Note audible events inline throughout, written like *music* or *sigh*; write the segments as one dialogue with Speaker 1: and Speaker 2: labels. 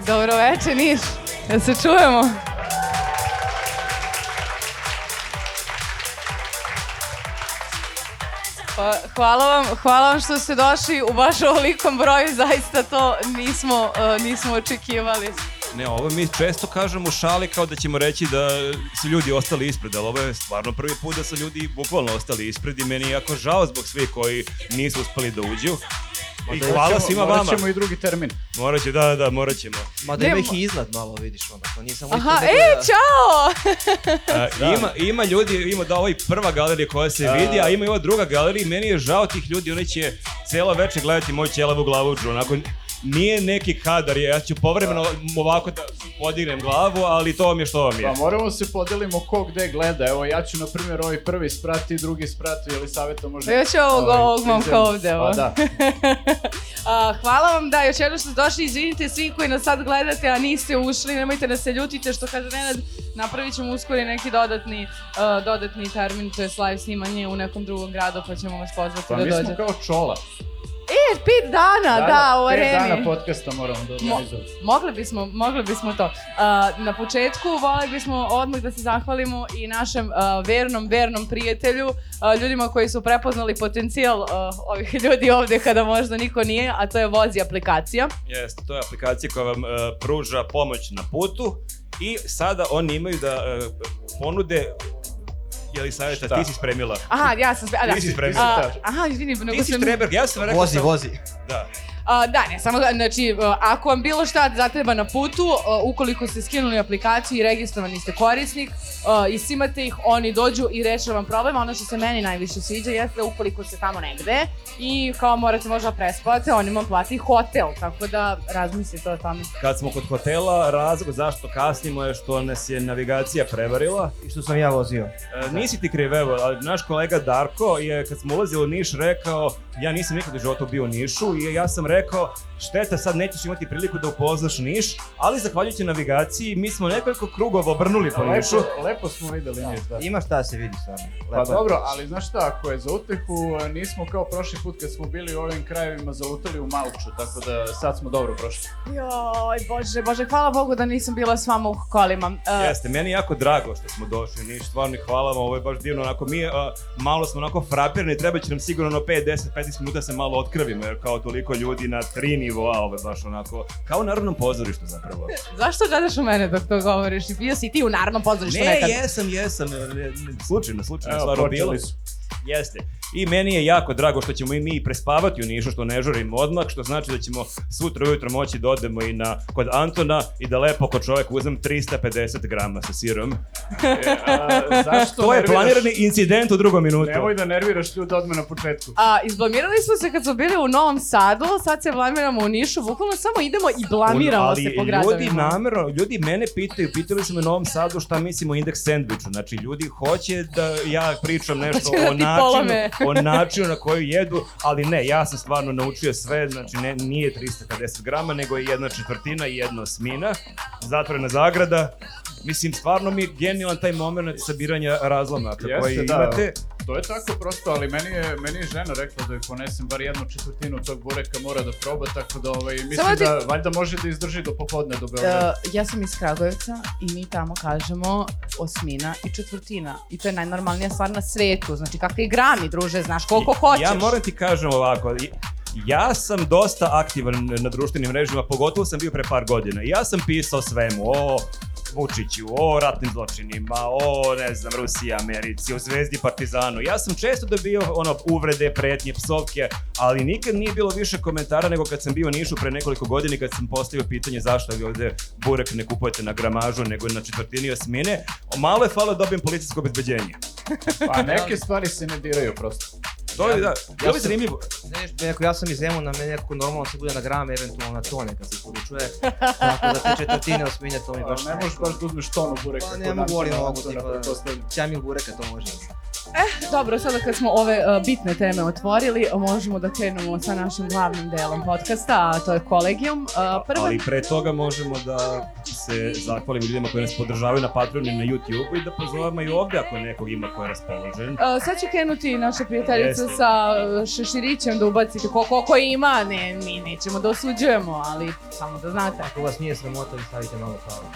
Speaker 1: veče, Niš. Da se čujemo. Pa, Hvala vam, hvala vam što ste došli u baš ovolikom broju, zaista to nismo, e, nismo očekivali.
Speaker 2: Ne, ovo mi često kažemo u šali kao da ćemo reći da su ljudi ostali ispred, ali ovo je stvarno prvi put da su ljudi bukvalno ostali ispred i meni je jako žao zbog svih koji nisu uspeli da uđu. I hvala svima
Speaker 3: morat
Speaker 2: vama.
Speaker 3: da, ćemo i drugi termin.
Speaker 2: Morat će, da, da, da, morat
Speaker 3: *laughs*
Speaker 2: ćemo.
Speaker 4: Mada ima
Speaker 1: Ne,
Speaker 4: ih
Speaker 1: mo-
Speaker 4: i iznad malo, vidiš onako, nisam
Speaker 1: Aha, e, čao!
Speaker 3: Da.
Speaker 2: A, E, ima, ima ljudi, ima da ovo je prva galerija koja se vidi, a ima i ova druga galerija i meni je žao tih ljudi, oni će celo večer gledati moju ćelavu glavu, onako, nije neki kadar, ja ću povremeno ovako da podignem glavu, ali to vam je što vam je.
Speaker 3: Pa moramo se podelimo ko gde gleda. Evo, ja ću, na primjer, ovaj prvi sprat i drugi sprat, ili savjeta može...
Speaker 1: Pa Ja ću ovog,
Speaker 3: Ovaj,
Speaker 1: ovog momka
Speaker 3: izem-
Speaker 1: ovde. Ovo. *laughs*
Speaker 3: Pa da.
Speaker 1: A, hvala vam da još jednom što ste došli, izvinite svi koji nas sad gledate, a niste ušli, nemojte da se ljutite što kaže Nenad, napravit ćemo uskoro i neki dodatni, uh, dodatni termin, to je live snimanje u nekom drugom gradu pa ćemo vas pozvati
Speaker 3: Pa
Speaker 1: da
Speaker 3: mi smo
Speaker 1: dođete.
Speaker 3: kao čola.
Speaker 1: E, pet dana, da, u
Speaker 3: pet
Speaker 1: areni.
Speaker 3: dana podcasta moramo da organizujemo.
Speaker 1: Mogli bismo, mogli bismo to. A, na početku voleli bismo odmah da se zahvalimo i našem a, vernom, vernom prijatelju, a, ljudima koji su prepoznali potencijal a, ovih ljudi ovde kada možda niko nije, a to je Vozi aplikacija.
Speaker 2: Jeste, to je aplikacija koja vam e, pruža pomoć na putu i sada oni imaju da e, ponude je li savjeta,
Speaker 3: Šta?
Speaker 2: ti si spremila.
Speaker 1: Aha, ja sam... sve- A, da.
Speaker 2: Ti si spremio.
Speaker 1: A, aha, izvini, nego
Speaker 2: Ti si
Speaker 1: sam...
Speaker 2: Treberg, ja sam rekao...
Speaker 4: Vozi,
Speaker 2: sam-
Speaker 4: vozi.
Speaker 2: Da.
Speaker 1: A, da, ne, samo, znači, a, ako vam bilo šta zatreba na putu, a, ukoliko ste skinuli aplikaciju i registrovani ste korisnik, e, a, isimate ih, oni dođu i reše vam problem. Ono što se meni najviše sviđa jeste da ukoliko ste tamo negde i kao morate možda da prespavate, oni vam plati hotel, tako da razmislite o tome.
Speaker 2: Kad smo kod hotela, razlog zašto kasnimo je što nas je navigacija prevarila.
Speaker 4: I što sam ja vozio.
Speaker 2: E, nisi ti kriv, evo, ali naš kolega Darko je kad smo ulazili u Niš rekao ja nisam nikad u životu bio u Nišu i ja sam rekao šteta sad nećeš imati priliku da upoznaš Niš, ali zahvaljujući navigaciji mi smo nekoliko krugova obrnuli po Nišu.
Speaker 3: Lepo, lepo smo videli njih, Pa da.
Speaker 4: Ima šta da se vidi stvarno.
Speaker 3: Pa dobro, ali znaš šta, ako je za utehu, e, nismo kao prošli put kad smo bili u ovim krajevima zalutali u Malču, tako da sad smo dobro prošli.
Speaker 1: Joj, bože, bože, hvala Bogu da nisam bila s vama u kolima. E, A,
Speaker 2: Jeste, meni je jako drago što smo došli u Niš, stvarno i hvala vam, ovo je baš divno, onako mi a, malo smo onako frapirani, treba će nam sigurno ono 5, 10, 15 minuta da se malo otkrvimo, jer kao toliko ljudi na tri nivoa, ovo je baš onako, kao u narodnom pozorištu zapravo.
Speaker 1: Zašto gledaš u mene dok to govoriš? Bio si i ti u narodnom pozorištu
Speaker 2: Ne,
Speaker 1: nekad.
Speaker 2: jesam, jesam, e, ne, ne, slučajno, slučajno,
Speaker 3: Evo,
Speaker 2: stvarno
Speaker 3: počeli
Speaker 2: bilo.
Speaker 3: su.
Speaker 2: Jeste. I meni je jako drago što ćemo i mi prespavati u Nišu, što ne žurimo odmah, što znači da ćemo sutra ujutro moći da odemo i na, kod Antona i da lepo kod čovek uzem 350 grama sa sirom.
Speaker 3: E, a, zašto
Speaker 2: To je
Speaker 3: nerviraš-
Speaker 2: planirani incident u drugom minutu.
Speaker 3: Nemoj da nerviraš ljude odmah na početku.
Speaker 1: A, izblamirali smo se kad smo bili u Novom Sadu, sad se blamiramo u Nišu, bukvalno samo idemo i blamiramo
Speaker 2: ali
Speaker 1: se po gradovima.
Speaker 2: ljudi namerno, ljudi mene pitaju, pitali su me u Novom Sadu šta mislim o indeks sandviču. Znači, ljudi hoće da ja
Speaker 1: *laughs*
Speaker 2: pričam nešto
Speaker 1: Hoće da
Speaker 2: o,
Speaker 1: ti
Speaker 2: načinu,
Speaker 1: polome.
Speaker 2: o načinu na koju jedu, ali ne, ja sam stvarno naučio sve, znači ne, nije 350 grama, nego je jedna četvrtina i jedna osmina, zatvorena zagrada. Mislim, stvarno mi je genijalan taj moment sabiranja razlomaka
Speaker 3: Jeste,
Speaker 2: koji
Speaker 3: da.
Speaker 2: imate.
Speaker 3: To je tako prosto, ali meni je, meni je žena rekla da joj ponesem bar jednu četvrtinu tog bureka mora da proba, tako da ovaj, mislim
Speaker 1: Samo ti-
Speaker 3: da valjda može da izdrži do popodne do Beograda.
Speaker 1: Uh, ja sam iz Kragujevca i mi tamo kažemo osmina i četvrtina. I to je najnormalnija stvar na svetu. Znači, kakvi grami, druže, znaš koliko hoćeš.
Speaker 2: Ja moram ti kažem ovako, ja sam dosta aktivan na društvenim mrežama, pogotovo sam bio pre par godina. I Ja sam pisao o svemu, o Vučiću, o ratnim zločinima, o, ne znam, Rusiji, Americi, o Zvezdi, Partizanu. Ja sam često dobio ono, uvrede, pretnje, psovke, ali nikad nije bilo više komentara nego kad sam bio u Nišu pre nekoliko godina i kad sam postavio pitanje zašto vi ovde burek ne kupujete na gramažu nego na četvrtini osmine. Malo je falo da dobijem policijsko obezbeđenje.
Speaker 1: E,
Speaker 3: Pa neke stvari se ne diraju prosto.
Speaker 2: To je, da, to je
Speaker 4: sam-
Speaker 2: zanimljivo.
Speaker 4: Znaš, ako ja sam iz Zemuna, meni nekako normalno da se bude na gram, eventualno na tone kad se poručuje.
Speaker 1: *laughs*
Speaker 4: Tako da te četvrtine osminja, to mi
Speaker 3: Pa,
Speaker 4: baš
Speaker 3: ne možeš baš da uzmeš tonu bureka.
Speaker 4: Pa
Speaker 3: kod
Speaker 4: ne
Speaker 3: nas,
Speaker 4: mogu, ali
Speaker 3: ono,
Speaker 4: mogu,
Speaker 3: to
Speaker 4: tipa, da.
Speaker 3: napravim, to stavim.
Speaker 4: Ćamil bureka to može.
Speaker 1: Eh, Dobro, sada kad smo ove uh, bitne teme otvorili, možemo da krenemo sa našim glavnim delom podcasta, a to je kolegijum. Uh, E, prva...
Speaker 2: Ali pre toga možemo da se zahvalim ljudima koji nas podržavaju na Patreonu i na YouTubeu i da pozovemo i ovde ako nekog ima ko je raspoložen.
Speaker 1: Uh, sad će krenuti naša prijateljica
Speaker 2: Jeste.
Speaker 1: sa uh, šeširićem da ubacite ko, koliko ima, ne, mi nećemo da osuđujemo, ali samo da
Speaker 2: *laughs*
Speaker 1: znate.
Speaker 4: Ako vas nije sramota, vi stavite malo kavu.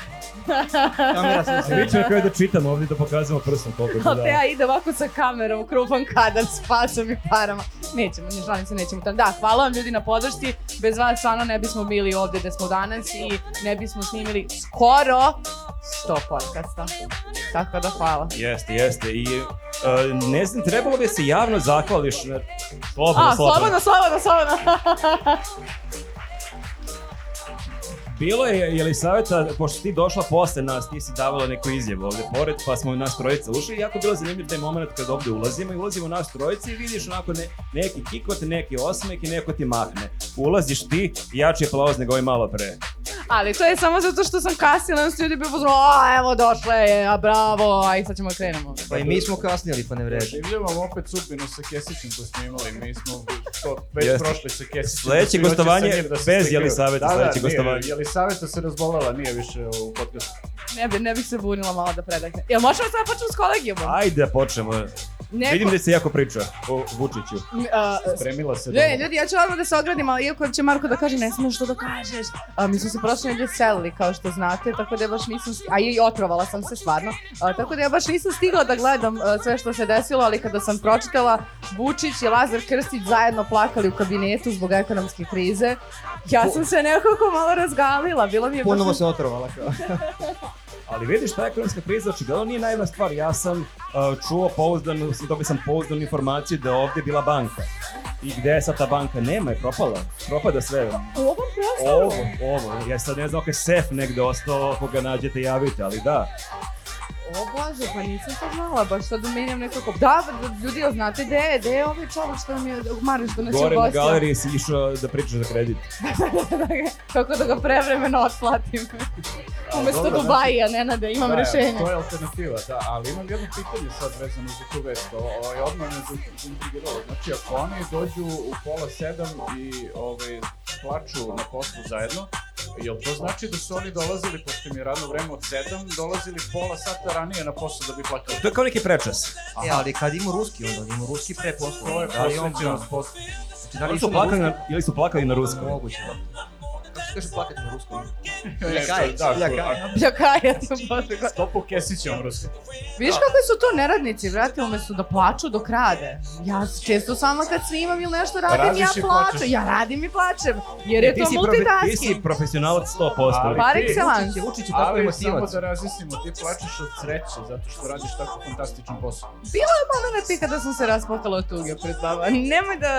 Speaker 1: *laughs*
Speaker 4: Kamera se
Speaker 2: Mi
Speaker 4: usreća.
Speaker 2: ćemo kao da čitamo ovde da pokazujemo prstom koliko da
Speaker 1: Ali te ja ide ovako sa kamerom, krupan kadar, s pasom i parama. Nećemo, ne šalim se, nećemo tamo. Da, hvala vam ljudi na podršci. Bez vas stvarno ne bismo bili ovde gde smo danas i ne bismo snimili skoro 100 podcasta. Tako da hvala.
Speaker 2: Jeste, jeste. I uh, ne znam, trebalo bi se javno zahvališ na... Slobodno,
Speaker 1: A, slobodno, slobodno, slobodno. *laughs*
Speaker 2: Bilo je, Jelisaveta, pošto ti došla posle nas, ti si davala neku izjavu ovde pored, pa smo nas trojica ušli. Jako je bilo zanimljiv taj moment kad ovde ulazimo i ulazimo nas trojica i vidiš onako ne, neki kikot, neki osmek i neko ti mahne. Ulaziš ti, jači aplauz nego ovaj malo pre.
Speaker 1: Ali to je samo zato što sam kasnila, onda su ljudi bili pozvali, a evo došla je, a bravo, aj sad ćemo da krenemo.
Speaker 4: Pa i mi smo kasnili, pa ne vredi.
Speaker 3: Življavamo opet sudbinu sa Kesićem koju smo imali, mi smo to već
Speaker 2: Jeste.
Speaker 3: Jeste. prošli sa Kesićem. da
Speaker 2: Sledeće
Speaker 3: Svi hoće
Speaker 2: gostovanje
Speaker 3: sa njim se
Speaker 2: bez
Speaker 3: slikaju.
Speaker 2: Jelisavete,
Speaker 3: da,
Speaker 2: sledeće
Speaker 3: da, nije,
Speaker 2: gostovanje.
Speaker 3: Jelisaveta se razbolala, nije više u podcastu.
Speaker 1: Ne, bi, ne bih se bunila malo da predakne. Jel možemo sada počnemo s kolegijumom?
Speaker 2: Ajde da počnemo.
Speaker 1: Neko-
Speaker 2: Vidim da se jako priča o Vučiću.
Speaker 1: M, a,
Speaker 3: Spremila se
Speaker 1: Ne, ljudi, ja ću odmah da se ogradim, ali iako će Marko da kaže, ne smiješ to da kažeš. A, mi smo se prošle nedelje selili, kao što znate, tako da ja baš nisam, sti- a i otrovala sam se stvarno, a, tako da ja baš nisam stigla da gledam a, sve što se desilo, ali kada sam pročitala Vučić i Lazar Krstić zajedno plakali u kabinetu zbog ekonomske krize, ja sam se nekako malo razgalila, bilo
Speaker 3: da
Speaker 1: mi je
Speaker 4: Ponovo
Speaker 1: baš...
Speaker 4: se otrovala kao.
Speaker 2: Ali vidiš, ta ekonomska kriza očigledno nije najva stvar. Ja sam uh, čuo pouzdanu, dobio sam pouzdanu informaciju da je ovde bila banka. I gde je sad ta banka? Nema je, propala. Propada sve.
Speaker 1: U ovom prostoru?
Speaker 2: Ovo, ovo. Ja sad ne znam, ok, sef negde ostao, ako ga nađete, javite, ali da.
Speaker 1: O Bože, pa nisam to znala, baš sad umenjam nekako. Da, da, ljudi, jel znate gde je, gde je ovaj čovjek što nam je, Mariš, što nas je Znači,
Speaker 2: Gore na
Speaker 1: ugostio?
Speaker 2: galeriji si išao da pričaš za kredit.
Speaker 1: *laughs* da ga, kako da ga prevremeno otplatim. Umesto
Speaker 3: dobro,
Speaker 1: Dubaja, znači, Nenade, imam
Speaker 3: da,
Speaker 1: rešenje.
Speaker 3: To je alternativa, da, ali imam jedno pitanje sad vezano za tu vest, o- ovaj, odmah me zain- zaintrigiralo. Znači, ako oni dođu u pola sedam i ovaj, plaču na poslu zajedno, Jel to znači da su oni dolazili, pošto im je radno vreme od 7, dolazili pola sata ranije na posao da bi plakali?
Speaker 2: To je kao neki prečas.
Speaker 4: E, ali kad ima ruski, onda ima ruski pre
Speaker 3: To je
Speaker 4: posla. Da li on
Speaker 3: posvećenost poslu.
Speaker 4: Znači, da
Speaker 2: Da
Speaker 4: li
Speaker 2: li
Speaker 4: išao
Speaker 2: su
Speaker 4: na
Speaker 2: plakali
Speaker 4: ruski?
Speaker 2: na, ili su plakali na ruskom?
Speaker 4: Moguće. Kako se kaže plakati na ruskom?
Speaker 3: E,
Speaker 4: Pljakaj,
Speaker 3: da,
Speaker 4: pljakaj.
Speaker 3: ako-
Speaker 1: Pljakaja sam Bože.
Speaker 3: ako- Stopu Kesićem, Rusi.
Speaker 1: Viš kakvi su to neradnici, vrati, umesto da plaču dok rade. Ja često sama kad snimam ili nešto radim,
Speaker 3: Radiš
Speaker 1: ja
Speaker 3: i
Speaker 1: plačem.
Speaker 3: plačeš.
Speaker 1: Ja radim i plačem, jer je
Speaker 2: E, Ti
Speaker 1: to
Speaker 2: si profe- Ti si
Speaker 1: multitasking.
Speaker 2: profesionalac 100%.
Speaker 3: Ali-
Speaker 1: Par
Speaker 3: ti-
Speaker 1: excellence.
Speaker 4: Učiće, učiće tako
Speaker 3: Ali samo
Speaker 4: emotivac.
Speaker 3: da razjasnimo, ti plačeš od sreće zato što radiš tako fantastičan posao.
Speaker 1: Bilo je moment i kada da sam se raspakala od tuge pred vama. Nemoj da...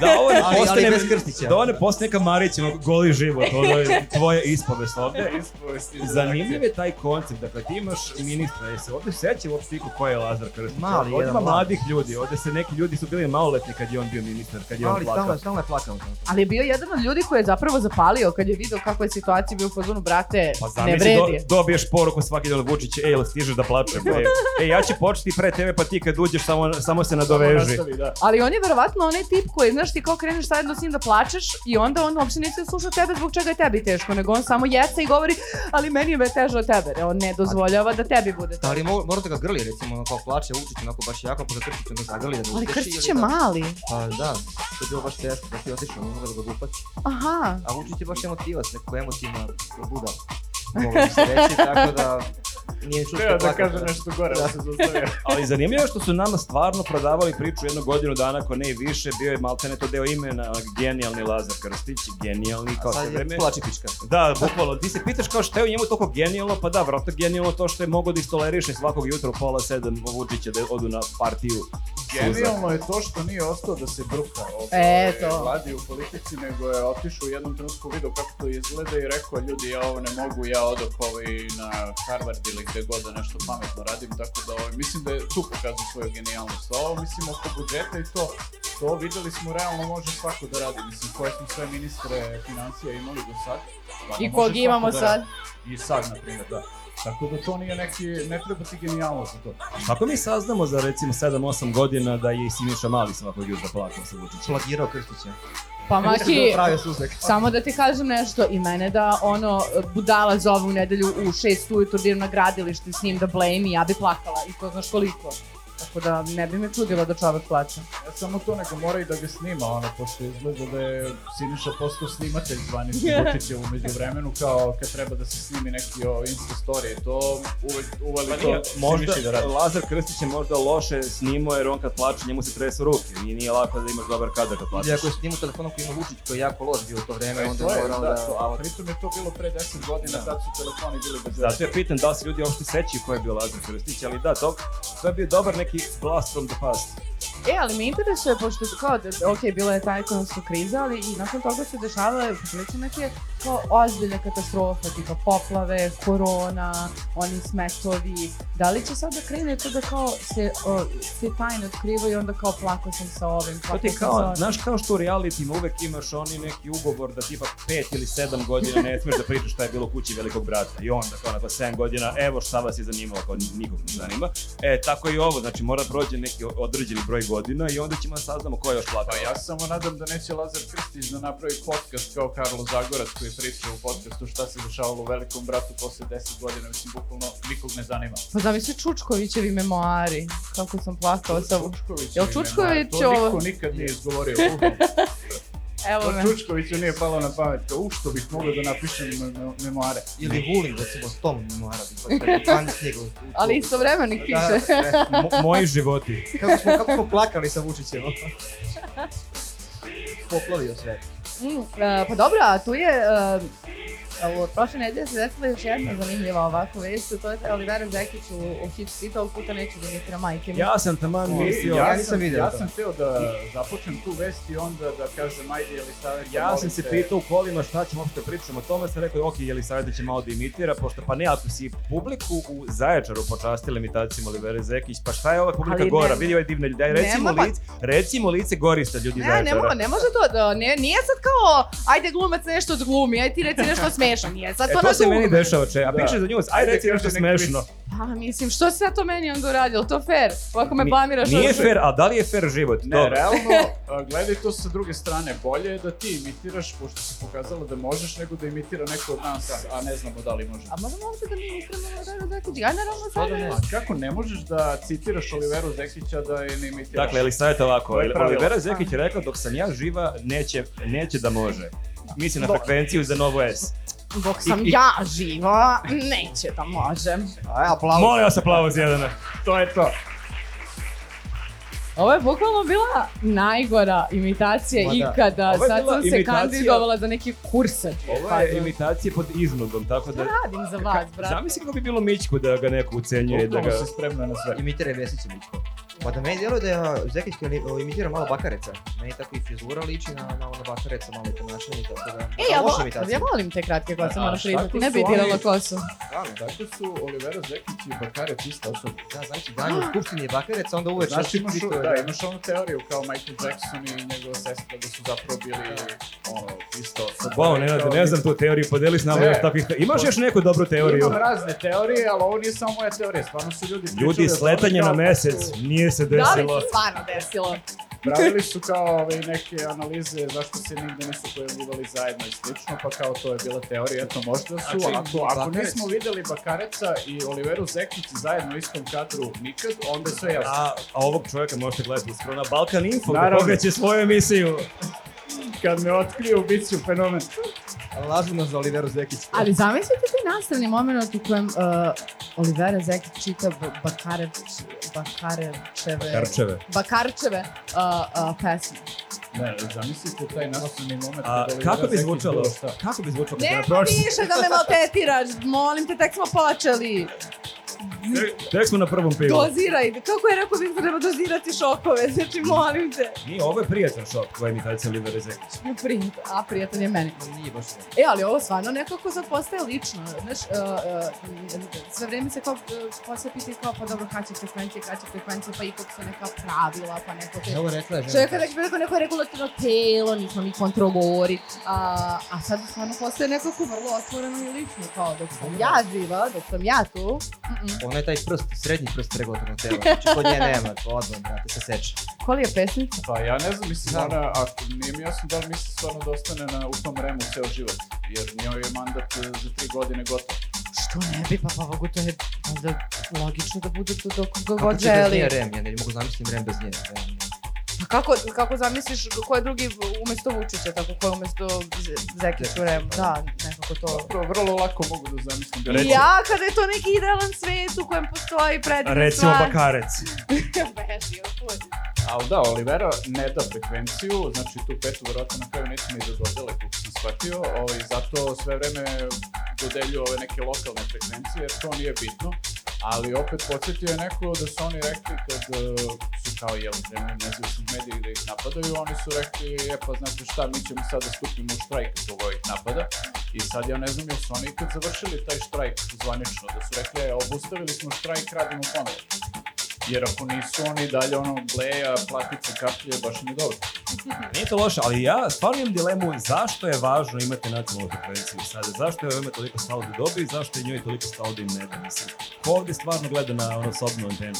Speaker 2: Da ovo ne
Speaker 4: Ali- ali
Speaker 2: postane,
Speaker 4: bez Krstića.
Speaker 2: da ovo ne postane neka Marićeva goli život, ovo je tvoja ispovest ovde.
Speaker 3: Ispovesti za
Speaker 2: Zanimljiv je taj koncept, dakle ti imaš ministra, jer se ovde seća uopšte iko ko je Lazar Krstić.
Speaker 4: Mali,
Speaker 2: Ovde
Speaker 4: jedan
Speaker 2: ima
Speaker 4: mlad.
Speaker 2: mladih ljudi, ovde se neki ljudi su bili maloletni kad je on bio ministar, kad je on
Speaker 4: Ali stalno,
Speaker 2: plakao.
Speaker 4: stalno je plakao. tamo.
Speaker 1: Ali je bio jedan od ljudi koji je zapravo zapalio kad je video kako je situacija bio u fazonu, brate,
Speaker 2: Pa
Speaker 1: ne
Speaker 2: zamisli,
Speaker 1: vredi.
Speaker 2: do, dobiješ poruku svaki dan od Vučića, ej, jel stižeš da
Speaker 4: *laughs*
Speaker 2: plačem? Ej, ej, ja ću početi pre tebe, pa ti kad uđeš samo, samo se nadoveži.
Speaker 3: Nastavi, da.
Speaker 1: Ali on je verovatno onaj tip koji, znaš, ti kao kreneš zajedno s njim da plačeš i onda on uopšte neće da sluša tebe zbog čega je tebi teško, nego on samo jeca i govori, ali meni je be- teže od tebe. E, On ne dozvoljava da tebi bude
Speaker 4: Da
Speaker 1: teže.
Speaker 4: li mo- morate ga grli, recimo, ono kao plače, učić onako baš jako, pa ga krstić ono zagrli da ga
Speaker 1: Ali
Speaker 4: uteši
Speaker 1: Krstić
Speaker 4: ili
Speaker 1: je
Speaker 4: da-
Speaker 1: mali.
Speaker 4: Pa da, to je bilo baš teško, baš je otišao, ono da ga gupač.
Speaker 1: Aha.
Speaker 4: A učić je baš emotivac, neko emotivna buda. Mogu bi se
Speaker 1: *laughs*
Speaker 4: reći, tako da nije čusto
Speaker 3: Treba da
Speaker 4: plakati.
Speaker 3: kaže nešto gore, da se zaustavio.
Speaker 2: Ali zanimljivo je što su nama stvarno prodavali priču jednu godinu dana, ako ne i više, bio je maltene to deo imena, genijalni Lazar Krstić, genijalni
Speaker 4: A
Speaker 2: kao sve
Speaker 4: sad
Speaker 2: vreme.
Speaker 4: je plače pička.
Speaker 2: Da, bukvalno. Ti se pitaš kao šta je u njemu toliko genijalno, pa da, vratno genijalno to što je mogao da istoleriše svakog jutra u pola sedam Vučića da odu na partiju.
Speaker 3: Genijalno je to što nije ostao da se bruka ovaj,
Speaker 1: Eto.
Speaker 3: vladi u politici, nego je otišao u jednom trenutku video kako to izgleda i rekao ljudi ja ovo ne mogu, ja odoh ovaj na Harvard ili gde god da nešto pametno radim, tako da ovaj, mislim da je tu pokazao svoju genijalnost. A Ovo mislim oko budžeta i to, to videli smo realno može svako da radi, mislim koje smo sve ministre financija imali do sad. stvarno
Speaker 1: I
Speaker 3: može
Speaker 1: kog
Speaker 3: svako
Speaker 1: imamo
Speaker 3: da
Speaker 1: sad?
Speaker 3: radi. I sad, na primjer, da. Tako da to nije neki, ne treba ti genijalnost za to.
Speaker 2: Ako mi saznamo za recimo 7-8 godina da je i Siniša Mali svakog jutra plakao sa Vučićem?
Speaker 4: Plagirao Krstića.
Speaker 1: Pa Maki,
Speaker 4: Pravi suzak.
Speaker 1: samo da ti kažem nešto i mene da ono budala zove u nedelju u 6 ujutru da idem na gradilište s njim da blame i ja bi plakala i ko znaš koliko. Tako da ne bi me čudilo da čovek plaća.
Speaker 3: Ja samo to nego mora i da ga snima, ono, pošto izgleda da je Siniša postao snimatelj
Speaker 1: *laughs*
Speaker 3: zvanični Vučića umeđu vremenu, kao kad treba da se snimi neki o Insta story, i to uvek uvali
Speaker 2: Pa
Speaker 3: to
Speaker 2: nije, možda,
Speaker 3: Siniši da radi.
Speaker 2: Lazar Krstić je možda loše snimao jer on kad plače njemu se tresu ruke. Nije, nije lako da imaš dobar kadar kad plačeš.
Speaker 4: Ili ako je snimao telefonom koji ima Vučić koji je jako loš bio u to vreme, onda
Speaker 3: To
Speaker 4: je
Speaker 3: je,
Speaker 4: morao
Speaker 3: da, to, a
Speaker 4: da...
Speaker 3: pritom je to bilo pre 10 godina,
Speaker 2: Da.
Speaker 3: tad su telefoni bili bez veze.
Speaker 2: Zato ja pitam da li se ljudi uopšte sećaju ko je bio Lazar Krstić, ali da, to, to je bio dobar neki blast from the past.
Speaker 1: E, ali me interesuje, pošto kao, da, ok, bila je ta ekonomska kriza, ali i nakon toga se dešavale prilično neke kao ozbiljne katastrofe, tipa poplave, korona, oni smetovi. Da li će sada krene to da kao se, o, se tajne otkrivaju i onda kao plako sam sa ovim,
Speaker 2: To
Speaker 1: plako
Speaker 2: Pa ti
Speaker 1: sam
Speaker 2: je
Speaker 1: sa
Speaker 2: kao,
Speaker 1: ovim.
Speaker 2: znaš kao što u realitima uvek imaš oni neki ugovor da tipa 5 ili 7 godina ne smeš da pričaš šta je bilo u kući velikog brata. I onda kao nakon 7 godina, evo šta vas je zanimalo, kao nikog ne zanima. E, tako i ovo, znači mora prođe neki određeni broj godina i onda ćemo da saznamo ko je još
Speaker 3: Pa
Speaker 2: plakao.
Speaker 3: ja se samo nadam da neće Lazar Krstić da napravi podcast kao Karlo Zagorac koji priča u podcastu šta se dešavalo u velikom bratu posle 10 godina, mislim, bukvalno nikog ne zanima.
Speaker 1: Pa zamisli Čučkovićevi memoari, kako sam plakao sa...
Speaker 3: Čučković
Speaker 1: Jel
Speaker 3: je ime,
Speaker 1: Čučković
Speaker 3: da, To
Speaker 1: ovo-
Speaker 3: niko nikad nije izgovorio.
Speaker 1: *laughs* Evo
Speaker 3: To
Speaker 2: Pa
Speaker 1: me.
Speaker 3: Pa Čučkoviću nije palo na pamet, kao u što bih mogao da napišem me- me- memoare.
Speaker 4: Ili Vulin, recimo, s tom mora bi. Pa je fan knjigu.
Speaker 1: Ali istovremeno ih
Speaker 4: Da,
Speaker 1: piše.
Speaker 4: sve.
Speaker 2: Mo- moji životi.
Speaker 4: Kako smo, kako smo plakali sa Vučićem. Poplavio sve.
Speaker 1: Mm, e, pa dobro, a tu je... e, Evo, prošle nedelje se desila još jedna zanimljiva ovako vest, to je da je Olivera Zekić u, u hit city, ovog puta neću da mi na majke. mi.
Speaker 2: Ja sam taman
Speaker 4: O,
Speaker 2: mislio...
Speaker 4: ja
Speaker 2: Ja,
Speaker 4: nisam video
Speaker 3: Ja
Speaker 4: to.
Speaker 3: sam htio da započnem tu vest i onda da kažem, ajde, jeli savjet,
Speaker 2: sam se pitao u kolima šta ćemo uopšte da pričamo o tome, sam rekao, ok, je li savjet da će malo da imitira, pošto pa ne, ako si publiku u Zaječaru počastila imitacijom Olivera Zekić, pa šta je ova publika
Speaker 1: Ali ne-
Speaker 2: gora, vidi ove divne ljudi, aj, recimo,
Speaker 1: Nema, pa-
Speaker 2: lice, recimo lice gorista ljudi iz
Speaker 1: E, Ne,
Speaker 2: Zaječara.
Speaker 1: ne,
Speaker 3: pa
Speaker 1: mo, ne može to, da, ne, nije sad kao, ajde glumac nešto odglumi, ajde ti reci nešto smešno, nije sad
Speaker 2: E,
Speaker 1: to,
Speaker 2: to
Speaker 1: na
Speaker 2: se meni
Speaker 1: dugme.
Speaker 2: dešava, če, a
Speaker 3: Da.
Speaker 2: piše za njuz, aj
Speaker 3: Ajde,
Speaker 2: reci nešto
Speaker 3: kaže neki
Speaker 2: smešno.
Speaker 1: Pa mislim, što si sad to meni onda uradio, to fair, ovako me
Speaker 2: Ni-
Speaker 1: blamiraš.
Speaker 2: Nije
Speaker 1: ono što-
Speaker 2: fair, a da li je fair život?
Speaker 3: Ne,
Speaker 2: Dobro.
Speaker 3: realno, a, gledaj to sa druge strane, bolje je da ti imitiraš, pošto se pokazalo da možeš, nego da imitira neko od nas, a ne znamo da li može.
Speaker 1: A možemo ovdje da mi iskreno Oliveru Zekić, ja naravno sad
Speaker 4: da ne.
Speaker 3: A kako ne možeš da citiraš Oliveru Zekića da je ne imitiraš?
Speaker 2: Dakle, Elisa je to ovako,
Speaker 3: To je pravilo.
Speaker 2: Olivera Zekić je rekla dok sam ja živa, neće, neće da može. Misli na frekvenciju za Novo S.
Speaker 1: dok sam
Speaker 2: I- i-
Speaker 1: ja živa, neće da možem.
Speaker 4: Aj, aplauz.
Speaker 2: Molim vas aplauz Jelena.
Speaker 3: to je to.
Speaker 1: Ovo je bukvalno bila najgora imitacija
Speaker 4: Ma da.
Speaker 1: ikada.
Speaker 2: Ovo je
Speaker 1: Sad
Speaker 2: bila
Speaker 1: sam se
Speaker 2: imitacija-
Speaker 1: kandidovala za neki kursač.
Speaker 2: Ovo
Speaker 1: Pa,
Speaker 3: da.
Speaker 2: je imitacija pod iznogom, tako
Speaker 1: Šta
Speaker 2: da...
Speaker 1: radim za vas, brate?
Speaker 2: Zamisli kako bi bilo Mićku da ga neko ucenjuje, da
Speaker 3: Bukvalno
Speaker 2: ga...
Speaker 3: si spremna na sve.
Speaker 4: Imitira je Vesića lično. Pa da meni djeluje da je Zekić koji li- imitira malo Bakareca. Meni tako i frizura liči na, na ono Bakareca, malo i ponašanje, tako da...
Speaker 1: E, ja,
Speaker 4: Loša
Speaker 1: vo-
Speaker 4: imitacija.
Speaker 1: ja volim te kratke kose,
Speaker 3: A,
Speaker 1: moram
Speaker 3: šta
Speaker 1: priznati.
Speaker 3: tu
Speaker 1: Ne
Speaker 3: su
Speaker 1: bi dirala
Speaker 3: oni?
Speaker 1: kosu.
Speaker 4: Stvarno, da.
Speaker 3: Tako dakle su Olivera Zekić i Bakarec ista osoba.
Speaker 4: Da, znači, dan u skupštini je Bakarec, a onda uveč...
Speaker 3: Znaš, imaš,
Speaker 4: cituje-
Speaker 3: da, imaš onu teoriju kao Michael Jackson i njegova sestra da su zapravo bili ono, isto osoba.
Speaker 2: Wow, ne, ne, ne znam tu teoriju, podeli s nama
Speaker 3: Ne.
Speaker 2: još takvih... Imaš još neku dobru teoriju?
Speaker 3: Imam razne teorije, ali ovo nije samo moja teorija, stvarno su ljudi pričali...
Speaker 2: Ljudi,
Speaker 3: da su
Speaker 2: sletanje
Speaker 3: kao
Speaker 2: na
Speaker 3: da
Speaker 2: mesec
Speaker 3: su-
Speaker 2: nije se
Speaker 1: Da li
Speaker 2: desilo.
Speaker 1: se stvarno desilo?
Speaker 3: Pravili su kao ove, neke analize zašto se nigde nisu pojavljivali zajedno i slično, pa kao to je bila teorija, eto možda su,
Speaker 4: Znači,
Speaker 3: ako, ako
Speaker 4: Bakarec.
Speaker 3: nismo videli Bakareca i Oliveru Zekić zajedno u istom kadru nikad, onda je sve jasno.
Speaker 2: A, a ovog čovjeka možete gledati skoro na Balkan Info,
Speaker 3: Naravno.
Speaker 2: Naravno. će svoju emisiju.
Speaker 3: Kad me otkriju, bit ću fenomen.
Speaker 4: Lažu nas za Oliveru Zekić.
Speaker 1: Ali zamislite ti nastavni moment u kojem uh, Olivera Zekić čita B- Bakareč,
Speaker 3: E.
Speaker 1: Bakarečeve...
Speaker 2: Karčeve.
Speaker 1: Bakarčeve uh, uh, pesme.
Speaker 3: Ne, zamislite taj nastavni moment.
Speaker 2: A,
Speaker 3: kad Olivera
Speaker 2: kako bi
Speaker 3: Zekić
Speaker 2: zvučalo?
Speaker 3: bilo šta.
Speaker 2: Kako bi zvučalo? kad
Speaker 1: Nema
Speaker 2: na prošli-
Speaker 1: više da me maltretiraš, molim te, tek smo počeli.
Speaker 2: Tek- Tek smo na prvom pivu.
Speaker 1: Doziraj, kako je rekao Viktor, treba dozirati šokove, znači molim te.
Speaker 2: Nije, ovo je prijatan šok, tvoja imitacija Olivera Zekić.
Speaker 1: Prijat, a prijatan je meni.
Speaker 4: Nije baš to.
Speaker 1: E, ali ovo stvarno nekako sad postaje lično, znaš, uh, uh, sve vreme se kao, uh, postaje pitanje kao, pa dobro, kada će frekvencije, kada će frekvencije, pa ipak su neka pravila, pa neko te...
Speaker 4: Evo E, rekla je žena.
Speaker 1: Što je kada rekao neko regulatorno telo, nismo mi kontrolori, a, a sad stvarno postaje nekako vrlo otvoreno i lično, kao dok sam ja živa, dok sam ja tu, mm
Speaker 4: Ono je taj prst, srednji prst pregledano na telo. Znači, kod nje nema, odmah, brate, se seče.
Speaker 1: Koli je pesnica?
Speaker 3: Pa ja ne znam, mislim,
Speaker 4: Da.
Speaker 3: ona, ako nije mi jasno da li misli stvarno da ostane na, u tom remu ceo život, jer njoj je mandat e, za tri godine gotov.
Speaker 1: Što ne bi, pa pa mogu to je onda logično da bude to dok koga
Speaker 4: Kako
Speaker 1: god
Speaker 4: će
Speaker 2: da
Speaker 4: bez
Speaker 1: želi.
Speaker 4: nje rem, ja ne mogu zamislim rem bez nje. realno.
Speaker 1: Pa kako, kako zamisliš ko je drugi umesto Vučića, tako ko je umesto Z- Zekić u remu? Da, nekako to.
Speaker 3: Zapravo, vrlo lako mogu da zamislim. da-
Speaker 2: Reci. Recimo.
Speaker 1: Ja, kada je to neki idealan svet u kojem postoji predivna
Speaker 2: Recimo
Speaker 1: stvar.
Speaker 2: Bakarec.
Speaker 1: *laughs* Beži, otpuj.
Speaker 3: Ali da, Olivera ne da frekvenciju, znači tu petu verovatno na kraju neće ni da dodele, kako sam shvatio, ovaj, zato sve vreme dodelju ove neke lokalne frekvencije, jer to nije bitno. Ali opet podsjetio je neko da su oni rekli kad e, su kao jel krenuli nezavisni mediji da ih napadaju, oni su rekli je pa znate šta, mi ćemo sad da stupimo u štrajk zbog ovih napada. I sad ja ne znam jel su oni ikad završili taj štrajk zvanično, da su rekli e, obustavili smo štrajk, radimo ponovo. Jer ako nisu oni dalje ono bleja, platice, kaplje, baš mi dobro. E,
Speaker 2: Nije to loše, ali ja stvarno imam dilemu zašto je važno imati nacionalnu frekvenciju sada, zašto je ovome toliko stalo da dobi i zašto je njoj toliko stalo da im ne da, mislim. Ko ovdje stvarno gleda na ono sobnu antenu?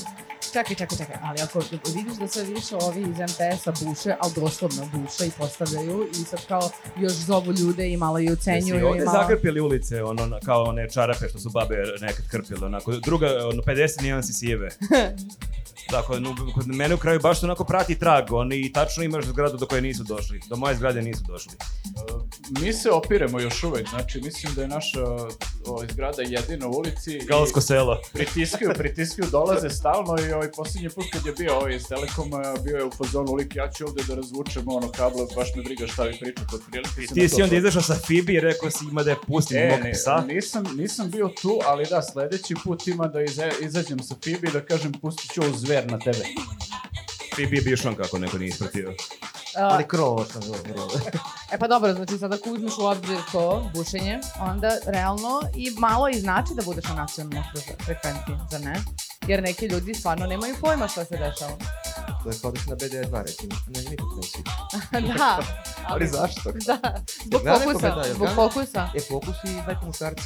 Speaker 1: Čekaj, čekaj, čekaj, ali ako vidiš da sve više ovi iz MTS-a buše, ali doslovno buše i postavljaju i sad kao još zovu ljude i malo i
Speaker 2: Jesi
Speaker 1: ucenjuju
Speaker 2: i ovdje
Speaker 1: i malo...
Speaker 2: zakrpili ulice, ono, na- kao one čarape što su babe nekad krpile, onako, druga, ono, 50 nijansi sjeve. Tako, no, kod mene u kraju baš onako prati trag, oni i tačno imaš zgradu do koje nisu došli, do moje zgrade nisu došli.
Speaker 3: Mi se opiremo još uvek, znači mislim da je naša ovaj, zgrada jedina u ulici. i
Speaker 2: Galsko selo.
Speaker 3: Pritiskaju, pritiskaju, dolaze stalno i ovaj posljednji put kad je bio ovaj iz Telekoma, bio je u fazonu lik, ja ću ovde da razvučem ono kablo, baš me briga šta vi pričate od prilike.
Speaker 2: Ti si onda izašao sa Fibi i rekao si ima da je pustim
Speaker 3: E,
Speaker 2: mog
Speaker 3: ne,
Speaker 2: psa.
Speaker 3: nisam, nisam bio tu, ali da, sledeći put ima da iza- izađem sa Fibi i da kažem pustit ću ovu zver na tebe.
Speaker 2: Fibi je bišan kako neko nije ispratio.
Speaker 1: A,
Speaker 4: Ali krovo što zove, krovo.
Speaker 1: E pa dobro, znači sad ako uzmeš u obzir to bušenje, onda realno i malo i znači da budeš na nacionalnoj fre- frekvenciji, zar ne? Jer neki ljudi stvarno nemaju pojma šta se dešava.
Speaker 4: To je kao da si na BD2, recimo. Ne znam nikad ne si.
Speaker 1: da,
Speaker 4: Ali zašto?
Speaker 1: da, zbog
Speaker 4: Jel gledaj
Speaker 1: fokusa,
Speaker 4: koga da, jel
Speaker 1: zbog
Speaker 4: gledaj?
Speaker 1: fokusa.
Speaker 4: E, fokus i daj komušarci.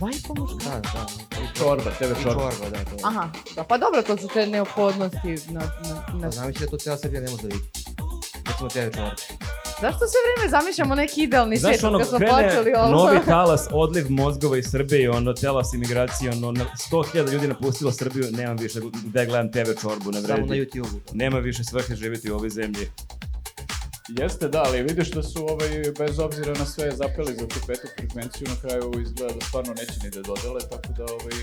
Speaker 1: Vaj pomoć.
Speaker 4: Da, da. I
Speaker 3: Čorba, tebe
Speaker 4: I
Speaker 3: čorba.
Speaker 4: čorba, da, to.
Speaker 1: Aha, da, pa dobro, to su te neophodnosti na, na, na...
Speaker 4: Pa znam da to cijela Srbija ne može da vidi. Recimo tebe čorba.
Speaker 1: Zašto sve vreme zamišljamo neki idealni svijet
Speaker 2: Znaš ono,
Speaker 1: kad smo počeli
Speaker 2: krene
Speaker 1: ovo?
Speaker 2: novi talas, odliv mozgova iz Srbije, ono, talas imigracije, ono, na- 100.000 ljudi napustilo Srbiju, nemam više gde gledam TV čorbu, ne
Speaker 4: Samo na
Speaker 2: vredi.
Speaker 4: YouTube-u.
Speaker 2: Nema više svrhe živjeti u ovoj zemlji.
Speaker 3: Jeste, da, ali vidiš da su ovaj, bez obzira na sve zapeli za tu petu frekvenciju, na kraju izgleda da stvarno neće ni da dodele, tako da ovaj,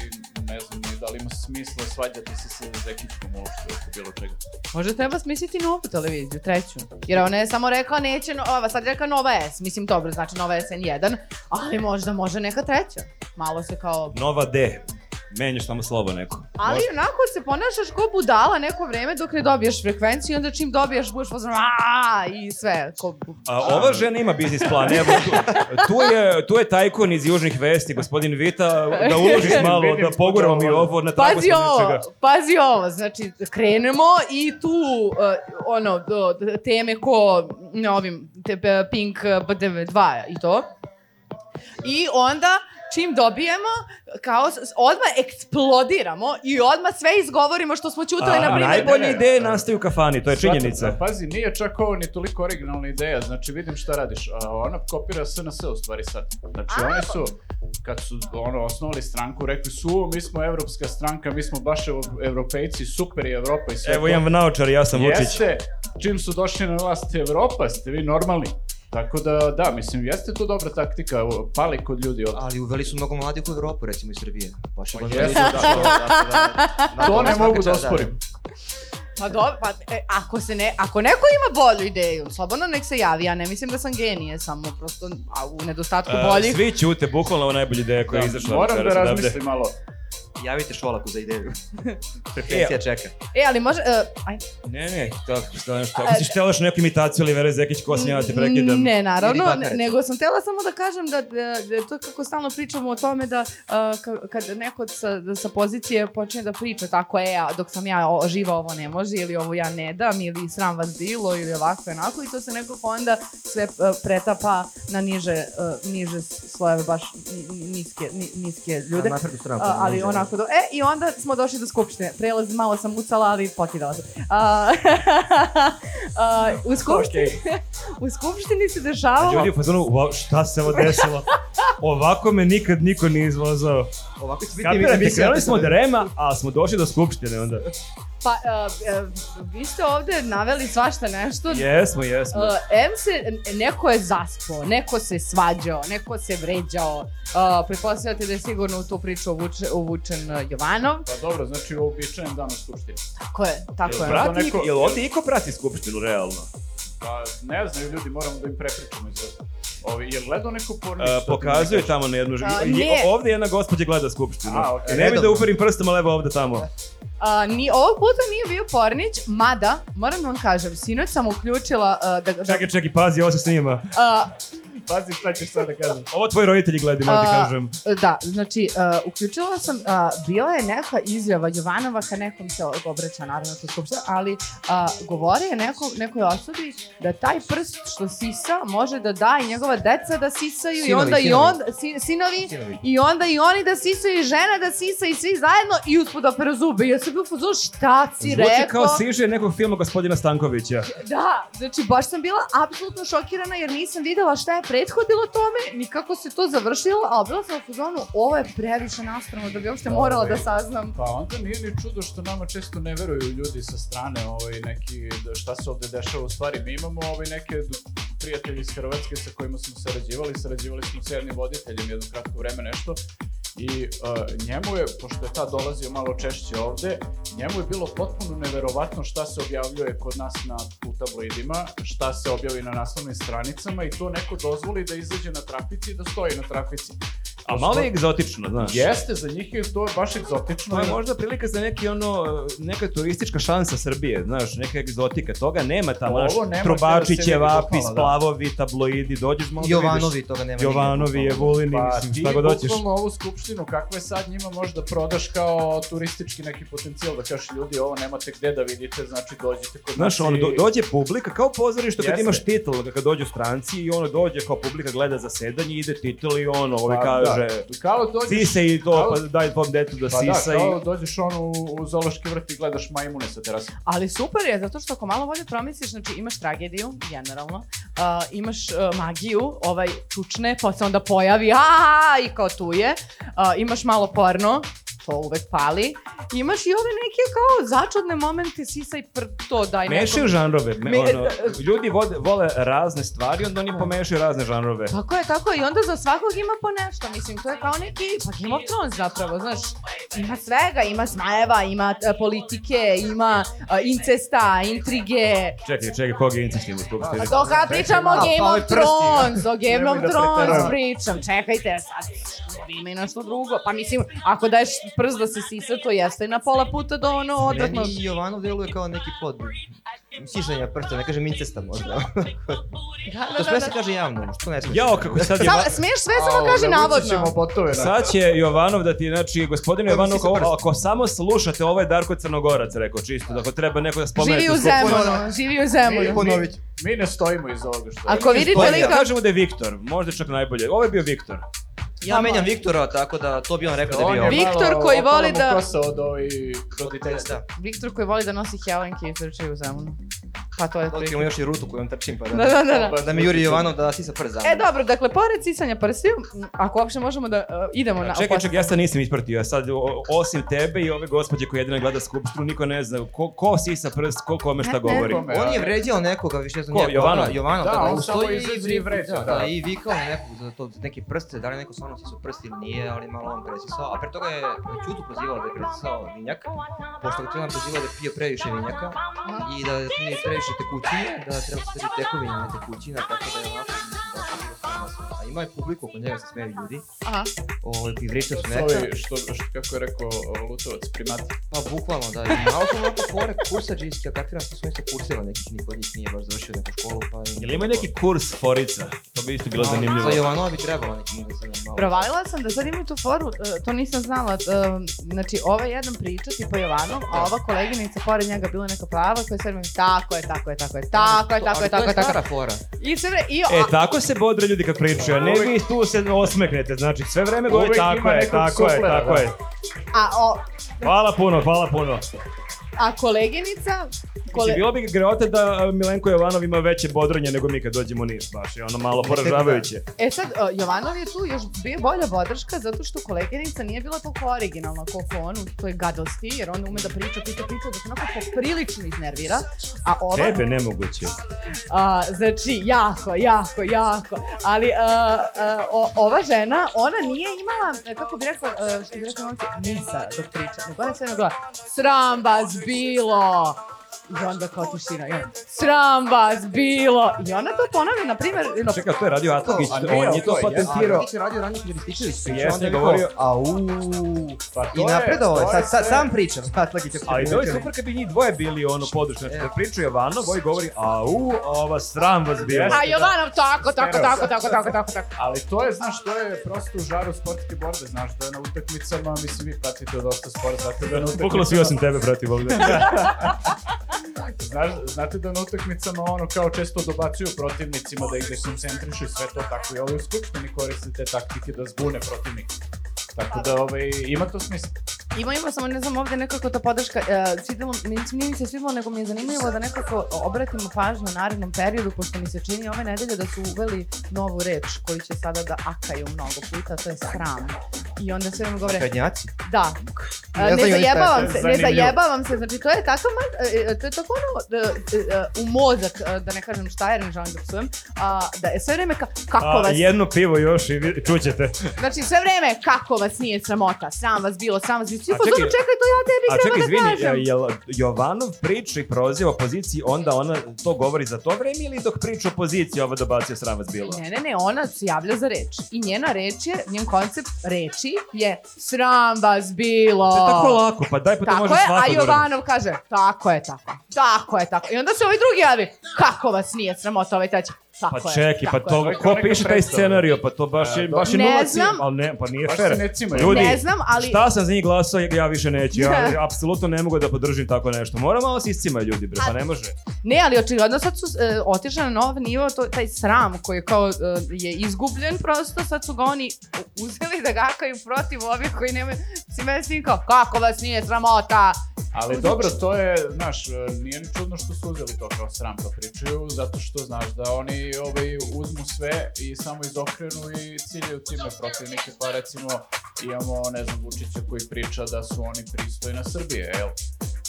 Speaker 3: ne znam ni da li ima smisla svađati se sa Zekićkom uopšte oko bilo čega.
Speaker 1: Možda treba smisliti novu televiziju, treću. Jer ona je samo rekla neće, no- ova sad je rekla Nova S. Mislim, dobro, znači Nova S N1, ali možda može neka treća. Malo se kao...
Speaker 2: Nova D. Menjaš tamo slovo neko.
Speaker 1: Ali onako se ponašaš ko budala neko vreme dok ne dobiješ frekvenciju i onda čim dobijaš budeš pozvan i sve. Ko... bu-
Speaker 2: A, ova žena ima biznis plan, evo, tu, tu je, tu je tajkun iz Južnih vesti, gospodin Vita, da
Speaker 1: *laughs*
Speaker 2: uložiš malo, da poguramo mi ovo na tako
Speaker 1: Pazi
Speaker 2: smo
Speaker 1: ovo,
Speaker 2: nečega.
Speaker 1: pazi ovo, znači krenemo i tu uh, ono, do, d- teme ko na ovim te, p- Pink uh, BTV2 i to. I onda čim dobijemo, kao s- s- odmah eksplodiramo i odmah sve izgovorimo što smo čutali, na primjer.
Speaker 2: najbolje ideje nastaju u kafani, to je činjenica.
Speaker 3: Shvatam, a da, Pazi, nije čak ovo ni toliko originalna ideja, znači vidim šta radiš. A, ona kopira SNS u stvari sad. Znači oni su, kad su ono, osnovali stranku, rekli su, "U, mi smo evropska stranka, mi smo baš evo- evropejci, super je Evropa i sve
Speaker 2: Evo
Speaker 3: to."
Speaker 2: imam naočar, ja sam Vučić.
Speaker 3: Jeste, čim su došli na vlast Evropa, ste vi normalni. Tako da, da, mislim, jeste to dobra taktika, o, pali kod ljudi od...
Speaker 4: Ali uveli su mnogo mladih u Evropu, recimo iz Srbije. Baš je
Speaker 3: Pa
Speaker 4: baš
Speaker 3: jesu,
Speaker 4: veliko
Speaker 3: da,
Speaker 4: došlo, da.
Speaker 3: To ne
Speaker 4: svaka
Speaker 3: mogu da
Speaker 4: čast,
Speaker 3: osporim.
Speaker 1: Pa dobro, pa, e, ako, se ne, ako neko ima bolju ideju, slobodno nek se javi, ja ne mislim da sam genije, samo prosto a, u nedostatku
Speaker 2: E,
Speaker 1: boljih.
Speaker 2: Svi ćute, bukvalno ovo najbolje ideje koja je izašla.
Speaker 3: moram da
Speaker 2: večeras odavde.
Speaker 3: razmislim malo.
Speaker 4: Javite Šolaku za
Speaker 3: *laughs*
Speaker 4: ideju. Frekvencija čeka.
Speaker 1: E, ali može, e, aj,
Speaker 2: Ne, ne, tako, šta nešto. Ako si htjela još neku imitaciju ili Vera Zekić, ko sam ja da te prekidam?
Speaker 1: E, Mm, Ne, naravno,
Speaker 4: Ili bakaricu.
Speaker 1: ne- nego sam htjela samo da kažem da, da, da to kako stalno pričamo o tome da a, ka- kad neko sa, da sa pozicije počne da priča tako, e, a dok sam ja o, živa ovo ne može ili ovo ja ne dam ili sram vas bilo ili ovako i onako i to se nekako onda sve e, pretapa na niže, e, niže slojeve, baš ni- ni- niske, ni- niske ljude.
Speaker 4: Na naprednu stranu.
Speaker 1: A, ali
Speaker 4: možda.
Speaker 1: onako do... E, i onda smo došli do skupštine. Prelaz malo sam mucala, ali potirala sam. A, *laughs* a, u, skupštini, u skupštini se dešavalo...
Speaker 2: Ljudi u fazonu, "Wow, šta se ovo desilo? Ovako me nikad niko nije izvozao.
Speaker 4: Ovako će biti
Speaker 2: Kapirate,
Speaker 4: emisija.
Speaker 2: krenuli smo od Rema, a smo došli do skupštine onda.
Speaker 1: Pa, a, e, vi ste ovde naveli svašta nešto.
Speaker 2: Jesmo, jesmo.
Speaker 1: Uh, M se, neko je zaspao, neko se svađao, neko se vređao. Uh, Pretpostavljate da je sigurno u tu priču uvuče, uvučen uh, Jovanov.
Speaker 3: Pa dobro, znači uobičajen dan u skupštini.
Speaker 1: Tako je, tako je.
Speaker 2: Prati,
Speaker 3: neko-
Speaker 2: jel ovdje iko prati skupštinu, realno?
Speaker 3: Pa ne znaju ljudi, moramo da im prepričamo iz ovo. Ovi, je gledao neko porno?
Speaker 2: E, pokazuje tamo na jednu...
Speaker 1: A,
Speaker 2: i-
Speaker 1: nije.
Speaker 2: Ovdje jedna gospođa gleda skupštinu.
Speaker 3: A, okej.
Speaker 2: Ne bi da
Speaker 4: Redovno.
Speaker 2: uperim prstom, ali evo ovdje
Speaker 1: Da.
Speaker 2: tamo.
Speaker 1: A, E, ni, ovog puta nije bio Pornić, mada, moram da vam kažem, sinoć sam uključila uh, da... e, da
Speaker 2: Čekaj, čekaj, pazi, ovo se snima.
Speaker 1: a,
Speaker 3: Pazi šta ćeš sad da kažem.
Speaker 2: Ovo tvoji roditelji gledaju, moram ti
Speaker 1: a,
Speaker 2: kažem.
Speaker 1: da, znači, a, uključila sam, a, bila je neka izjava Jovanova, ka nekom se obraća naravno to skupština, ali a, govori je neko, nekoj osobi da taj prst što sisa može da da i njegova deca da sisaju i
Speaker 4: Sinovi,
Speaker 1: onda i
Speaker 4: sinovi.
Speaker 1: on, si, sinovi,
Speaker 4: Sinovi.
Speaker 1: i onda i oni da sisaju i žena da sisa i svi zajedno i usput da peru zube. I Ja sam bio fuzon, šta si
Speaker 2: Zvuči
Speaker 1: rekao?
Speaker 2: kao siže nekog filma gospodina Stankovića.
Speaker 1: Da, znači baš sam bila apsolutno šokirana jer nisam videla šta je prethodilo tome, ni kako se to završilo, ali bila sam u fuzonu, ovo je previše nastrano da bi uopšte morala da saznam.
Speaker 3: Pa onda nije ni čudo što nama često ne veruju ljudi sa strane ovaj, neki, da šta se ovde dešava. U stvari, mi imamo ovaj, neke d- prijatelje iz Hrvatske sa kojima smo sarađivali, sarađivali smo s jednim voditeljem jedno kratko vreme nešto i uh, njemu je, pošto je ta dolazio malo češće ovde, njemu je bilo potpuno neverovatno šta se objavljuje kod nas na, u tabloidima, šta se objavi na naslovnim stranicama i to neko dozvoli da izađe na trafici i da stoji na trafici.
Speaker 2: A malo je Pa egzotično, znaš.
Speaker 3: Jeste, za njih je to baš egzotično.
Speaker 2: To je možda prilika za neki ono, neka turistička šansa Srbije, znaš, neka egzotika, toga nema tamo,
Speaker 3: Ovo
Speaker 2: znaš,
Speaker 3: nema
Speaker 2: trubači,
Speaker 3: što se ne
Speaker 2: ćevapi,
Speaker 3: vidi dopala, da.
Speaker 2: splavovi, tabloidi, dođeš malo da
Speaker 4: Jovanovi
Speaker 2: vidiš.
Speaker 4: toga nema.
Speaker 2: Jovanovi,
Speaker 4: nigde, bukvalno.
Speaker 2: Evulini,
Speaker 3: Pa
Speaker 2: mislim,
Speaker 3: ti
Speaker 2: šta god hoćeš.
Speaker 3: bukvalno ovu skupštinu, kakva je sad njima možda prodaš kao turistički neki potencijal, da kažeš ljudi ovo nemate gde da vidite, znači dođite kod
Speaker 2: Znaš,
Speaker 3: nas
Speaker 2: ono,
Speaker 3: i-
Speaker 2: do- dođe publika, kao pozorište kad
Speaker 3: Znači- Jeste.
Speaker 2: imaš titl, kad dođu stranci i ono dođe kao publika gleda zasedanje, ide titl i ono,
Speaker 3: Pa
Speaker 2: ovi kaže,
Speaker 3: Da. Kao dođeš,
Speaker 2: sisaj i to, pa
Speaker 3: Kao-
Speaker 2: daj tvom detu da
Speaker 3: pa
Speaker 2: sisa
Speaker 3: da,
Speaker 2: i...
Speaker 3: kao dođeš ono u, u zološki vrt i gledaš majmune sa terasa.
Speaker 1: Ali super je, zato što ako malo bolje promisliš, znači imaš tragediju, generalno, a, imaš e, magiju, ovaj čučne, pa se onda pojavi, a i kao tu je, a, imaš malo porno, to uvek pali, imaš i ove neke kao začudne momente, sisaj pr, to daj nekom.
Speaker 2: Mešaju žanrove, me-
Speaker 1: Me- *laughs*
Speaker 2: ono, ljudi vode, vole razne stvari, onda oni pomešaju razne žanrove.
Speaker 1: Tako je, tako je. I onda za svakog ima po nešto. Mislim, to je kao neki pa Game of Thrones zapravo, znaš. Ima svega, ima smajeva, ima e, politike, ima e, incesta, intrige.
Speaker 2: Čekaj, čekaj, koga je incestim u skupštini?
Speaker 1: Pa to kad pričamo o
Speaker 4: malo, pa
Speaker 1: Game
Speaker 4: ovaj
Speaker 1: of
Speaker 4: prsti, da.
Speaker 1: Thrones, o Game of
Speaker 3: Nemoj da
Speaker 1: Thrones
Speaker 3: preteravam.
Speaker 1: pričam. Čekajte, sad ima i nešto drugo. Pa mislim, ako daješ prst da se sisa, to jeste na pola puta do ono odvratno.
Speaker 4: Meni Jovanov deluje kao neki pod sišanja prsta, ne kažem incesta možda.
Speaker 1: Da, da,
Speaker 4: to
Speaker 1: da,
Speaker 4: sve
Speaker 1: da.
Speaker 4: se kaže javno, što ne smiješ.
Speaker 2: Jao, kako sad je...
Speaker 1: Sa, smiješ sve samo Pa da kaže navodno.
Speaker 3: Ćemo botove, na.
Speaker 2: Sad će Jovanov da ti, znači, gospodine
Speaker 4: Evo,
Speaker 2: Jovanov,
Speaker 4: sisa
Speaker 2: ako,
Speaker 4: prst.
Speaker 2: ako samo slušate, ovo je Darko Crnogorac, rekao, čisto, da ako treba neko da spomene.
Speaker 1: Živi u Zemunu, živi u Zemunu.
Speaker 4: Ponovit ću.
Speaker 3: Mi ne stojimo iz ovoga što
Speaker 1: Ako vidite
Speaker 2: Pa
Speaker 1: lika...
Speaker 2: da kažemo da je Viktor, možda čak najbolje. Ovo je bio Viktor.
Speaker 4: Ja menjam Viktora, tako da to bi on rekao da
Speaker 3: On
Speaker 4: bi
Speaker 3: je
Speaker 4: ovo.
Speaker 3: malo
Speaker 1: Viktor koji
Speaker 3: opala
Speaker 1: voli
Speaker 3: mu
Speaker 1: da-
Speaker 3: kosa od ovih roditeljstva.
Speaker 4: Da,
Speaker 1: Viktor koji voli da nosi helenke i trče u zemunu. Pa to je
Speaker 4: dok
Speaker 1: priča.
Speaker 4: imamo još i rutu kojom trčim, pa
Speaker 1: Da,
Speaker 4: da.
Speaker 1: da, da, da.
Speaker 4: Da mi Juri Jovanov da sisa prst za
Speaker 1: E
Speaker 4: mene.
Speaker 1: dobro, dakle, pored sisanja prstiju, m, ako uopšte možemo da uh, idemo na...
Speaker 2: Čekaj, čekaj, ja sad nisam ispratio. Sad, o- osim tebe i ove gospođe koja jedina gleda skupštinu, niko ne zna ko, ko sisa prst, ko kome šta
Speaker 1: Ne,
Speaker 2: govori.
Speaker 1: neko.
Speaker 4: On je vređao nekoga, više ne znam,
Speaker 2: Ko,
Speaker 4: nije,
Speaker 2: Jovanov?
Speaker 4: Da, Jovanov,
Speaker 3: Pa Da,
Speaker 4: da,
Speaker 3: on
Speaker 4: on
Speaker 3: samo
Speaker 4: stoji
Speaker 3: izađe i
Speaker 4: vri-
Speaker 3: vređa,
Speaker 4: da,
Speaker 3: da.
Speaker 4: da, i vikao na nekog za to, za neke prste, da li neko stvarno sisu prsti ili nije, ali malo on presisao. A pre toga je Ćutu prozivao da je presisao vinjak, pošto ga Trena prozivao da je pio previše vinjaka i da je pio previše tekućine, da treba se sveći tekovina, ne tekućina, tako da je onako dosta bilo stvarno. A ima je publiku, oko njega se smeju ljudi,
Speaker 1: Aha.
Speaker 4: ovaj, i vrištaju
Speaker 3: To
Speaker 4: se
Speaker 3: su
Speaker 4: meka.
Speaker 3: ovi što, što, kako je rekao o, Lutovac, primati.
Speaker 4: Pa bukvalno da, i malo su onako fore kursađiske, a kapiram što su isto kurseva nekih, niko od njih nije baš završio neku školu, pa...
Speaker 2: Jel ima neki kurs forica? To bi isto bilo
Speaker 4: Malo-
Speaker 2: zanimljivo.
Speaker 4: Za Jovanova bi trebalo neki možda sad malo
Speaker 1: Provalila sam da sad imaju tu foru, e, to nisam znala, e, znači ova jedan priča tipa Jovanov, a ova koleginica pored njega bila neka plava koja sve vreme tako je, tako je, tako je, tako je, tako je, tako je,
Speaker 4: To je
Speaker 1: tako
Speaker 4: stara
Speaker 1: je.
Speaker 4: fora.
Speaker 1: I sve vre- i
Speaker 2: E,
Speaker 1: a-
Speaker 2: tako se bodre ljudi kad pričaju, a ne vi tu se osmeknete, znači sve vreme govori
Speaker 3: Uvijek
Speaker 2: tako
Speaker 3: ima
Speaker 2: je,
Speaker 3: nekog
Speaker 2: tako je,
Speaker 3: suflera,
Speaker 2: tako
Speaker 3: da.
Speaker 2: je.
Speaker 1: a o-
Speaker 2: Hvala puno, hvala puno.
Speaker 1: a koleginica,
Speaker 2: Kole...
Speaker 1: kole-
Speaker 2: Bilo bi greota da a, Milenko Jovanov ima veće bodranje nego mi kad dođemo u Niš, baš je ono malo poražavajuće.
Speaker 1: E sad, e, Jovanov je tu još bio bolja bodrška zato što koleginica nije bila toliko originalna koliko on u toj gadosti, jer on ume da priča, priča, priča, da se onako poprilično iznervira, a ova...
Speaker 2: Tebe nemoguće.
Speaker 1: A, znači, jako, jako, jako. Ali a, a, o- ova žena, ona nije imala, kako bi rekla, a, što bi rekla momci, misa dok priča. Nego ona sve bila, sram vas bilo! I onda kao tišina, i onda, sram vas bilo! I ona to ponavlja, na primjer, no,
Speaker 2: Čekaj, to je radio Atlagić,
Speaker 3: To, Pa- a ne,
Speaker 2: on je to
Speaker 3: to je,
Speaker 2: patentirao.
Speaker 4: Atlagić je radio ranije kad je Rističević pričao,
Speaker 2: Jesam,
Speaker 4: onda je
Speaker 2: govorio.
Speaker 4: govorio, au,
Speaker 3: Pa to
Speaker 4: i
Speaker 3: je-
Speaker 4: napredovao je,
Speaker 3: to je
Speaker 4: sad, sad
Speaker 3: sve-
Speaker 4: sam pričam, Atlagić je
Speaker 2: Ali to je super kad bi njih dvoje bili ono područno, znači
Speaker 4: E.
Speaker 2: kad priča Jovanov, ovaj govori au, a ova sram vas bila.
Speaker 1: a Jovanov tako, tako,
Speaker 3: Stereo.
Speaker 1: tako, tako, tako, tako, tako.
Speaker 3: Ali to je, znaš, to je prosto u žaru sportske borbe, znaš, da je na utakmicama, mislim, vi pratite dosta sport, zato da je na utakmicama...
Speaker 2: Bukalo svi osim tebe protiv ovoga.
Speaker 3: Znaš, znate da na utakmicama ono kao često dobacuju protivnicima da ih dekoncentrišu i sve to tako i ovi u skupštini koriste te taktike da zbune protivnika. Tako da ovaj, ima to smisla.
Speaker 1: Ima, ima, samo ne znam, ovdje nekako ta podrška, e, svidjelo, mislim, nije mi se svidjelo, nego mi je zanimljivo da nekako obratimo pažnju u narednom periodu, pošto mi se čini ove nedelje da su uveli novu reč koju će sada da akaju mnogo puta, a to je sram. I onda sve vam govore,
Speaker 4: Kadnjaci.
Speaker 1: da, e,
Speaker 4: Ne
Speaker 1: ne
Speaker 4: znaju oni šta je
Speaker 1: zajebavam
Speaker 3: to.
Speaker 1: se, ne
Speaker 3: Zanimljivo.
Speaker 1: zajebavam se, znači to je tako, ma, e, e, to je tako ono, e, e, e, u mozak, e, da ne kažem šta, jer ne želim da psujem, a, da je sve vreme ka, kako
Speaker 2: A,
Speaker 1: vas
Speaker 2: jedno pivo još i vi- čućete.
Speaker 1: Znači sve vreme kako vas nije sramota, sram vas bilo, sram vas bilo. Svi
Speaker 2: A
Speaker 1: u fazonu,
Speaker 2: čekaj-
Speaker 1: čekaj, to ja tebi
Speaker 2: A
Speaker 1: treba
Speaker 2: čekaj,
Speaker 1: da
Speaker 2: izvini,
Speaker 1: kažem.
Speaker 2: e, jel Jovanov priča i proziva opoziciji, onda ona to govori za to vreme ili dok priča opoziciji ova dobacio sram vas bilo?
Speaker 1: Ne, ne, ne, ona se javlja za reč. I njena reč je, njen koncept reči je sram vas bilo.
Speaker 2: To je tako lako, pa daj pa to
Speaker 1: Tako
Speaker 2: može
Speaker 1: je,
Speaker 2: svako
Speaker 1: a
Speaker 2: da uradi.
Speaker 1: Jovanov kaže, tako je, tako je, tako je, tako je. I onda se ovaj drugi javi, kako vas nije sramota, ovaj treći, tako
Speaker 2: Pa
Speaker 1: je,
Speaker 2: čekaj, pa
Speaker 1: tako je."
Speaker 2: to,
Speaker 3: je.
Speaker 2: ko
Speaker 3: Neka
Speaker 2: piše taj
Speaker 3: predstava.
Speaker 2: scenarijo, pa to baš je,
Speaker 3: E,
Speaker 2: baš je
Speaker 1: Ne
Speaker 2: nula
Speaker 1: znam.
Speaker 2: cijel- ali ne, pa nije
Speaker 3: Baš se
Speaker 2: fair.
Speaker 3: ne cimaju.
Speaker 2: Ljudi,
Speaker 1: Ne znam, ali-
Speaker 2: šta sam za njih glasao, ja više
Speaker 1: *laughs*
Speaker 2: neću, ja apsolutno ne mogu da podržim tako nešto. Moram malo se iscimaju ljudi, bre, pa ne može.
Speaker 1: Ne, ali očigledno sad su e, otišli na nov nivo, to, taj sram koji je kao e, je izgubljen prosto, sad su ga oni uzeli da gakaju protiv ovih koji nemaju, si mene s njim kao, kako vas nije sramota?
Speaker 3: Ali dobro, to je, znaš, nije ni čudno što su uzeli to kao sram da pričaju, zato što znaš da oni ovaj, uzmu sve i samo izokrenu i ciljaju time protivnike, pa recimo imamo, ne znam, Vučića koji priča da su oni pristojna Srbije, jel?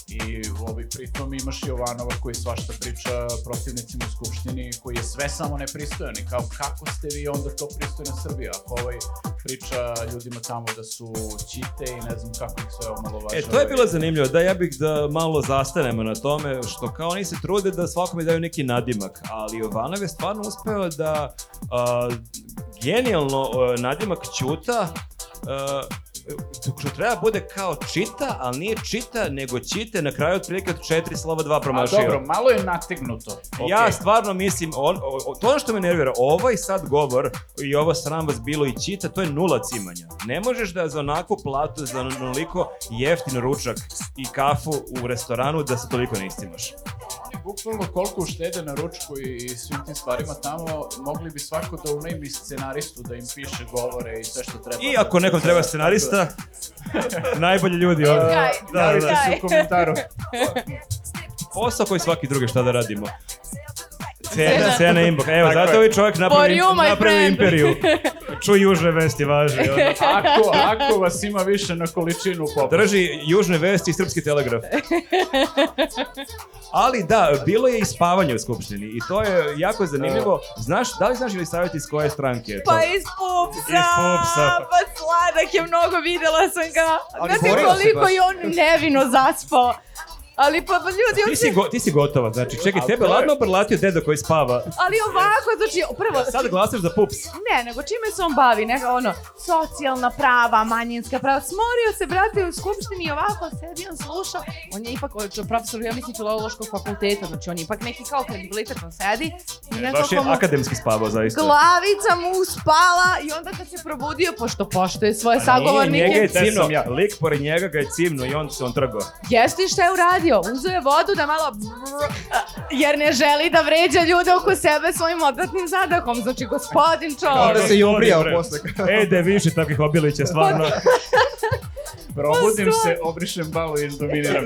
Speaker 3: I ovaj, pritom imaš Jovanova koji svašta priča protivnicima u Skupštini, koji je sve samo nepristojan i kao kako ste vi onda to pristojna Srbija, ako ovaj priča ljudima tamo da su ćite i ne znam kako ih sve omalovažava.
Speaker 2: E, to je
Speaker 3: i-
Speaker 2: bilo zanimljivo, da ja bih da malo zastanemo na tome, što kao oni se trude da svakome daju neki nadimak, ali Jovanov je stvarno uspeo da a, genijalno a, nadimak Ćuta a, što treba da bude kao čita, ali nije čita, nego čite na kraju otprilike od četiri slova dva
Speaker 3: A
Speaker 2: promašio.
Speaker 3: dobro, malo je nategnuto.
Speaker 2: Ja
Speaker 3: Okej.
Speaker 2: stvarno mislim, on, o- o- to je ono što me nervira, ovaj sad govor i ovo sram vas bilo i čita, to je nula cimanja. Ne možeš da za onakvu platu, za onoliko jeftin ručak i kafu u restoranu da se toliko ne istimaš.
Speaker 3: Bukvalno koliko uštede na ručku i, i svim tim stvarima tamo, mogli bi svako da unajmi scenaristu da im piše govore i sve što treba.
Speaker 2: I ako nekom treba scenarista, najbolji ljudi
Speaker 1: This
Speaker 2: ovdje.
Speaker 1: guy,
Speaker 2: Da, da,
Speaker 1: this
Speaker 2: da.
Speaker 1: guy.
Speaker 3: u komentaru.
Speaker 2: Posao koji svaki drugi, šta da radimo? Cena, cena inbox. Evo, zato ovaj čovjek napravi,
Speaker 1: da. For you, my
Speaker 2: napravi
Speaker 1: friend. *laughs*
Speaker 2: imperiju. Čuj južne vesti, važi. ono.
Speaker 3: Ako, ako vas ima više na količinu popa.
Speaker 2: Drži južne vesti i srpski telegraf. Ali da, bilo je i spavanje u skupštini i to je jako zanimljivo. Znaš, da li znaš ili savjet iz koje stranke je to?
Speaker 1: Pa iz pupsa,
Speaker 2: Iz pupsa.
Speaker 1: pa sladak je mnogo, videla sam ga.
Speaker 4: Ali
Speaker 1: Znate
Speaker 4: borio se
Speaker 1: koliko
Speaker 4: baš.
Speaker 1: je on nevino zaspao. Ali pa, pa ljudi,
Speaker 2: Ti si,
Speaker 1: uopšte-
Speaker 2: go, ti si gotova, znači čekaj,
Speaker 3: Al
Speaker 2: tebe
Speaker 3: to je-
Speaker 2: ladno prlatio dedo koji spava.
Speaker 1: ali ovako, znači, prvo,
Speaker 2: Da, Sad glasaš za pups.
Speaker 1: ne, nego čime se on bavi, neka ono, socijalna prava, manjinska prava, smorio se, brate, u skupštini i ovako sedi, on sluša, on je ipak o, profesor, ja mislim, filološkog fakulteta, znači on je ipak neki kao kredibilitet, on sedi, i
Speaker 2: E, Baš je
Speaker 1: nekako mu
Speaker 2: akademski spavao, zaista.
Speaker 1: glavica mu uspala i onda kad se probudio, pošto poštuje svoje sagovornike,
Speaker 2: Pa Nije, njega je
Speaker 3: Te sam
Speaker 2: cimno,
Speaker 3: ja.
Speaker 2: lik pored njega ga je cimno i on se on trgao.
Speaker 1: Jeste i šta je uradio? Uzeo je vodu da malo... Jer ne želi da vređa ljude oko sebe svojim odvratnim zadahom. Znači, gospodin
Speaker 2: Dobro
Speaker 1: čovjek.
Speaker 4: Onda da se i
Speaker 2: Sorry,
Speaker 4: obrijao
Speaker 2: bre.
Speaker 4: posle.
Speaker 2: Ede, više takvih obilića, stvarno.
Speaker 3: Probudim se, obrišem balu i dominiram.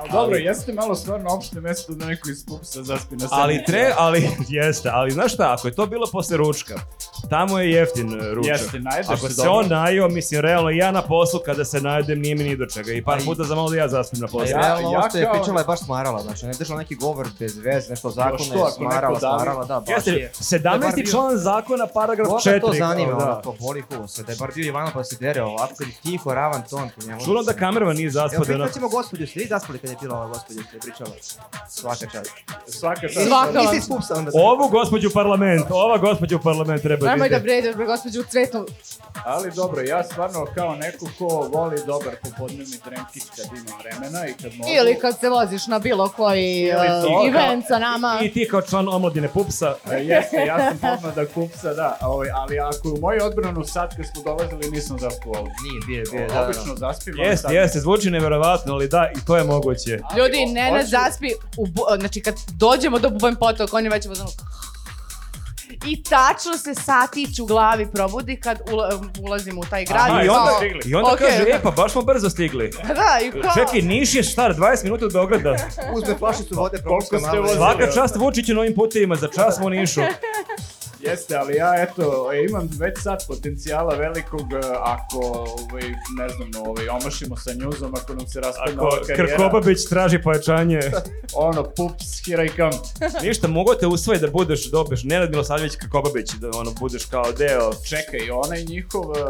Speaker 3: Ali dobro, jeste malo stvarno opšte mesto da neko iz pupsa zaspi na
Speaker 2: Ali
Speaker 3: sednici.
Speaker 2: tre, ali *laughs* jeste, ali znaš šta, ako je to bilo posle ručka, tamo je jeftin e, ručak.
Speaker 3: Jeste, najedeš
Speaker 2: Ako
Speaker 3: se
Speaker 2: se
Speaker 3: dobro.
Speaker 2: on najeo, mislim, realno ja na poslu kada se najedem nije mi ni do čega i par
Speaker 4: A Pa i-
Speaker 2: puta za malo da ja zaspim na poslu.
Speaker 3: ja-
Speaker 4: Realno, ovo što je
Speaker 3: kao-
Speaker 4: pričala je baš smarala, znači ona je držala neki govor bez veze, nešto zakone,
Speaker 3: što ako
Speaker 4: smarala,
Speaker 3: neko davi?
Speaker 4: smarala, da, baš
Speaker 2: Jeste,
Speaker 4: je. Da je bar
Speaker 2: 17.
Speaker 4: bio-
Speaker 2: član zakona, paragraf 4.
Speaker 4: Koga to zanima,
Speaker 2: kao da.
Speaker 4: ona to boli kuo se, da je bar bio Ivano pa se dere ovako, kad je tiho, ravan ton, tu njemu.
Speaker 2: Čulo da kamerman nije
Speaker 4: Evo,
Speaker 2: zaspao da je
Speaker 4: pričat
Speaker 2: onako-
Speaker 4: ćemo gospođu, ste vi zaspali kad je bila ova gospođa, ste pričala? Svaka čast.
Speaker 3: Svaka čast.
Speaker 1: Svaka vam.
Speaker 4: Nisi iz pupsa onda.
Speaker 2: Ovu gospođu u parlament, ova gospođu u parlament treba
Speaker 1: Nemoj da
Speaker 2: vidjeti.
Speaker 1: vređa, bre, gospođu, u cvetu.
Speaker 3: Ali dobro, ja stvarno kao neko ko voli dobar popodnevni drenkić kad ima vremena i kad mogu...
Speaker 1: Ili kad se voziš na bilo koji
Speaker 3: Ili
Speaker 1: uh,
Speaker 3: to,
Speaker 1: event sa nama.
Speaker 2: I ti kao član omladine pupsa,
Speaker 3: E, Jeste, ja sam pomno da kupsa, da, ovaj, ali ako je u moju odbranu sad kad smo dolazili nisam zaspao ovdje.
Speaker 4: Nije, bio je, bio je, da,
Speaker 3: Da,
Speaker 4: da.
Speaker 3: Obično zaspivam
Speaker 2: Jeste,
Speaker 3: sad.
Speaker 2: jeste, zvuči neverovatno, ali da, i to je moguće.
Speaker 3: Ali
Speaker 1: Ljudi,
Speaker 3: o-
Speaker 1: ne nas
Speaker 3: hoću-
Speaker 1: zaspi, u, bu- znači kad dođemo do Bubanj potok, on je već vozano... I tačno se satić u glavi probudi kad ula- ulazimo u taj grad.
Speaker 2: Aha,
Speaker 1: i
Speaker 2: i onda,
Speaker 1: kao-
Speaker 2: i onda
Speaker 1: Ok,
Speaker 2: kaže,
Speaker 1: da.
Speaker 2: e, pa baš smo brzo stigli.
Speaker 1: Da, i kao...
Speaker 2: Čekaj, Niš je štar, 20 minuta od Beograda.
Speaker 1: *laughs*
Speaker 4: Uzme flašicu vode,
Speaker 3: Koliko
Speaker 4: propuska
Speaker 3: ste
Speaker 1: Pa
Speaker 4: malo.
Speaker 3: vozili?
Speaker 1: da.
Speaker 2: Svaka čast Vučiću na ovim putevima, za čas smo u Nišu.
Speaker 3: Jeste, ali ja eto, e, imam već sad potencijala velikog e, ako, ovaj, ne znam, no, ovaj, omašimo sa njuzom, ako nam se raspadne
Speaker 2: Ako
Speaker 3: ova karijera.
Speaker 2: Krkobabić traži pojačanje.
Speaker 3: Ono, pups, here I come.
Speaker 2: *laughs* Ništa, mogu te usvoji da budeš, dobiješ Nenad Milosavljević Krkobabić, da ono, budeš kao deo
Speaker 3: Pa Čekaj, onaj njihov e,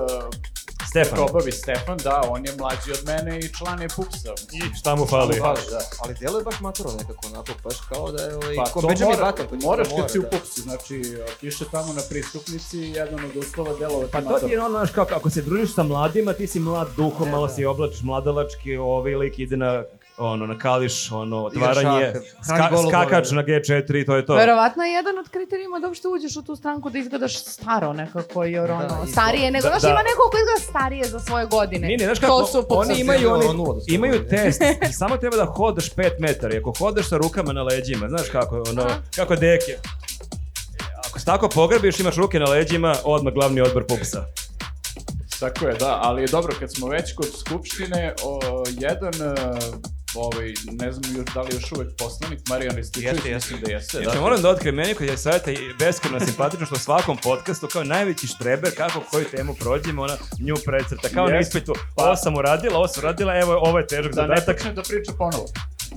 Speaker 2: Stefan.
Speaker 3: Krobavi Stefan, da, on je mlađi od mene i član je pupsa.
Speaker 2: I šta mu fali?
Speaker 4: Ali, da, ali djeluje baš maturo nekako, onako, baš kao da je, ovaj,
Speaker 3: Pa
Speaker 4: ko
Speaker 3: to
Speaker 4: Benjamin
Speaker 3: mora,
Speaker 4: Button. pa će
Speaker 3: moraš
Speaker 4: da mora,
Speaker 3: kad si u
Speaker 4: da.
Speaker 3: pupsi, znači piše tamo na pristupnici jedan od uslova delovati
Speaker 2: Pa to ti je ono, znaš, kako, ako se družiš sa mladima, ti si mlad duhom, malo si oblačiš mladalački, ovaj lik ide na, ono, na kališ, ono,
Speaker 4: Igra
Speaker 2: otvaranje,
Speaker 4: šah, hrani
Speaker 2: ska,
Speaker 4: golubove.
Speaker 2: skakač na G4 i to je to.
Speaker 1: Verovatno je jedan od kriterijuma da uopšte uđeš u tu stranku da izgledaš staro nekako, jer
Speaker 4: Da,
Speaker 1: ono,
Speaker 4: i to.
Speaker 1: starije nego,
Speaker 2: Da,
Speaker 1: znaš,
Speaker 2: da.
Speaker 1: ima neko ko izgleda starije za svoje godine.
Speaker 2: Ne, ne, znaš kako,
Speaker 1: to su
Speaker 2: oni
Speaker 1: poput-
Speaker 2: imaju,
Speaker 4: Ono
Speaker 2: oni,
Speaker 4: nula
Speaker 1: da
Speaker 4: do sto
Speaker 2: imaju
Speaker 4: godina.
Speaker 1: *laughs*
Speaker 2: test, ti samo treba da hodaš 5 metara i ako hodaš sa rukama na leđima, znaš kako, ono,
Speaker 1: Aha.
Speaker 2: kako deke. E, Ako se tako pogrebiš, imaš ruke na leđima, odmah glavni odbor pupsa.
Speaker 3: Tako je, da, ali je dobro, kad smo već kod Skupštine, o, jedan, e, ovaj, ne znam još da li još uvek poslanik, Marijan Rističević,
Speaker 4: Jeste, jeste.
Speaker 3: mislim da jeste,
Speaker 2: Znači,
Speaker 3: da.
Speaker 2: moram da otkrijem meni koji je savjeta i beskreno simpatično što u svakom podcastu kao najveći štreber kako koju temu prođemo, ona nju precrta. Kao na
Speaker 3: Yes.
Speaker 2: ispitu,
Speaker 3: Pa-
Speaker 2: ovo sam uradila, ovo sam uradila, evo, ovo je težak
Speaker 3: Da ne
Speaker 2: zadatak.
Speaker 3: počne da priča ponovo.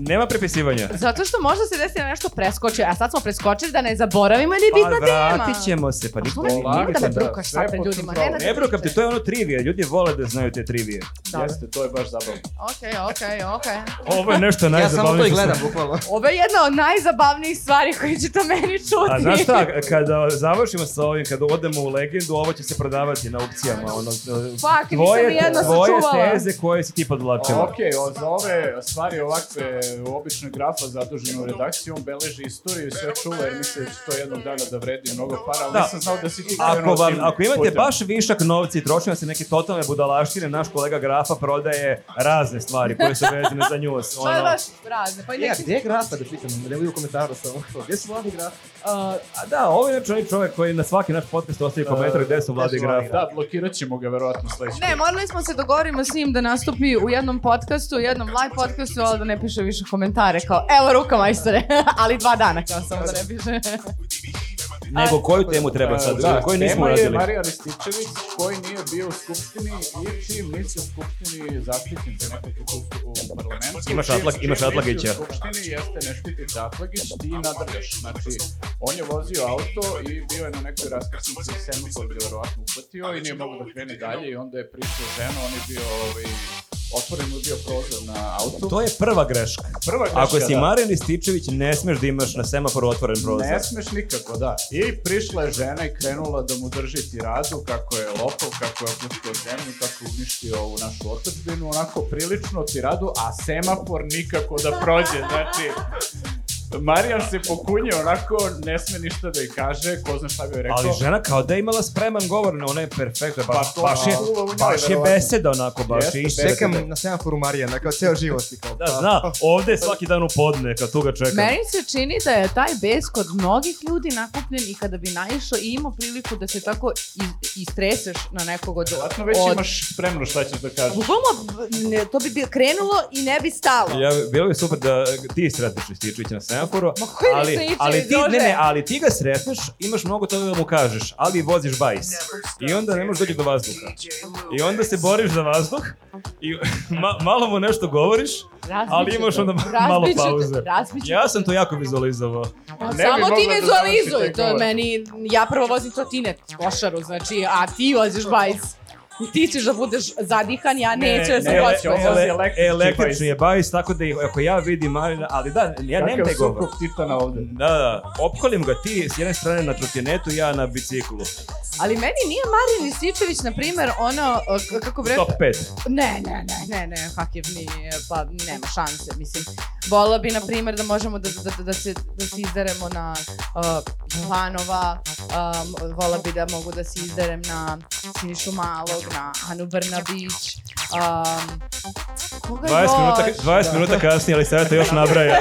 Speaker 2: Nema prepisivanja.
Speaker 1: Zato što možda se desi da nešto preskoči, a sad smo preskočili da ne zaboravimo jer je da
Speaker 2: Pa
Speaker 1: bitna tema.
Speaker 2: vratit ćemo se, pa niko
Speaker 1: Što ne,
Speaker 3: Polako,
Speaker 1: nemoj da me
Speaker 3: da,
Speaker 1: brukaš
Speaker 3: sve
Speaker 1: sad pred
Speaker 3: pod
Speaker 1: ljudima.
Speaker 3: kontrolom.
Speaker 1: Nenad,
Speaker 2: Ne brukam te, to je ono trivije, ljudi vole da znaju te trivije.
Speaker 4: da.
Speaker 1: Dobro.
Speaker 3: Jeste, to je baš zabavno.
Speaker 1: Okej, okej, okej.
Speaker 2: Ovo je nešto
Speaker 4: Ja samo to
Speaker 2: najzabavnije.
Speaker 4: i
Speaker 2: što sam-
Speaker 4: gledam, bukvalno.
Speaker 1: Ovo je jedna od najzabavnijih stvari koje ćete meni čuti.
Speaker 2: A znaš šta, kada završimo sa ovim, kada odemo u legendu, ovo će se prodavati na aukcijama. Ono, e,
Speaker 1: Fuck, nisam nijedno
Speaker 2: tvoje
Speaker 1: sačuvala.
Speaker 2: teze koje si ti podvlačila.
Speaker 3: Ok, o, za ove stvari ovakve, obično grafa zadužen u redakciji, on beleži istoriju i sve čuva, jer mislim da će to jednog dana da vredi mnogo para, ali
Speaker 2: Da.
Speaker 3: nisam znao da si ti
Speaker 2: Ako,
Speaker 3: krenuo
Speaker 2: vam,
Speaker 3: tim
Speaker 2: ako imate
Speaker 3: putem.
Speaker 2: baš višak novca i trošimo se neke totalne budalaštine, naš kolega Grafa prodaje razne stvari koje su vezane za njuz.
Speaker 1: To je
Speaker 2: Ono,
Speaker 1: baš razne, pa i
Speaker 4: Ja,
Speaker 1: neki...
Speaker 4: gdje je grafa da pitam, ne u komentaru samo.
Speaker 3: Pa
Speaker 4: Gdje su mladi grafa?
Speaker 2: a, a da, ovo je znači onaj čovjek koji na svaki naš podcast ostavi komentar gde su vlade
Speaker 4: gde su Vlade
Speaker 2: Grafa.
Speaker 4: Grafa.
Speaker 3: Uh, Da, blokirat ćemo ga verovatno sledeći.
Speaker 1: Ne, morali smo se dogovorimo s njim da nastupi u jednom podcastu, u jednom live podcastu, ali da ne piše *laughs*
Speaker 2: *laughs*
Speaker 1: više komentare, kao evo ruka majstore, ali dva dana kao samo da ne piše.
Speaker 2: Nego koju temu treba sad? Da, koju nismo
Speaker 3: tema je
Speaker 2: radili?
Speaker 3: Marijan Rističević koji nije bio u Skupštini i čim nisu u Skupštini zaštitnici nekako tu u parlamentu.
Speaker 2: Imaš
Speaker 3: čim-
Speaker 2: Atlag-
Speaker 3: čim
Speaker 2: imaš
Speaker 3: nisi
Speaker 2: Atlagića.
Speaker 3: U Skupštini jeste ne štitiš Atlagić, ti nadrljaš. Znači, on je vozio auto i bio je na nekoj raskrsnici u senu koju je verovatno uhvatio i nije mogo da krene dalje i onda je prišao žena, on je bio ovaj, otvoren mu je bio prozor na auto.
Speaker 2: To je prva greška.
Speaker 3: Prva greška,
Speaker 2: Ako si
Speaker 3: da.
Speaker 2: Marijan Ističević, ne smeš da imaš na semaforu otvoren prozor.
Speaker 3: Ne smeš nikako, da. I prišla je žena i krenula da mu drži tiradu kako je lopov, kako je opustio zemlju, kako je uništio ovu našu otadžbinu, onako prilično tiradu, a semafor nikako da prođe, znači... Marijan se pokunje onako, ne sme ništa da je kaže, ko zna šta bi joj rekao.
Speaker 2: Ali žena kao da je imala spreman govor, no ona je perfektna, baš,
Speaker 3: Pa to-
Speaker 2: baš je,
Speaker 3: a, u njoj,
Speaker 2: baš je
Speaker 3: verovatno.
Speaker 2: beseda onako, baš
Speaker 3: Jeste,
Speaker 2: je išla.
Speaker 3: beseda.
Speaker 4: Čekam na semaforu Marijana, kao ceo život si kao.
Speaker 2: Da, zna, ovde je svaki dan u podne, kad tu ga čekam.
Speaker 1: Meni se čini da je taj bes kod mnogih ljudi nakupljen i kada bi naišao i imao priliku da se tako iz, istreseš na nekog od...
Speaker 3: Vratno već
Speaker 1: od-
Speaker 3: imaš spremno šta ćeš da kažeš.
Speaker 1: Bukvalno, b- ne, to bi bi krenulo i ne bi stalo.
Speaker 2: Ja, bilo bi super da ti sretneš Rističevića na semaforu,
Speaker 1: Ma koji
Speaker 2: ali,
Speaker 1: Rističević,
Speaker 2: ali ti, ne, ne,
Speaker 1: Jože?
Speaker 2: ali ti ga sretneš, imaš mnogo toga da mu kažeš, ali voziš bajs. I onda ne možeš doći do vazduha. I onda se boriš za vazduh i *laughs* ma, malo mu nešto govoriš,
Speaker 1: Razbiću
Speaker 2: ali imaš
Speaker 1: te,
Speaker 2: onda malo
Speaker 1: razbiću te,
Speaker 2: pauze.
Speaker 1: razbiću te.
Speaker 2: Ja sam to jako vizualizovao.
Speaker 1: Pa
Speaker 3: Ne bi
Speaker 1: Samo
Speaker 3: mogla
Speaker 1: ti
Speaker 3: da
Speaker 1: vizualizuj,
Speaker 3: završi
Speaker 1: to
Speaker 3: taj
Speaker 1: je
Speaker 3: govor.
Speaker 1: meni, ja prvo vozim trotinet, košaru, znači, a ti voziš bajs. I ti ćeš da budeš zadihan, ja neću da sam
Speaker 3: ne,
Speaker 1: hoću.
Speaker 3: ne, ne, električni
Speaker 2: električni je bajs, tako da ih- ako ja vidim Marina, ali da, ja nemam taj
Speaker 3: Kakav
Speaker 2: govor.
Speaker 3: sukup titana ovde.
Speaker 2: Da, da, opkolim ga ti s jedne strane na trotinetu, ja na biciklu.
Speaker 1: Ali meni nije Marin Rističević, na primer, ono, o, k- kako bi rekao,
Speaker 2: Top 5.
Speaker 1: Ne, ne, ne, ne, ne, Hakir nije, pa nema šanse, mislim. Volela bi, na primjer, da možemo da, da, da, da se, da se izderemo na uh, planova, um, volela bi da mogu da se izderem na Sinišu Malog, na Anu Brnabić, um, koga
Speaker 2: 20 minuta,
Speaker 1: još?
Speaker 2: 20 minuta kasnije, ali sada još nabraja.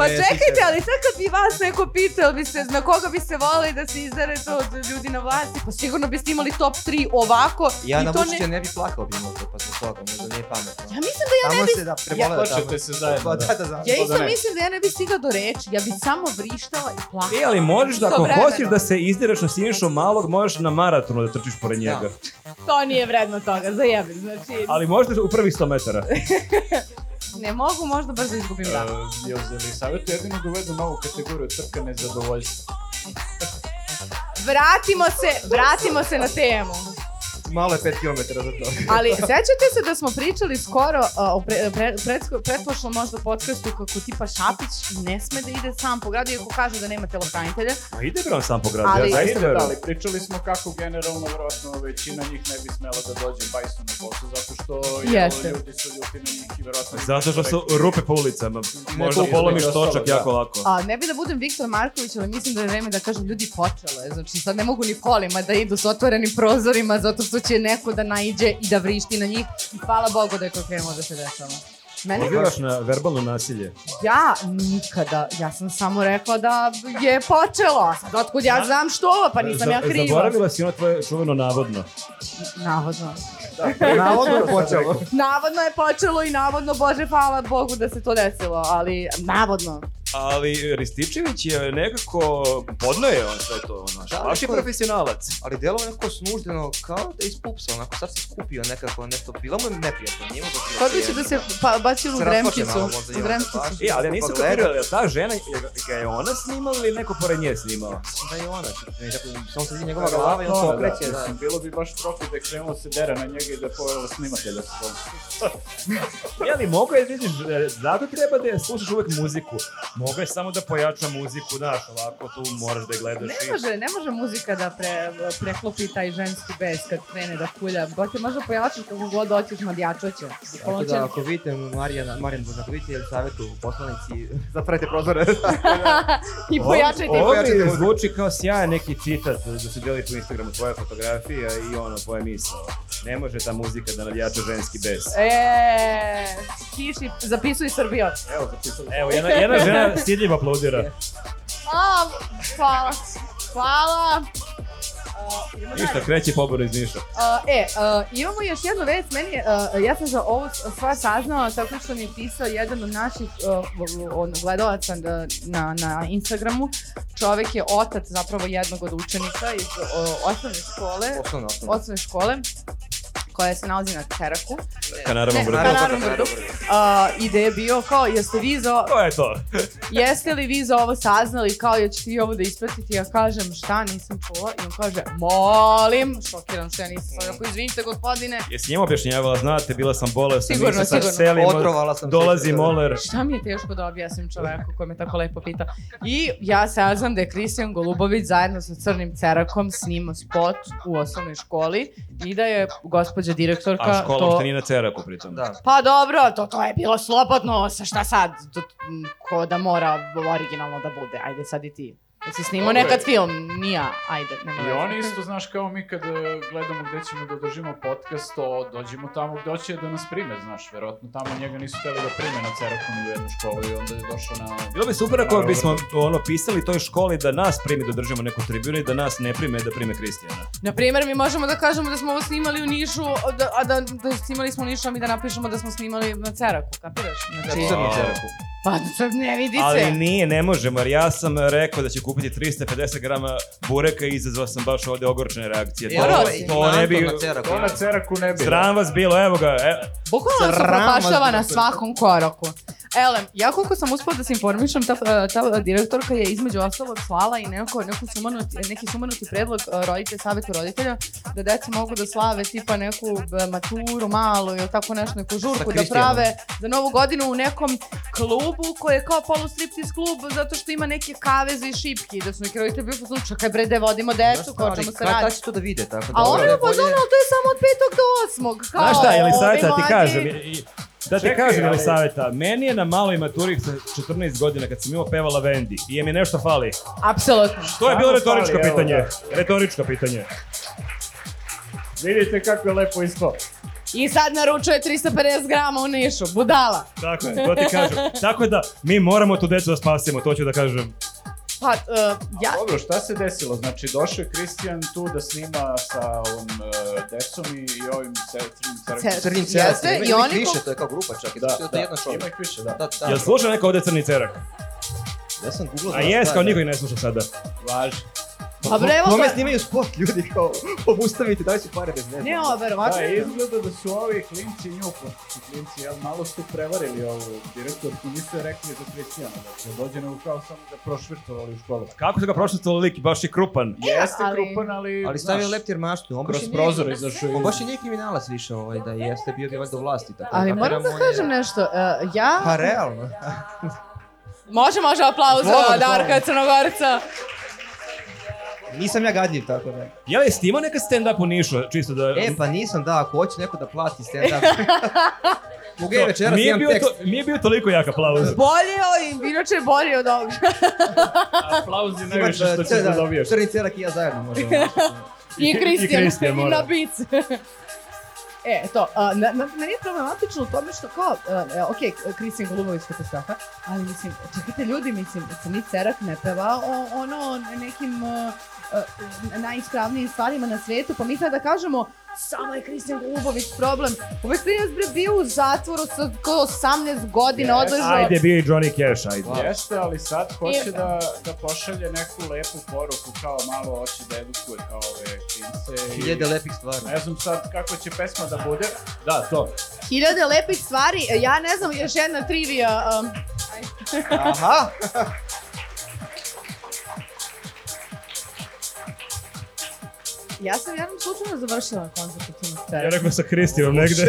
Speaker 1: Pa čekajte, ali sad kad bi vas neko pitao, biste, na koga biste voleli da se izderete od ljudi na vlasti, pa sigurno biste imali top 3 ovako.
Speaker 4: Ja
Speaker 1: i
Speaker 4: na
Speaker 1: to ne-
Speaker 4: Vučića ne bi plakao bi možda, pa zbog toga, možda nije pametno.
Speaker 1: Ja mislim da
Speaker 4: Tamo se da preboleo tamo.
Speaker 3: Počete se zajedno.
Speaker 4: Pa da, da, da.
Speaker 1: Ja
Speaker 3: To da
Speaker 1: isto
Speaker 3: ne.
Speaker 1: mislim da ja ne bih stigla do reči, ja bih samo vrištala i
Speaker 2: E,
Speaker 1: plakala.
Speaker 2: ali možeš da, ako
Speaker 1: Istovremeno.
Speaker 2: hoćeš da se izdireš na Sinišu malog, možeš na maratonu da trčiš pored njega.
Speaker 1: To nije vredno toga, zajebim, znači
Speaker 2: Ali možda u prvih 100 metara.
Speaker 1: ne mogu, možda brzo izgubim
Speaker 2: Da.
Speaker 1: dan.
Speaker 3: E, Jel Zelisavetu jedino dovedu novu kategoriju trka nezadovoljstva.
Speaker 2: Da.
Speaker 1: Vratimo se, vratimo se na temu.
Speaker 4: Malo je 5 km za to.
Speaker 1: Ali sećate se da smo pričali skoro a, o pre, pre, pre, pretpošlom možda podcastu kako tipa Šapić ne sme da ide sam po gradu, iako kaže da nema telokranitelja.
Speaker 2: Ma Pa ide bre on sam po gradu,
Speaker 1: Ali-
Speaker 2: ja zaista
Speaker 3: Da,
Speaker 2: verujem.
Speaker 3: ali pričali smo kako generalno vjerojatno većina njih ne bi smela da dođe bajsu na posao zato što jel,
Speaker 1: Jeste.
Speaker 3: ljudi su ljuti na njih i vjerojatno...
Speaker 2: Zato što su rupe po ulicama. Možda
Speaker 3: Neko-
Speaker 2: polomiš
Speaker 3: između
Speaker 2: točak
Speaker 3: ostalog, da.
Speaker 2: jako lako.
Speaker 1: A ne bi da budem Viktor Marković, ali mislim da je vreme da kažem ljudi počelo je. Znači sad ne mogu ni kolima da idu s otvorenim prozorima zato što će neko da naiđe i da vrišti na njih. I hvala Bogu da je to krenulo da se dešava. Mene
Speaker 2: Pozivaš na verbalno nasilje.
Speaker 1: Ja nikada, ja sam samo rekla da je počelo, a sad otkud ja znam što, pa nisam ja
Speaker 2: Za-
Speaker 1: kriva.
Speaker 2: Zaboravila si ono tvoje čuveno navodno.
Speaker 1: Navodno.
Speaker 4: *laughs* Navodno je počelo.
Speaker 1: Navodno je počelo i navodno, bože, hvala Bogu da se to desilo, ali navodno.
Speaker 2: Ali Rističević je nekako podnoje on sve to, ono,
Speaker 4: Da,
Speaker 2: baš je
Speaker 4: neko je-
Speaker 2: profesionalac.
Speaker 4: Ali delo je nekako snuždeno, kao da je ispupsao, onako sad se skupio nekako, nešto, bilo mu je neprijatno, nije mu ga bilo
Speaker 1: Pa biće da se pa, bacilo u
Speaker 4: Se rasplače
Speaker 1: vremčicu,
Speaker 4: malo možda i
Speaker 1: u
Speaker 4: onda,
Speaker 1: vremčicu.
Speaker 4: baš.
Speaker 2: E, ali ja nisam
Speaker 4: Pogledao.
Speaker 2: kapirio, je ta žena, je ga- ga je ona snimala ili neko pored nje snimao?
Speaker 4: Da je ona, tako, samo se vidi njegova glava i on se okreće, da.
Speaker 3: Mislim, Bilo bi baš profi da je krenulo se dera na njega i da je povelo snimatelja s tobom.
Speaker 2: Je li mogu je, vidiš, e, zato treba da je slušaš uvek muziku. Mogu je samo da pojača muziku, znaš, ovako tu moraš da je gledaš.
Speaker 1: Ne
Speaker 2: i-
Speaker 1: može, ne može muzika da pre, preklopi taj ženski bes kad krene da kulja. Ba te može pojačati kako god hoćeš, madjačat će.
Speaker 4: Tako
Speaker 1: Bukvalno će-
Speaker 4: da, ako vidite Marijana, Marijan Božan, ako vidite Elisavetu, poslanici, zatvorite prozore.
Speaker 1: I pojačajte i
Speaker 2: Ovo
Speaker 4: pojačajte
Speaker 2: mi
Speaker 4: muziku.
Speaker 2: zvuči kao sjajan neki citat da se deli po Instagramu tvoja fotografija i ono, tvoja misla. Ne može ta muzika da navijača ženski bes.
Speaker 1: E, kiši, zapisuj Srbijo.
Speaker 2: Evo, Evo, jedna, jedna žena stidljivo aplaudira.
Speaker 1: A, hvala. Hvala. E, idemo
Speaker 2: Ništa,
Speaker 1: dalje.
Speaker 2: kreće pobor iz Niša.
Speaker 1: Uh, e, uh, imamo još jednu vest, meni, je, uh, ja sam za ovo s- sva saznala tako što mi je pisao jedan od naših uh, od gledalaca na, na, na Instagramu. Čovek je otac zapravo jednog od učenika iz uh, osnovne škole,
Speaker 4: Osnovno, osnovno.
Speaker 1: osnovne škole koja se nalazi na Teraku.
Speaker 2: Kanarovom
Speaker 1: Ne,
Speaker 2: brdu.
Speaker 1: Kanarovom brdu. Uh, I da je bio kao, jeste vi za,
Speaker 2: To je to.
Speaker 1: jeste li vi za ovo saznali, kao ja ću ti ovo da ispratiti, ja kažem šta, nisam čula, i on kaže, molim, šokiram što ja nisam, sam rekao, izvinite gospodine,
Speaker 2: Jesi njima objašnjavala, znate, bila sam bolesna,
Speaker 1: Sigurno,
Speaker 2: nisam sad
Speaker 1: sigurno.
Speaker 2: selimo,
Speaker 4: Otrovala sam se.
Speaker 2: dolazi moler.
Speaker 1: šta mi je teško da objasnim čoveku koji me tako lepo pita. I ja saznam da je Kristijan Golubović zajedno sa Crnim Cerakom snimao spot u osnovnoj školi i da je gospođa direktorka
Speaker 2: A škola
Speaker 1: to...
Speaker 2: uopšte nije na ceraku pritom.
Speaker 4: Da.
Speaker 1: Pa dobro, to, to je bilo slobodno, sa šta sad? To, m, ko da mora originalno da bude, ajde sad i ti. Jesi snimao
Speaker 3: Dobro je.
Speaker 1: nekad film? Nija, ajde. nema
Speaker 3: I
Speaker 1: veze.
Speaker 3: oni isto, znaš, kao mi kad e, gledamo gde ćemo da držimo podcast, to dođemo tamo gde hoće da nas prime, znaš, verovatno tamo njega nisu hteli da prime na Cerakonu u jednu školu i onda je došao na...
Speaker 2: Bilo bi super ako bismo ono, pisali toj školi da nas primi da držimo neku tribunu i da nas ne prime da prime Kristijana.
Speaker 1: Naprimjer, mi možemo da kažemo da smo ovo snimali u Nišu, a da, a da, da snimali smo u Nišu, a mi da napišemo da smo snimali na Ceraku, kapiraš? Znači,
Speaker 2: Crnu
Speaker 4: Crnu
Speaker 2: ceraku.
Speaker 4: ceraku.
Speaker 1: pa sad ne vidi se.
Speaker 2: Ali nije, ne možemo, jer ja sam rekao da ću kupiti 350 grama bureka i izazvao sam baš ovde ogorčene reakcije.
Speaker 1: Dobro,
Speaker 2: To,
Speaker 1: si.
Speaker 2: to ne bi...
Speaker 3: To na Ceraku ne bi. da.
Speaker 2: Sram vas bilo, evo ga. E,
Speaker 1: Bukvalno se
Speaker 4: Sram vas
Speaker 1: propašava
Speaker 4: bilo
Speaker 1: na
Speaker 4: to.
Speaker 1: svakom koraku. Elem, ja koliko sam uspela da se informišem, ta, ta e, direktorka je između ostalog slala i neko, neku sumanuti, neki sumanuti predlog e, roditelja, savjetu roditelja, da deci mogu da slave tipa neku e, maturu malu ili tako nešto, neku žurku, da
Speaker 4: Kristijanom.
Speaker 1: prave za novu godinu u nekom klubu koji je kao polustriptiz klub zato što ima neke kaveze i šipke i da su neki roditelji bili pozvani, čekaj bre, da vodimo decu, kao o čemu se radi.
Speaker 4: Kada će to da vide, tako da...
Speaker 1: A ono
Speaker 4: Dobro,
Speaker 1: je
Speaker 4: bolje-
Speaker 1: pozvano, ali to je samo od petog do osmog. kao, ovaj
Speaker 2: Znaš šta,
Speaker 1: ovi
Speaker 2: Elisaveta, ti
Speaker 1: mladi-
Speaker 2: kažem, i- i- da ti
Speaker 3: Čekaj,
Speaker 2: kažem,
Speaker 3: ali-
Speaker 2: Elisaveta, meni je na maloj maturi sa 14 godina kad sam imao pevala Vendi i je mi nešto fali.
Speaker 1: Apsolutno.
Speaker 2: To je bilo
Speaker 3: Samo
Speaker 2: retoričko
Speaker 3: fali, evo,
Speaker 2: pitanje. Retoričko pitanje.
Speaker 3: Vidite kako je lepo ispao.
Speaker 1: I sad naručuje 350 grama u Nišu, budala.
Speaker 2: Tako je, to ti kažem. Tako da, mi moramo tu decu da spasimo, to ću da kažem.
Speaker 1: Pa, uh, ja,
Speaker 3: Dobro, šta se desilo? Znači, došao je Kristijan tu da snima sa ovom uh, decom i, i ovim Cerakon.
Speaker 1: Cer-
Speaker 4: Crnim
Speaker 1: Jeste,
Speaker 4: ceraku. Ima
Speaker 1: i
Speaker 4: ih
Speaker 1: oni ko-
Speaker 4: Više, to je kao grupa čak. Da, da. To je jedna čovjek.
Speaker 3: Ima ih više, da.
Speaker 4: Da, da.
Speaker 2: Jel sluša neko ovde crni cerak?
Speaker 4: Ja sam googlao.
Speaker 2: A jes, kao niko i ne sluša sada.
Speaker 3: Važi.
Speaker 1: pa bre, evo
Speaker 4: Kome
Speaker 1: ga,
Speaker 4: snimaju spot ljudi kao obustavite, daj su pare bez neba.
Speaker 1: ne ovo, verovatno.
Speaker 3: Da, izgleda da su ovi klinci nju, pošto su klinci, jel, malo su prevarili ovu direktorku, nisu joj rekli za Kristijana, da će dođe na upravo samo da prošvrtovali u školu.
Speaker 2: Kako su ga prošli lik, baš je krupan.
Speaker 3: Jeste
Speaker 1: ali-
Speaker 3: krupan, ali...
Speaker 4: Ali stavio
Speaker 3: znaš,
Speaker 4: leptir maštu, on baš
Speaker 3: Kroz
Speaker 4: i nije-
Speaker 3: prozor izašao i...
Speaker 4: On baš i nije kriminalac više ovaj, da jeste bio bi valjda u vlasti. Tako,
Speaker 1: Ali
Speaker 4: da
Speaker 1: moram da
Speaker 4: kapiram, on je-
Speaker 1: kažem nešto, uh, ja...
Speaker 4: Pa realno.
Speaker 1: Može, može, aplauz
Speaker 4: Zvono,
Speaker 1: za
Speaker 4: zvono.
Speaker 1: Darka Crnogorca.
Speaker 4: Nisam ja gadljiv, tako da.
Speaker 2: Jel, jesi ti imao neka stand-up u Nišu, čisto da...
Speaker 4: E, pa nisam, da, ako hoće neko da plati stand up. *laughs* Mogu ja i večeras
Speaker 2: Nije
Speaker 4: imam
Speaker 2: bio,
Speaker 4: tekst.
Speaker 2: to, nije bio toliko jak aplauz.
Speaker 1: Bolje je, inače je bolje od ovoga.
Speaker 2: Aplauz je
Speaker 4: Imam,
Speaker 2: najviše
Speaker 4: e,
Speaker 2: što ćeš da
Speaker 4: da,
Speaker 2: dobiješ.
Speaker 4: Crni cerak i ja
Speaker 1: *laughs*
Speaker 4: zajedno možemo. e,
Speaker 1: I
Speaker 2: I
Speaker 1: Kristijan.
Speaker 2: Kristijan,
Speaker 1: I
Speaker 2: mora.
Speaker 1: na bic. *laughs* E, to, a, na, na, meni je problematično u tome što kao, uh, ok, Kristijan Golubović katastrofa, ali mislim, čekajte ljudi, mislim, Crni Cerak ne peva o, ono o nekim uh, uh, najispravnijim stvarima na svetu, pa mi sada da kažemo, samo je Kristijan Golubović problem. Ovaj klinac bre bio u zatvoru sa kao 18 godina,
Speaker 3: Jes,
Speaker 1: odležao.
Speaker 2: Ajde, bio i Johnny Cash, ajde.
Speaker 4: Wow.
Speaker 3: Jeste, ali sad hoće
Speaker 1: I-
Speaker 3: da, da pošalje neku lepu poruku, kao malo hoće da edukuje kao ove klince. i-
Speaker 4: Hiljade lepih stvari.
Speaker 3: Ne znam sad kako će pesma da bude. Da, to.
Speaker 1: Hiljade lepih stvari, ja ne znam, još jedna trivija. Um,
Speaker 4: Aha!
Speaker 1: ja sam jednom slučajno završila koncert u Crnog Ceraka.
Speaker 2: Ja rekao sa Kristijanom *laughs* negde.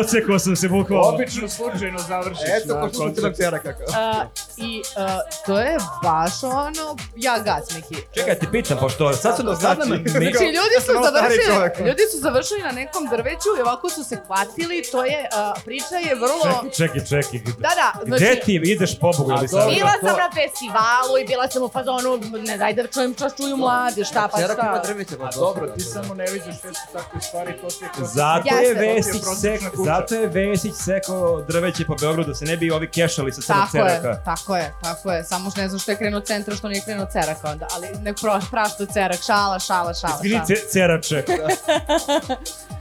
Speaker 2: Ocekao sam se bukvalno.
Speaker 3: Obično slučajno završiš
Speaker 4: Eto, pošto sam crnog ceraka. kao.
Speaker 1: Uh, I uh, to je baš ono, ja gas neki.
Speaker 2: Čekaj, ti pitam, pošto sad sam sad *laughs* nam... mi-
Speaker 1: Znači, ljudi su,
Speaker 4: sam malo stariji čovjek.
Speaker 1: završili, ljudi su završili na nekom drveću i ovako su se hvatili, to je, uh, priča je vrlo...
Speaker 2: Čekaj, čekaj, čekaj.
Speaker 1: Da, da,
Speaker 2: Gde
Speaker 1: znači,
Speaker 2: ti ideš pobogu
Speaker 3: A
Speaker 2: ili
Speaker 3: dobro.
Speaker 2: sad?
Speaker 1: bila
Speaker 3: to-
Speaker 1: sam na festivalu i bila sam u fazonu, ne daj da čujem čas čuju mladi, šta pa
Speaker 4: Cerak ima
Speaker 1: šta.
Speaker 4: drveće.
Speaker 3: A dobro, ti samo ne vidiš sve su takve stvari, to ti je prosječna-
Speaker 2: Zato je
Speaker 1: Jeste.
Speaker 2: Vesić
Speaker 3: Prosječna
Speaker 2: sek,
Speaker 3: kuća.
Speaker 2: zato je Vesić sekao drveće po Beogradu da se ne bi ovi kešali sa crnog
Speaker 1: Tako je,
Speaker 2: ceraka.
Speaker 1: tako Tako je, tako je. Samo što ne znam što je krenuo centra, što nije krenuo cerak onda. Ali nek pro, prašta cerak, šala, šala, šala.
Speaker 2: Izvini,
Speaker 1: šala.
Speaker 2: ce- cerače.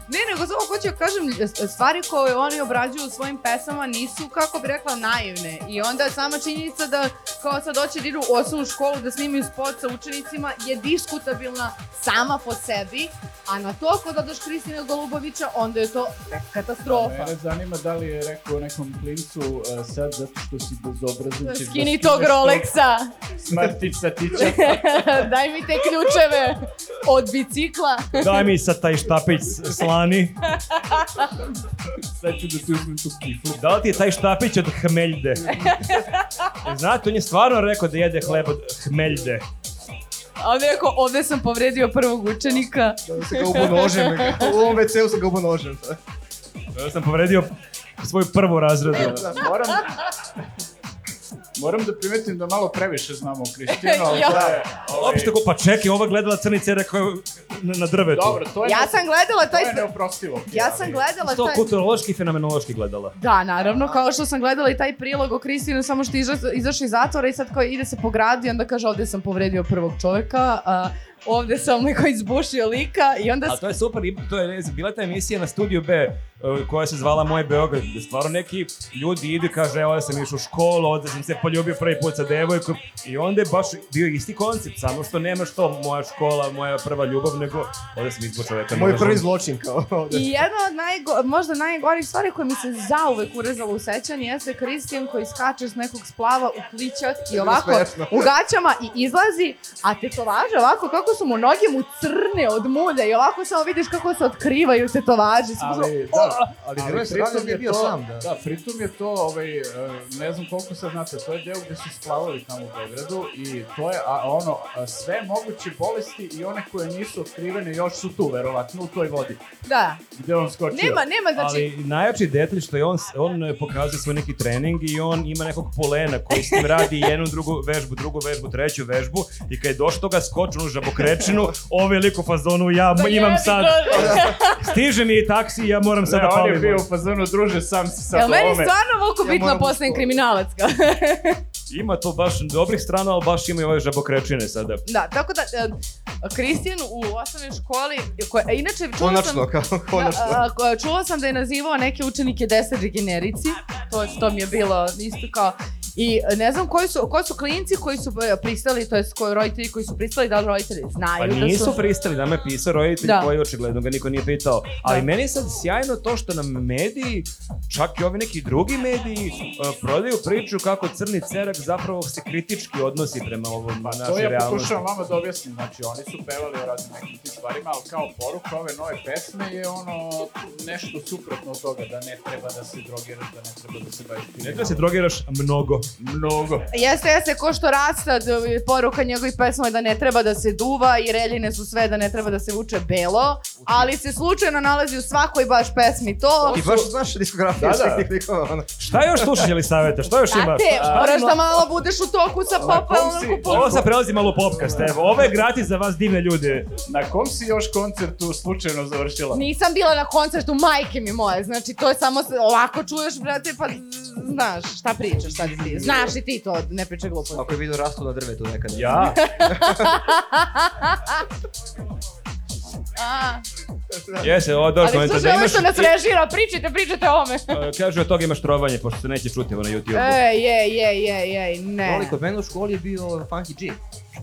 Speaker 1: Ne, nego samo hoću da kažem, stvari koje oni obrađuju u svojim pesama nisu, kako bi rekla, naivne. I onda sama činjenica da kao sad hoće da idu u osnovnu školu da snimaju spot sa učenicima je diskutabilna sama po sebi, a na to ako dodaš Kristina Golubovića, onda je to katastrofa.
Speaker 3: Mene zanima da li je rekao nekom klincu uh, sad zato što si bezobrazan ćeš da
Speaker 1: Skini
Speaker 3: skineš
Speaker 1: tog Rolexa,
Speaker 3: Smartica tića.
Speaker 1: *laughs* znači, daj mi te ključeve od bicikla.
Speaker 2: Daj mi sad taj štapić s- slani.
Speaker 3: Sad ću da ti uzmem tu kiflu.
Speaker 2: Da li ti je taj štapić od hmeljde? E, Znate, on je stvarno rekao da jede hleb od hmeljde.
Speaker 1: A onda je rekao, ovde sam povredio prvog učenika.
Speaker 5: Da se ga ubonožim. U ovom WC-u se ga ubonožim.
Speaker 2: Ja sam povredio svoju prvu razredu.
Speaker 3: Da, moram, moram da primetim da malo previše znamo o
Speaker 1: *laughs*
Speaker 3: Kristinu. ali
Speaker 1: Ja.
Speaker 3: to je,
Speaker 2: Opšte ko, pa čekaj, ova gledala crni cerak koja je na, na drvetu.
Speaker 3: Dobro, to je,
Speaker 1: Ja sam gledala
Speaker 3: to
Speaker 1: taj...
Speaker 3: je neoprostivo.
Speaker 1: Ja sam gledala
Speaker 2: To
Speaker 1: taj...
Speaker 2: kulturološki i fenomenološki gledala.
Speaker 1: Da, naravno, kao što sam gledala i taj prilog o Kristinu, samo što je iza- izašao iz zatvora i sad kao ide se po gradu i onda kaže ovde sam povredio prvog čoveka, a ovde sam neko izbušio lika i onda...
Speaker 2: A to je super, i- to je ne znam, bila ta emisija na Studiju B e, koja se zvala Moj Beograd, gde stvarno neki ljudi idu i kaže evo ja sam išao u školu, ovde sam se poljubio prvi put sa devojkom i onda je baš bio isti koncept, samo što nema što moja škola, moja prva ljubav, nego ovde sam izbog čoveka.
Speaker 5: Moj
Speaker 2: ne
Speaker 5: prvi
Speaker 2: možem.
Speaker 5: zločin kao ovde.
Speaker 1: I jedna od najgo, možda najgorih stvari koja mi se zauvek urezala u sećanje jeste Kristijan koji skače s nekog splava u plićak i ovako
Speaker 5: smešno.
Speaker 1: u gaćama i izlazi, a tetovaže ovako kako su mu noge mu crne od mulja i ovako samo vidiš kako se otkrivaju tetovaže.
Speaker 3: Ali, da,
Speaker 5: Ali s druge strane
Speaker 3: pritom
Speaker 5: bi
Speaker 3: je
Speaker 5: bio
Speaker 3: to-
Speaker 5: sam, da.
Speaker 3: Da, pritom je to, ovaj, e, ne znam koliko sad znate, to je deo gde su splavovi tamo u Beogradu i to je, a, ono, a, sve moguće bolesti i one koje nisu otkrivene još su tu, verovatno, u toj vodi.
Speaker 1: Da,
Speaker 3: Gde on skočio?
Speaker 1: nema, nema, znači...
Speaker 2: Ali najjači detalj što je on, on pokazuje svoj neki trening i on ima nekog polena koji s tim radi jednu drugu vežbu, drugu vežbu, treću vežbu i kad je došao toga skoču u žabokrečinu, ovaj lik u fazonu ja
Speaker 1: Pa
Speaker 2: imam
Speaker 1: jebi
Speaker 2: sad,
Speaker 1: ga.
Speaker 2: stiže mi i taksi ja moram sad
Speaker 3: Sada
Speaker 2: da
Speaker 3: on je
Speaker 2: palim.
Speaker 3: bio u fazonu, druže, sam si sad
Speaker 1: Jel meni
Speaker 3: ovome.
Speaker 1: stvarno ovako
Speaker 5: Ja
Speaker 1: bitno
Speaker 5: moram da
Speaker 1: postajem
Speaker 5: uskoro.
Speaker 1: kriminalac?
Speaker 5: *laughs*
Speaker 1: kao?
Speaker 2: Ima to baš dobrih strana, ali baš ima i ove žabokrečine sada.
Speaker 1: da, tako da, e, Kristijan u osnovnoj školi, koja, e, inače čula
Speaker 5: Konačno,
Speaker 1: sam...
Speaker 5: kao, konačno.
Speaker 1: Da, a, ko- čula sam da je nazivao neke učenike deseđegenerici, to, to mi je bilo isto kao... I e, ne znam koji su, koji su klinci koji su e, pristali, to je koji roditelji koji su pristali, da li roditelji znaju
Speaker 2: Pa
Speaker 1: da su...
Speaker 2: nisu pristali, nama je pisao roditelj
Speaker 1: Da.
Speaker 2: da. koji očigledno ga niko nije pitao. Ali
Speaker 1: Da.
Speaker 2: da. meni je sad sjajno to što nam mediji, čak i ovi neki drugi mediji, uh, prodaju priču kako crni cerak zapravo se kritički odnosi prema ovom pa,
Speaker 3: To
Speaker 2: našoj
Speaker 3: ja
Speaker 2: realnosti.
Speaker 3: pokušavam vama da objasnim, znači oni su pevali o raznim nekim tim stvarima, ali kao poruka ove nove pesme je ono nešto suprotno od toga, da ne treba da se drogiraš, da ne treba da se baviš
Speaker 2: Ne treba da se drogiraš mnogo.
Speaker 3: Mnogo.
Speaker 1: Jeste, jeste, ko što rasta, d- poruka njegovih pesma je da ne treba da se duva i reljine su sve da ne treba da se vuče belo, ali se slučajno nalazi u svakoj baš pesmi to.
Speaker 5: I baš znaš diskografiju
Speaker 3: Da,
Speaker 5: svih
Speaker 3: da.
Speaker 5: tih likova. ono.
Speaker 2: Šta još slušaš ili saveta? Šta još imaš?
Speaker 1: Znate,
Speaker 2: Šta
Speaker 1: moraš
Speaker 2: ima?
Speaker 1: da malo budeš u toku sa popa,
Speaker 3: kom si?
Speaker 1: onako po...
Speaker 2: Ovo sad prelazi malo u popkast, evo. Ovo je gratis za vas divne ljude.
Speaker 3: Na kom si još koncertu slučajno završila?
Speaker 1: Nisam bila na koncertu majke mi moje, znači to je samo se- ovako čuješ, brate, pa znaš šta pričaš, šta ti znaš i ti to, ne pričaj gluposti.
Speaker 4: Ako je vidio rastu na drvetu nekada.
Speaker 1: *laughs*
Speaker 2: Ja?
Speaker 1: A,
Speaker 2: Jese, ovo je došlo. da
Speaker 1: ali slušaj, ovo što da nas režira, pričajte, pričajte o ovome.
Speaker 2: Pa,
Speaker 1: E,
Speaker 2: Kažu od toga imaš trovanje, pošto se neće čuti ovo na YouTube.
Speaker 4: E.
Speaker 1: Ej, ej, ej, ej, ej, ne.
Speaker 4: Koliko mene u školi je bio Funky G.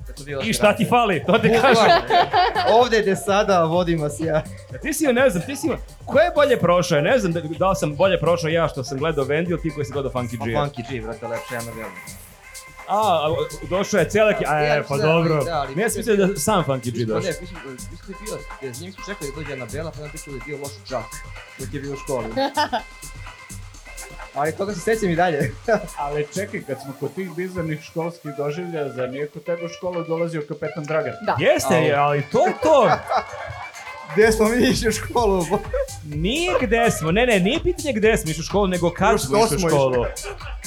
Speaker 4: Zato bio
Speaker 2: I šta ti fali? To ti
Speaker 4: *laughs*
Speaker 2: kažem.
Speaker 5: Ovde gde sada vodim vas ja.
Speaker 2: Ti si, ne znam, ti si, ko je bolje prošao? Ja Ne znam da, da li sam bolje prošao ja što sam gledao Vendi ili ti koji si gledao Funky G. A,
Speaker 4: Funky G, vrata, lepše, ja na velu.
Speaker 2: a došao je celak, a e, pa
Speaker 4: Ja,
Speaker 2: dobro.
Speaker 4: da, ali-
Speaker 2: Ne, ja sam mislio da sam Funky G
Speaker 4: Pa ne,
Speaker 2: došao.
Speaker 4: mislim, e, mislim da je bio, e, s njim su čekali da dođe Anabela, pa nam pričali da je bio loš džak, dok je bio u školi. Ali toga se sećam i dalje. *laughs*
Speaker 3: Ali čekaj, kad smo kod tih bizarnih školskih doživlja, za nije kod tebe u školu dolazio kapetan Dragan?
Speaker 1: Da.
Speaker 2: Jeste,
Speaker 4: Au.
Speaker 2: je, ali to je to.
Speaker 5: Gde smo mi išli u školu?
Speaker 2: Nije gde smo, ne, ne, nije pitanje gde smo išli u školu, nego kad
Speaker 5: Još
Speaker 2: smo
Speaker 5: što
Speaker 2: išli
Speaker 5: smo
Speaker 2: u školu.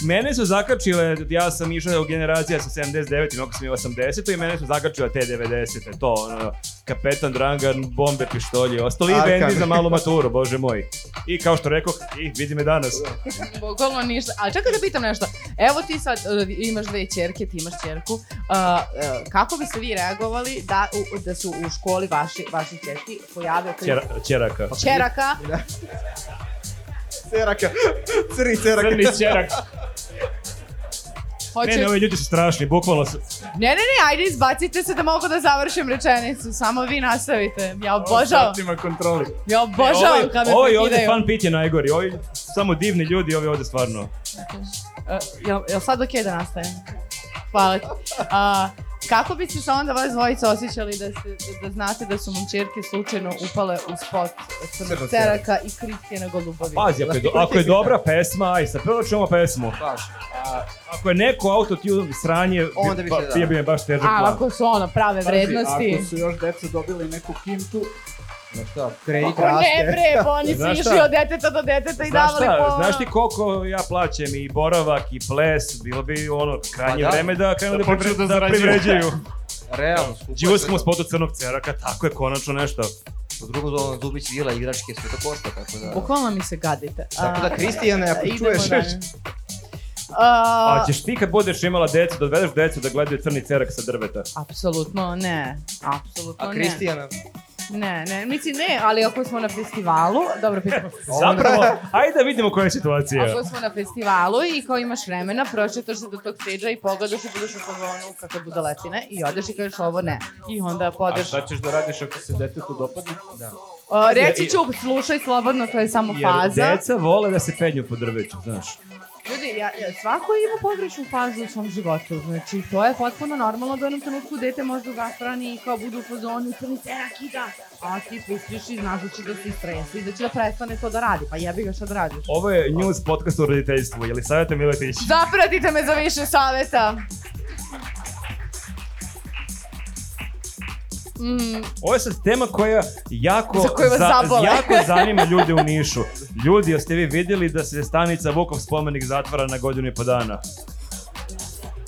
Speaker 2: Mene su zakačile, ja sam išao u generacija sa 79, mnogo sam i 80, i mene su zakačile te 90, to ono, Kapetan Drangan, bombe, pištolji, ostali i
Speaker 5: Arkan.
Speaker 2: bendi za malu maturu, bože moj. I kao što rekoh, i vidi me danas.
Speaker 1: Bukvalno ništa. Ali čekaj da pitam nešto. Evo ti sad e, imaš dve ćerke, ti imaš ćerku. A, e, kako biste vi reagovali da, u- da su u školi vaši, vaši ćerki pojave tri
Speaker 2: Ćera, ćeraka.
Speaker 1: ćeraka?
Speaker 5: Ceraka. Crni ceraka.
Speaker 2: Crni ćerak. Ne,
Speaker 1: Hoće...
Speaker 2: ne, ovi ljudi su strašni, bukvalno su...
Speaker 1: Ne, ne, ne, ajde izbacite se da mogu da završim rečenicu. Samo vi nastavite. Ja obožavam.
Speaker 3: Satima kontroli.
Speaker 1: Ja obožavam
Speaker 2: Ovi-
Speaker 1: Pa kad me
Speaker 2: Ovi E, ovaj- ovdje
Speaker 1: prekidaju.
Speaker 2: fan pit je najgori, ovi samo divni ljudi, ovi ovdje stvarno.
Speaker 1: E, jel, jel sad okej da nastavim? Hvala ti. A, kako biste se onda vas dvojica osjećali da, ste, da, da znate da su mu čerke slučajno upale u spot
Speaker 5: Crnog
Speaker 1: Crnog Ceraka i Kristijana Golubovina?
Speaker 2: Pazi, ako je, do- ako je dobra pesma, aj sad prvo čujemo pesmu.
Speaker 4: Baš.
Speaker 2: Ako je neko autotune sranje,
Speaker 4: Onda bi
Speaker 2: ba-
Speaker 4: se da.
Speaker 2: bio bi mi baš težak
Speaker 1: A,
Speaker 2: plan.
Speaker 1: ako su ono prave vrednosti.
Speaker 3: Pazi, ako su još deca dobili neku kintu,
Speaker 4: No šta?
Speaker 5: Kredit
Speaker 1: Pa ne
Speaker 5: raste.
Speaker 1: bre, pa oni su
Speaker 2: Znaš
Speaker 1: išli
Speaker 2: šta?
Speaker 1: od deteta do deteta i
Speaker 2: Znaš
Speaker 1: davali
Speaker 2: šta,
Speaker 1: po...
Speaker 2: znaš ti koliko ja plaćem i boravak i ples, bilo bi ono krajnje
Speaker 4: Pa da.
Speaker 2: vreme da krenu da,
Speaker 3: Da počnu
Speaker 2: privre-
Speaker 3: da
Speaker 2: da
Speaker 3: zarađuju.
Speaker 2: *laughs* privređuju.
Speaker 4: Realno, skupo. je
Speaker 2: Živo
Speaker 4: sve
Speaker 2: smo u
Speaker 4: to.
Speaker 2: spotu crnog ceraka, tako je konačno nešto.
Speaker 4: U drugu zonu Dubić vila igračke sve to košta, tako da...
Speaker 1: Bukvalno mi se gadite.
Speaker 5: Tako da,
Speaker 1: A,
Speaker 5: Kristijane, ako
Speaker 1: idemo
Speaker 5: čuješ-
Speaker 1: dalje.
Speaker 2: A,
Speaker 1: A,
Speaker 2: ćeš ti kad budeš imala decu, da odvedeš decu da gledaju crni cerak sa drveta?
Speaker 1: Apsolutno ne, apsolutno
Speaker 4: A
Speaker 1: ne.
Speaker 4: Kristijana?
Speaker 1: Ne, ne, mislim ne, ali ako smo na festivalu, dobro pitamo.
Speaker 2: Zapravo, ajde da vidimo koja je situacija.
Speaker 1: Ako smo na festivalu i kao imaš vremena, pročetaš se do tog stage i pogledaš i budeš u fazonu kakve budaletine i odeš i kažeš ovo ne. I onda
Speaker 3: a
Speaker 1: podeš.
Speaker 3: šta ćeš da radiš ako se detetu dopadne? Da.
Speaker 1: O, reći ću, slušaj slobodno, to je samo
Speaker 2: Jer
Speaker 1: Pa faza.
Speaker 2: deca vole da se penju po drveću, znaš.
Speaker 1: Ljudi, ja, ja, svako ima pogrešnu fazu u svom životu, znači to je potpuno normalno da u jednom trenutku dete možda zastrani i kao bude u fazonu, crni cerak i da, a ti pustiš i znaš da će da se istresi i da će da prestane to da radi, pa jebi ga šta da radiš.
Speaker 2: Ovo je news podcast o roditeljstvu, je li savjeta Miletić?
Speaker 1: Zapratite me za više saveta! Mm,
Speaker 2: Ovo je sad tema koja jako,
Speaker 1: Za koju vas zabole. *laughs*
Speaker 2: jako zanima ljude u Nišu. Ljudi, jeste vi vidjeli da se stanica Vukov spomenik zatvara na godinu i po dana?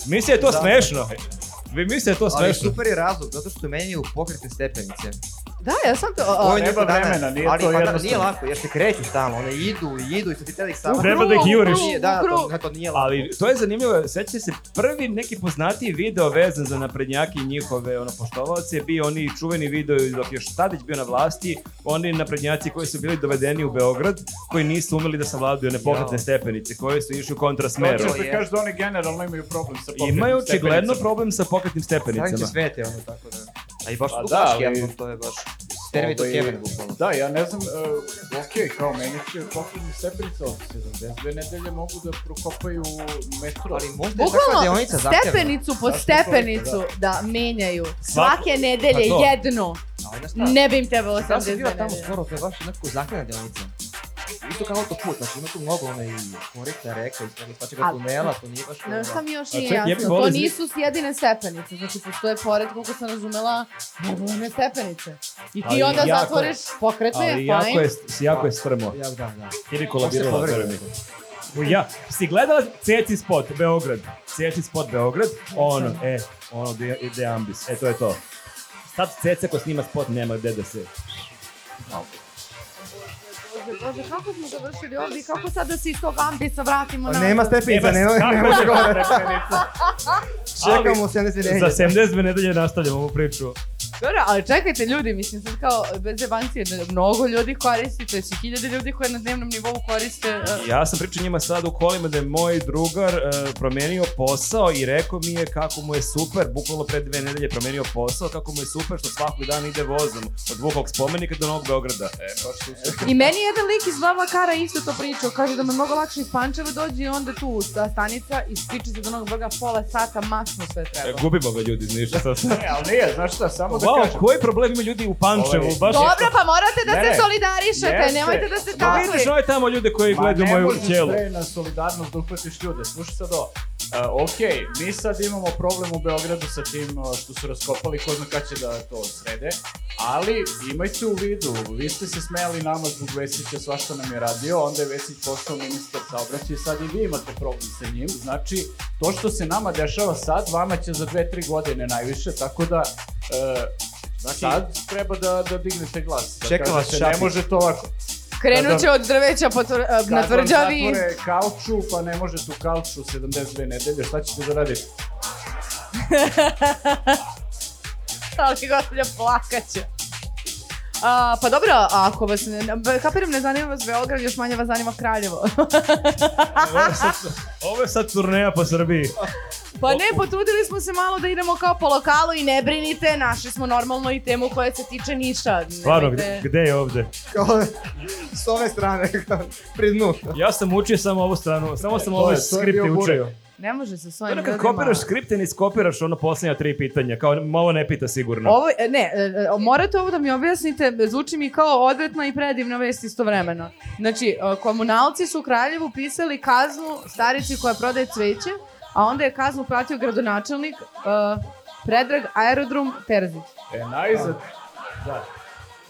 Speaker 2: Mislim da je to smešno. Vi mislite da je to
Speaker 4: Ali
Speaker 2: smešno?
Speaker 4: super je razlog, zato što menjaju pokretne stepenice.
Speaker 1: da, ja sam to...
Speaker 4: Ovo
Speaker 1: A,
Speaker 4: je
Speaker 3: treba
Speaker 4: nešto danas,
Speaker 3: vremena, nije
Speaker 4: ali,
Speaker 3: to
Speaker 4: pa da,
Speaker 3: jednostavno.
Speaker 4: Nije lako, jer se kreću tamo, one idu i idu i sad ti treba ih samo...
Speaker 2: Treba da ih
Speaker 1: krug,
Speaker 2: juriš.
Speaker 1: u krug,
Speaker 4: Nije, da,
Speaker 1: u
Speaker 4: to,
Speaker 1: krug.
Speaker 4: da, to nije lako.
Speaker 2: Ali to je zanimljivo, sećate se prvi neki poznatiji video vezan za naprednjaki i njihove ono, poštovalce je bio oni čuveni video dok je još Tadić bio na vlasti, oni naprednjaci koji su bili dovedeni u Beograd, koji nisu umeli da savladuju one pokretne
Speaker 4: Jao.
Speaker 2: stepenice, koji su išli u kontrasmeru.
Speaker 3: Hoćeš
Speaker 4: To
Speaker 3: da
Speaker 4: je.
Speaker 3: kažeš da oni generalno imaju problem sa pokretnim
Speaker 2: Imaju očigledno
Speaker 3: stepenicama.
Speaker 2: problem sa pokretnim
Speaker 4: Stavim
Speaker 2: stepenicama.
Speaker 4: će svete, ono, tako da... A i baš
Speaker 3: Pa
Speaker 4: tu
Speaker 3: da,
Speaker 4: baš
Speaker 3: ali-
Speaker 4: jednom, to je baš... Termi to
Speaker 3: Ovaj,
Speaker 4: Kevin, bukvalno.
Speaker 3: Da, ja ne znam, uh, ok, kao meni će pokretni stepenice od 72 nedelje mogu da prokopaju metro.
Speaker 4: Ali možda je takva
Speaker 1: Bukvalno
Speaker 4: deonica zahtjevna.
Speaker 1: stepenicu po
Speaker 3: Zašto je to
Speaker 1: stepenicu da menjaju svake
Speaker 2: Pa
Speaker 1: nedelje
Speaker 2: to.
Speaker 1: jednu.
Speaker 4: A ona šta?
Speaker 1: Ne bi im trebalo
Speaker 4: Da. Ja sam
Speaker 1: 82
Speaker 4: bio tamo
Speaker 1: nedelje.
Speaker 4: skoro, to je baš onako zahtjevna deonica. Isto kao autoput, znači ima tu mnogo onaj korekta reka i svega svačega
Speaker 1: Ali-
Speaker 4: tunela, to nije baš... ono-
Speaker 1: Znaš šta mi još
Speaker 2: A
Speaker 1: nije
Speaker 2: čekaj, ja bih
Speaker 1: jasno?
Speaker 2: volio
Speaker 1: To
Speaker 2: zna-
Speaker 1: nisu jedine stepenice. Znači, postoje pored, koliko sam razumela, nevoljne stepenice. I ti
Speaker 2: Ali
Speaker 1: onda
Speaker 2: jako-
Speaker 1: zatvoriš pokretne,
Speaker 2: Ali
Speaker 1: fajn.
Speaker 2: jako je, jako je strmo.
Speaker 4: Ja, da, da.
Speaker 2: Ili
Speaker 4: Pa
Speaker 2: kolabirala
Speaker 4: se
Speaker 2: prvi. U ja, si gledala Ceci spot Beograd, Ceci spot Beograd, ono, e, ono gde ide ambis, e to je to. Sad Ceca ko snima spot nema gde da se...
Speaker 1: Bože, Bože, kako smo završili ovdje i kako sad da se iz tog ambisa vratimo na...
Speaker 5: Nema stepenica,
Speaker 2: Pa Nema-
Speaker 5: nema,
Speaker 2: kako
Speaker 5: nema
Speaker 2: se
Speaker 5: se gore.
Speaker 2: *laughs* stepenica?
Speaker 5: Čekamo ja 70
Speaker 2: Za
Speaker 5: dana.
Speaker 2: 72 nedelje nastavljamo ovu priču.
Speaker 1: Dobro, ali čekajte ljudi, mislim sad kao bez jebancije, da mnogo ljudi koristi, to su hiljade ljudi koje na dnevnom nivou koriste. e,
Speaker 2: Ja sam pričao njima sad u kolima da je moj drugar e, promenio posao i rekao mi je kako mu je super, bukvalno pre dve nedelje promenio posao, kako mu je super što svakog dana ide vozom od Vukovog spomenika do Novog Beograda.
Speaker 3: E, baš su se-
Speaker 1: I meni jedan lik iz Vavla Kara isto to pričao, kaže da me mnogo lakše iz Pančeva dođe i onda tu ta stanica i stiče se do onog brga pola sata, masno sve
Speaker 2: E,
Speaker 1: treba.
Speaker 2: gubimo ga ljudi iz Niša sad.
Speaker 3: Ne, ali nije, znaš šta, samo da
Speaker 2: *laughs* Wow,
Speaker 3: kažem.
Speaker 2: koji problem imaju ljudi u Pančevu?
Speaker 3: Ovo je-
Speaker 2: Baš Pa
Speaker 1: Dobro, pa morate da
Speaker 3: Ne,
Speaker 1: se
Speaker 3: ne.
Speaker 1: solidarišete,
Speaker 3: Jeste.
Speaker 1: nemojte da se
Speaker 3: Ma,
Speaker 1: takli.
Speaker 2: Vidiš ove tamo ljude koji
Speaker 3: Ma
Speaker 2: gledaju
Speaker 3: ne
Speaker 2: moju
Speaker 3: možeš
Speaker 2: ćelu.
Speaker 3: sve na solidarnost da uhvatiš ljude. Slušaj sad ovo. Uh, ok, mi sad imamo problem u Beogradu sa tim uh, što su raskopali, ko zna kad će da to srede, ali imajte u vidu, vi ste se smejali nama zbog Vesića, svašta nam je radio, onda je Vesić postao ministar saobraćaja i sad i vi imate problem sa njim, znači to što se nama dešava sad, vama će za 2-3 godine najviše, tako da uh,
Speaker 2: Znači,
Speaker 3: Sad treba da, da digne se glas. Da
Speaker 5: Čeka
Speaker 3: kaže
Speaker 5: vas
Speaker 3: se, Ne
Speaker 5: šapi.
Speaker 3: može to ovako.
Speaker 1: Krenut će od drveća po tvr-
Speaker 3: Kad
Speaker 1: na
Speaker 3: vam
Speaker 1: tvrđavi.
Speaker 3: zatvore kauču, pa ne možete u kauču 72 nedelje, šta ćete da radite?
Speaker 1: *laughs* Ali gospođa plakaće. A, pa dobro, a ako vas ne, ne- kapiram ne zanima vas Beograd, još manje vas zanima Kraljevo. *laughs*
Speaker 2: ovo je sad, ovo je sad turneja po Srbiji.
Speaker 1: pa ne, potrudili smo se malo da idemo kao po lokalu i ne brinite, našli smo normalno i temu koja se tiče Niša.
Speaker 2: Stvarno,
Speaker 1: Nemojte-
Speaker 2: gde, gde je ovde?
Speaker 5: Kao, s ove strane, kao, pri dnu.
Speaker 2: Ja sam učio samo ovu stranu, samo sam ovaj ove
Speaker 3: To je- to je
Speaker 2: skripte
Speaker 3: bio burek.
Speaker 2: učio.
Speaker 1: Ne može sa svojim
Speaker 2: Ono kad
Speaker 1: ljudima.
Speaker 2: kopiraš skripte, ne iskopiraš ono posljednja tri pitanja, kao ovo ne pita sigurno.
Speaker 1: Ovo, e, ne, e, e, morate ovo da mi objasnite, zvuči mi kao odvetna i predivna vest istovremeno. Znači, e, komunalci su u Kraljevu pisali kaznu starici koja prodaje cveće, a onda je kaznu platio gradonačelnik e, Predrag Aerodrom Terzić.
Speaker 3: E, najzad, da.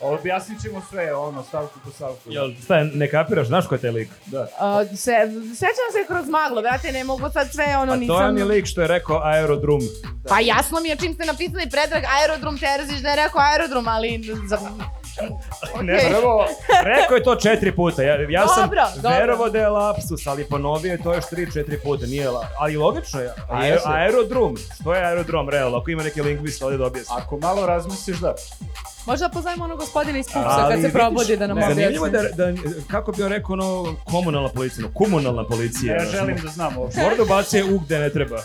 Speaker 3: Objasnit ćemo sve, ono, stavku po stavku.
Speaker 2: Jel, šta, ne kapiraš, znaš ko je taj lik?
Speaker 3: Da.
Speaker 1: E, se, sećam se kroz maglo, brate, ne mogu sad sve, ono,
Speaker 2: A Da, to je
Speaker 1: nisam...
Speaker 2: on je lik što je rekao aerodrum.
Speaker 1: Pa jasno mi je čim ste napisali Predrag Aerodrom Terzić, da je rekao aerodrom, ali... Za...
Speaker 2: Ne,
Speaker 1: Okej.
Speaker 2: prvo, rekao je to četiri puta. Ja, ja
Speaker 1: Dobro,
Speaker 2: sam
Speaker 1: dobro.
Speaker 2: verovao da je lapsus, ali ponovio je to još tri, četiri puta. Nije la... Ali logično je. Aer,
Speaker 3: Jeste.
Speaker 2: aerodrum. Što je aerodrom, realno? Ako ima neki lingvist, ovdje da objasni.
Speaker 3: Ako malo razmisliš, da.
Speaker 1: Možda pozajmo onog gospodina iz Pupsa
Speaker 2: Ali
Speaker 1: kad se
Speaker 2: vidiš,
Speaker 1: probudi da nam
Speaker 2: ne,
Speaker 1: objasni.
Speaker 2: Zanimljivo da, da, kako bi on rekao, ono, komunalna policija, no, komunalna policija.
Speaker 3: Ne
Speaker 2: znaš,
Speaker 3: želim
Speaker 2: ono.
Speaker 3: da znam uopšte.
Speaker 2: Mora da ubacuje u gde ne treba.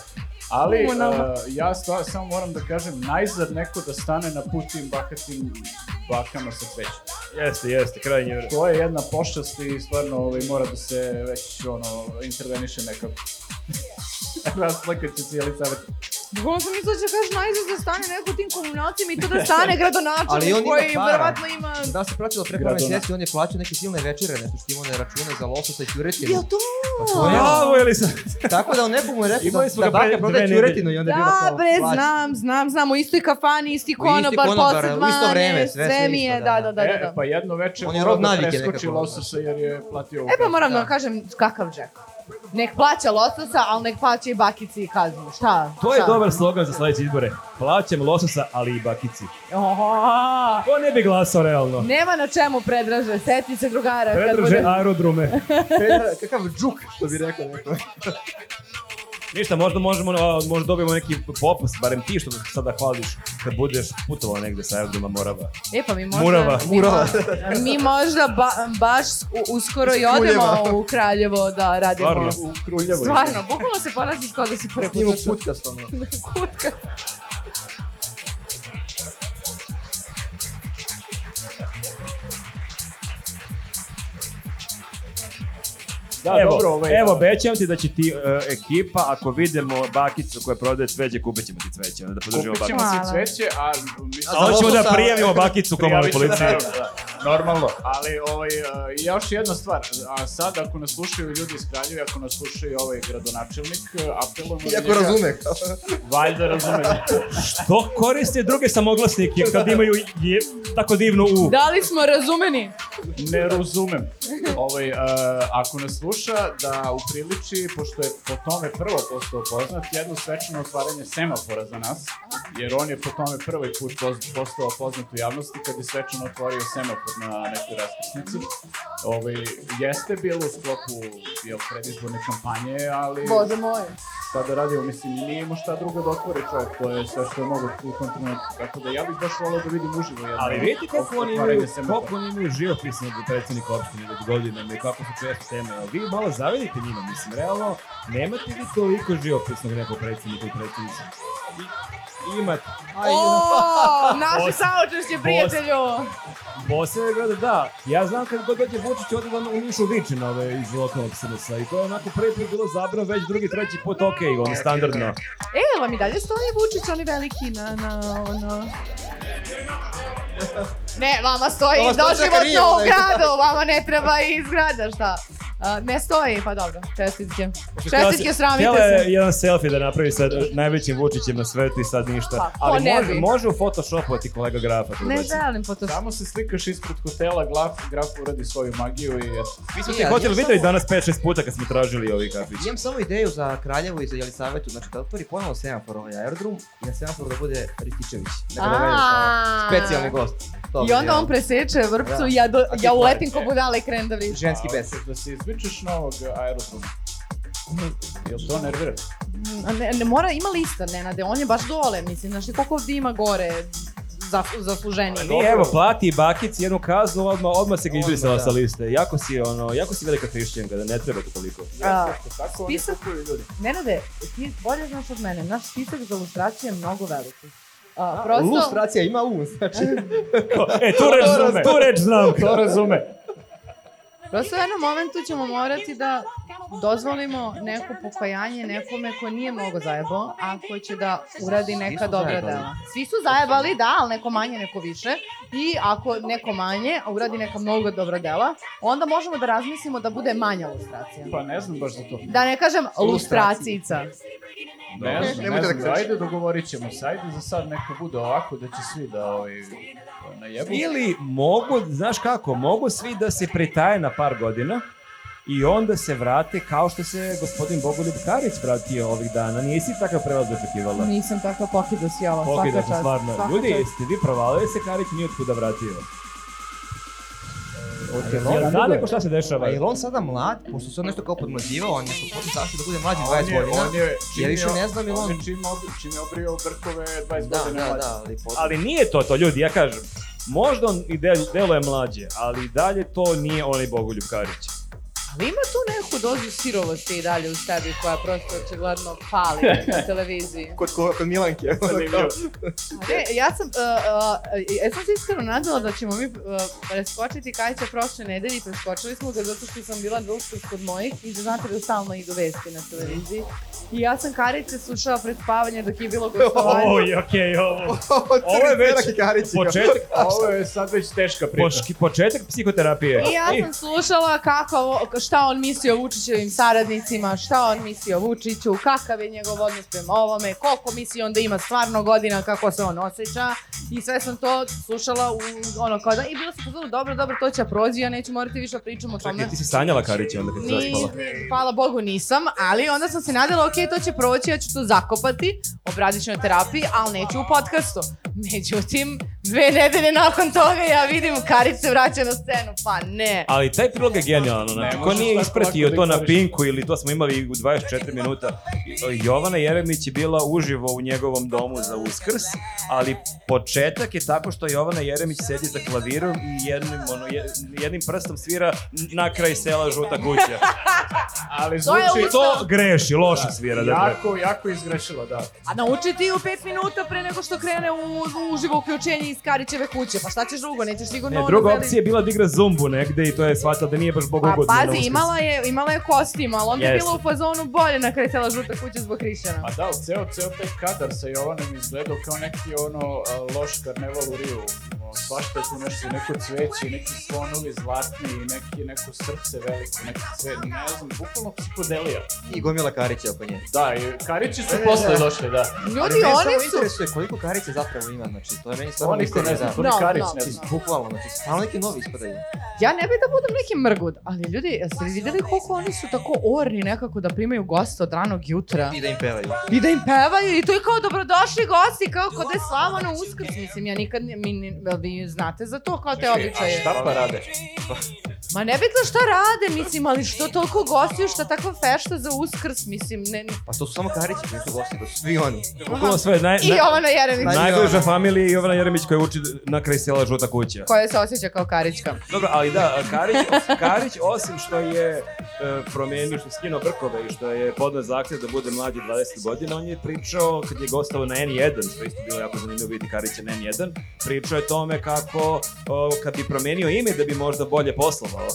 Speaker 3: Ali, e,
Speaker 1: Komunalna.
Speaker 3: ja stvar, samo moram da kažem, najzad neko da stane na put tim bahatim bakama sa cvećem.
Speaker 2: Jeste, jeste, krajnje vreme.
Speaker 3: To je jedna pošast i stvarno ovaj, mora da se već ono, interveniše nekako. *laughs* Rasplakat će cijeli savjet.
Speaker 1: Bukvalno sam mislila da će kažeš najzad da stane neko u tim komunalcima i to
Speaker 4: *laughs*
Speaker 1: da stane
Speaker 4: Ali on
Speaker 1: gradonačelnik
Speaker 4: ima
Speaker 1: koji
Speaker 4: para.
Speaker 1: verovatno ima...
Speaker 4: Da se pratilo pre par
Speaker 3: Gradona.
Speaker 4: meseci, on je plaćao neke silne večere, nešto što imao na račune za lososa i
Speaker 1: Jel
Speaker 4: ćuretinu.
Speaker 1: to?
Speaker 4: to je-
Speaker 2: Bravo, Elisa!
Speaker 4: Tako da on nekomu je rekao
Speaker 2: Imali
Speaker 4: da,
Speaker 2: smo
Speaker 4: da
Speaker 2: ga pre
Speaker 4: baka prodaje
Speaker 2: dve nedelje.
Speaker 4: ćuretinu i onda je bilo
Speaker 1: Da,
Speaker 4: kao
Speaker 1: bre,
Speaker 4: plaća.
Speaker 1: znam, znam, znam, u istoj kafani, isti konobar,
Speaker 4: konobar,
Speaker 1: posle
Speaker 4: u isto
Speaker 1: 12,
Speaker 4: vreme, sve, sve
Speaker 1: mi je,
Speaker 4: isto,
Speaker 1: da,
Speaker 4: da,
Speaker 1: da, da,
Speaker 3: e,
Speaker 1: da.
Speaker 3: pa jedno večer
Speaker 4: On je
Speaker 3: morao
Speaker 4: rob
Speaker 3: da
Speaker 4: navike
Speaker 3: preskoči
Speaker 4: nekako.
Speaker 3: lososa jer je platio ovu
Speaker 1: E pa
Speaker 3: kaznu.
Speaker 1: moram da vam kažem kakav džek. Nek plaća lososa, ali nek plaća i bakici i kaznu, šta?
Speaker 2: To je
Speaker 1: šta?
Speaker 2: dobar slogan za sledeće izbore. Plaćam lososa, ali i bakici.
Speaker 1: Oho,
Speaker 2: Ko ne bi glasao realno?
Speaker 1: Nema na čemu predraže, seti se drugara. kad
Speaker 2: Predrže
Speaker 1: bude-
Speaker 2: aerodrume.
Speaker 5: Pedra- Kakav džuk, što bi rekao neko.
Speaker 2: Ništa, možda možemo, a, možda dobijemo neki popust, barem ti što sada hvališ kad budeš putovao negde sa aerodroma Morava.
Speaker 1: E pa mi možda...
Speaker 2: Murava.
Speaker 1: Mi, mo- mi možda ba, baš u- uskoro i odemo u Kraljevo da radimo...
Speaker 2: Stvarno?
Speaker 3: U Kruljevo.
Speaker 1: Stvarno, bukvalno se ponašaš kao da si prvi put.
Speaker 4: Snimao
Speaker 1: došao.
Speaker 4: podcast ono.
Speaker 1: Kutka.
Speaker 3: Da,
Speaker 2: evo,
Speaker 3: dobro, ovaj,
Speaker 2: evo
Speaker 3: da.
Speaker 2: bećam ti da će ti e, ekipa, ako vidimo bakicu koja prodaje cveće, kupit ćemo ti cveće, onda da podržimo
Speaker 3: Kupit ćemo
Speaker 2: bakicu.
Speaker 1: Hvala.
Speaker 3: si cveće, a mislim...
Speaker 2: A onda ćemo da prijavimo bakicu komunalnoj
Speaker 3: Prijavit ću,
Speaker 2: policiji.
Speaker 3: naravno, da. Normalno. Ali ovaj, a, i još jedna stvar, a sad ako nas slušaju ljudi iz Kraljeva, ako nas slušaju ovaj gradonačelnik, apelujemo... na
Speaker 5: Iako
Speaker 3: njega.
Speaker 5: razume.
Speaker 3: Valjda razume.
Speaker 2: To koriste druge samoglasnike kad imaju je, tako divnu u.
Speaker 1: Da li smo razumeni?
Speaker 3: ne razumem. Ovaj, e, ako nas sluša, da upriliči, pošto je po tome prvo postao poznat, jedno svečano otvaranje semafora za nas, jer on je po tome prvi put poz- postao poznat u javnosti kad je svečano otvorio semafor na nekoj raskrsnici. Ovaj, jeste bilo u sklopu jel, predizborne kampanje, ali
Speaker 1: Bože moj.
Speaker 3: šta da radimo, mislim, nije imao šta drugo da otvori čovjek, to je sve što je mogo u tom trenutku. Tako da ja bih baš volao da vidim uživo jedno.
Speaker 2: Ali vidite kako oni imaju,
Speaker 3: otvaranje semafora.
Speaker 2: koliko oni imaju živopisnog predsjednika opštine već godinama i kako su često teme. Ali vi malo zavidite njima, mislim, realno, nemate vi toliko živopisnog nekog predsjednika i predsjednica. I- Imate.
Speaker 1: O, naše
Speaker 2: Bos-
Speaker 1: saučešće, prijatelju.
Speaker 2: Bosne grada, da. Ja znam kad god dođe Vučić, ode da u Nišu viče na ove iz lokalnog SNS-a. I to je onako prvi put bilo zabrano, već drugi, treći put, okej, ono standardno.
Speaker 1: E, jel vam i dalje stoji Vučić, oni veliki na, na, ono... Ne, vama stoji
Speaker 5: Vama stoji
Speaker 1: doživotno
Speaker 5: Zakarija,
Speaker 1: u
Speaker 5: onaj.
Speaker 1: gradu, vama ne treba i iz grada, šta? A, ne stoji, pa dobro, čestitke.
Speaker 2: Htjela se-
Speaker 1: Čestitke, sramite
Speaker 2: htjela je
Speaker 1: se.
Speaker 2: jedan selfie da napravi sa najvećim Vučićem na svetu i sad ništa.
Speaker 1: Pa, ko
Speaker 2: Ali
Speaker 1: ne
Speaker 2: može,
Speaker 1: bi?
Speaker 2: može u photoshopovati kolega Grafa. znači. tu
Speaker 1: Ne
Speaker 2: ubaci.
Speaker 1: želim Photoshop.
Speaker 3: Samo se slikaš ispred hotela, graf, graf uradi svoju magiju i eto.
Speaker 2: Mi smo
Speaker 4: Je,
Speaker 2: ti
Speaker 4: ali
Speaker 2: hoteli da-
Speaker 4: imam
Speaker 2: videli
Speaker 4: samo-
Speaker 2: danas 5-6 puta kad smo tražili ovi kafić.
Speaker 4: Imam samo ideju za Kraljevu i za Jelisavetu, znači da otvori ponovo semafor ovaj aerodrom i na semaforu da bude Rističević. Neka da vede
Speaker 1: A.
Speaker 4: specijalni gost. To
Speaker 1: I
Speaker 4: bi
Speaker 1: onda
Speaker 4: bilo.
Speaker 1: on preseče vrpcu
Speaker 4: Da.
Speaker 1: i ja, do,
Speaker 4: ti
Speaker 1: ja
Speaker 4: pare.
Speaker 1: uletim ko budala i krenem da vidim.
Speaker 4: Ženski
Speaker 3: A,
Speaker 4: bes.
Speaker 3: hoćeš Da se izvičeš na ovog aerodroma. Jel to nervira?
Speaker 1: A Ne, ne mora, ima lista, Nenade, on je baš dole, mislim, znaš ti koliko ovdje ima gore za, zasluženiji.
Speaker 2: Nije, evo, plati Bakic jednu kaznu, odmah, odmah se ga
Speaker 4: Odmah,
Speaker 2: izbrisala
Speaker 4: da.
Speaker 2: sa liste. Jako si, ono, jako si velika hrišćanka, da ne treba ti toliko.
Speaker 1: A,
Speaker 3: Tako oni
Speaker 1: Spisak-
Speaker 3: kupuju ljudi.
Speaker 1: Nenade, ti bolje znaš od mene, naš spisak za lustraciju je mnogo veliki. A, prosto,
Speaker 5: Lustracija ima um, znači.
Speaker 2: *laughs*
Speaker 4: *laughs*
Speaker 2: E, tu reč znam, tu reč znam.
Speaker 3: To razume.
Speaker 1: prosto u jednom momentu ćemo morati da dozvolimo neko pokajanje nekome ko nije mnogo zajebao, a ko će da uradi neka
Speaker 4: su
Speaker 1: dobra
Speaker 4: zajebali.
Speaker 1: dela. Svi su zajebali, da, ali neko manje, neko više. I ako neko manje, a uradi neka mnogo dobra dela, onda možemo da razmislimo da bude manja lustracija.
Speaker 3: Pa ne znam baš za to.
Speaker 1: Da ne kažem lustracijica.
Speaker 3: Ne znam, ne
Speaker 5: Nemojte da
Speaker 3: znam.
Speaker 5: kažete.
Speaker 3: Ajde, dogovorit ćemo se. Ajde, za sad neka bude ovako da će svi da ovaj, najebu.
Speaker 2: Ili mogu, znaš kako, mogu svi da se pritaje na par godina i onda se vrate kao što se gospodin Bogoljub Karić vratio ovih dana. Nisi takav prelaz očekivala.
Speaker 1: Nisam takva pokida sjela,
Speaker 2: Ok, da
Speaker 1: svaka
Speaker 2: sam
Speaker 1: čast.
Speaker 2: stvarno.
Speaker 1: svaka
Speaker 2: Ljudi,
Speaker 1: čast.
Speaker 2: jeste vi provalili se Karić nije otkuda vratio.
Speaker 4: Hoće li on-
Speaker 2: Jel zna neko šta se dešava?
Speaker 4: A jel on sada mlad, pošto se on nešto kao podmlađivao, on je pošto zašto da bude mlađi
Speaker 3: A
Speaker 4: 20 godina.
Speaker 3: on je, čim
Speaker 4: Ja više
Speaker 3: je-
Speaker 4: ne znam jel
Speaker 3: on je
Speaker 4: on...
Speaker 3: čim, ob- čim je obrio brkove 20
Speaker 4: Da,
Speaker 3: godina.
Speaker 4: da,
Speaker 3: mlađi.
Speaker 4: da, ali potom...
Speaker 2: Ali nije to to, ljudi, ja kažem. Možda on i del, deluje mlađe, ali i dalje to nije onaj Bogoljub Karić.
Speaker 1: Ali ima tu neku dozu sirovosti i dalje u sebi koja prosto očigledno pali
Speaker 2: *laughs*
Speaker 1: na televiziji.
Speaker 5: Kod, ko- kod Milanke.
Speaker 3: Zanimljivo.
Speaker 1: Ne, ja sam, uh, uh, ja sam se iskreno nadala da ćemo mi uh, preskočiti Kajića prošle nedelje i preskočili smo ga zato što sam bila na usput kod mojih i da znate da stalno idu vesti na televiziji. I ja sam Kajića slušala pred spavanje dok Pa je bilo gostovanje.
Speaker 2: Oj, okej,
Speaker 1: *laughs*
Speaker 2: ovo.
Speaker 5: Ovo
Speaker 2: je
Speaker 5: je
Speaker 2: već
Speaker 5: već
Speaker 2: Početak,
Speaker 3: A Ovo je sad već teška priča.
Speaker 2: poški- početak psihoterapije.
Speaker 1: I ja sam slušala kako, ovo- šta on misli o Vučićevim saradnicima, šta on misli o Vučiću, kakav je njegov odnos prema ovome, koliko misli on da ima stvarno godina, kako se on osjeća. I sve sam to slušala u ono kao da, i bilo sam pozvala, dobro, dobro, to će prođi, ja neću morati više da pričam o tome.
Speaker 2: Čekaj, ti si sanjala Karića onda kad si
Speaker 1: Ni,
Speaker 2: zaspala.
Speaker 1: hvala Bogu nisam, ali onda sam se nadala, ok, to će proći, ja ću to zakopati, obradit ću na terapiji, ali neću u podcastu. Međutim, dve nedelje nakon toga ja vidim Karić se vraća na scenu, pa ne.
Speaker 2: Ali taj prilog je genijalan, znači,
Speaker 3: Ne
Speaker 2: ko
Speaker 3: možeš
Speaker 2: nije
Speaker 3: tako
Speaker 2: ispratio
Speaker 3: lako da
Speaker 2: to na
Speaker 3: ignoriš.
Speaker 2: Pinku ili to smo imali u 24 minuta. Jovana Jeremić je bila uživo u njegovom domu za uskrs, ali početak je tako što Jovana Jeremić sedi za klavirom i jednim, ono, je- jednim prstom svira na kraj sela žuta
Speaker 1: *laughs*
Speaker 2: kuća.
Speaker 3: Ali
Speaker 1: To je
Speaker 3: zvuči
Speaker 1: uz-
Speaker 2: To greši, loše svira. Dakle.
Speaker 3: jako, jako izgrešila, da.
Speaker 1: A nauči ti u pet minuta pre nego što krene u, u uživo uključenje iz Karićeve kuće. Pa šta ćeš drugo, nećeš sigurno...
Speaker 2: Ne,
Speaker 1: ono
Speaker 2: druga
Speaker 1: zeli-
Speaker 2: opcija je bila da igra zumbu negde i to je shvatila da nije baš
Speaker 1: Pa
Speaker 2: bogogodno. na
Speaker 1: pazi,
Speaker 2: Uskrs.
Speaker 1: imala je, imala je kostim, ali onda je
Speaker 2: Jeste. Pa,
Speaker 1: bila u fazonu bolje na kraju cela žuta kuća zbog Hrišćana.
Speaker 3: A da, ali ceo, ceo taj kadar sa Jovanom izgledao kao neki ono a, loš karneval u Riju. O, Svašta je tu nešto, neko cveće, neki slonovi zlatni, neki, neko srce veliko, neki cvet, ne znam, bukvalno psihodelija.
Speaker 4: I gomila Karića oko nje.
Speaker 3: Da, i karići su posle došli, da.
Speaker 1: Ljudi, oni su...
Speaker 4: interesuje koliko Karića zapravo ima, znači to je meni stvarno...
Speaker 3: Oni ko ne zna,
Speaker 4: misterija,
Speaker 3: to
Speaker 4: da.
Speaker 3: ni
Speaker 1: No,
Speaker 3: karić
Speaker 1: no.
Speaker 3: ne zna.
Speaker 4: Bukvalno, znači stalno neki novi ispadaju.
Speaker 1: Ja ne bih da budem neki mrgud, ali ljudi, jeste li vidjeli koliko oni su tako orni nekako da primaju goste od ranog jutra?
Speaker 4: I da im pevaju.
Speaker 1: I da im pevaju i to je kao dobrodošli gosti, kao kod je slava na uskrs. Mislim, ja nikad, ne- mi, ni- jel vi znate za to kao te običaje?
Speaker 3: Šta pa rade?
Speaker 1: Ma ne bitno šta rade, mislim, ali što toliko gostiju, šta takva fešta za uskrs, mislim, ne...
Speaker 4: Pa to su samo Karići, to nisu gosti, to su svi oni.
Speaker 2: Bukvalno sve, naj,
Speaker 1: I
Speaker 2: naj-
Speaker 1: Jovana Jeremić,
Speaker 4: Naj-
Speaker 2: najbliža familija je Jovana Jeremić koja uči na kraj sela žuta kuća.
Speaker 1: koja se osjeća kao karička.
Speaker 2: Dobro, ali da, Karić, Karić osim što je e, promijenio, što je skinuo brkove i što je podnao zahtjev da bude mlađi 20 godina, on je pričao, kad je gostao na N1, što je isto bilo jako zanimljivo vidjeti Karića na N1, pričao je tome kako o, kad bi promijenio ime da bi možda bolje poslovao.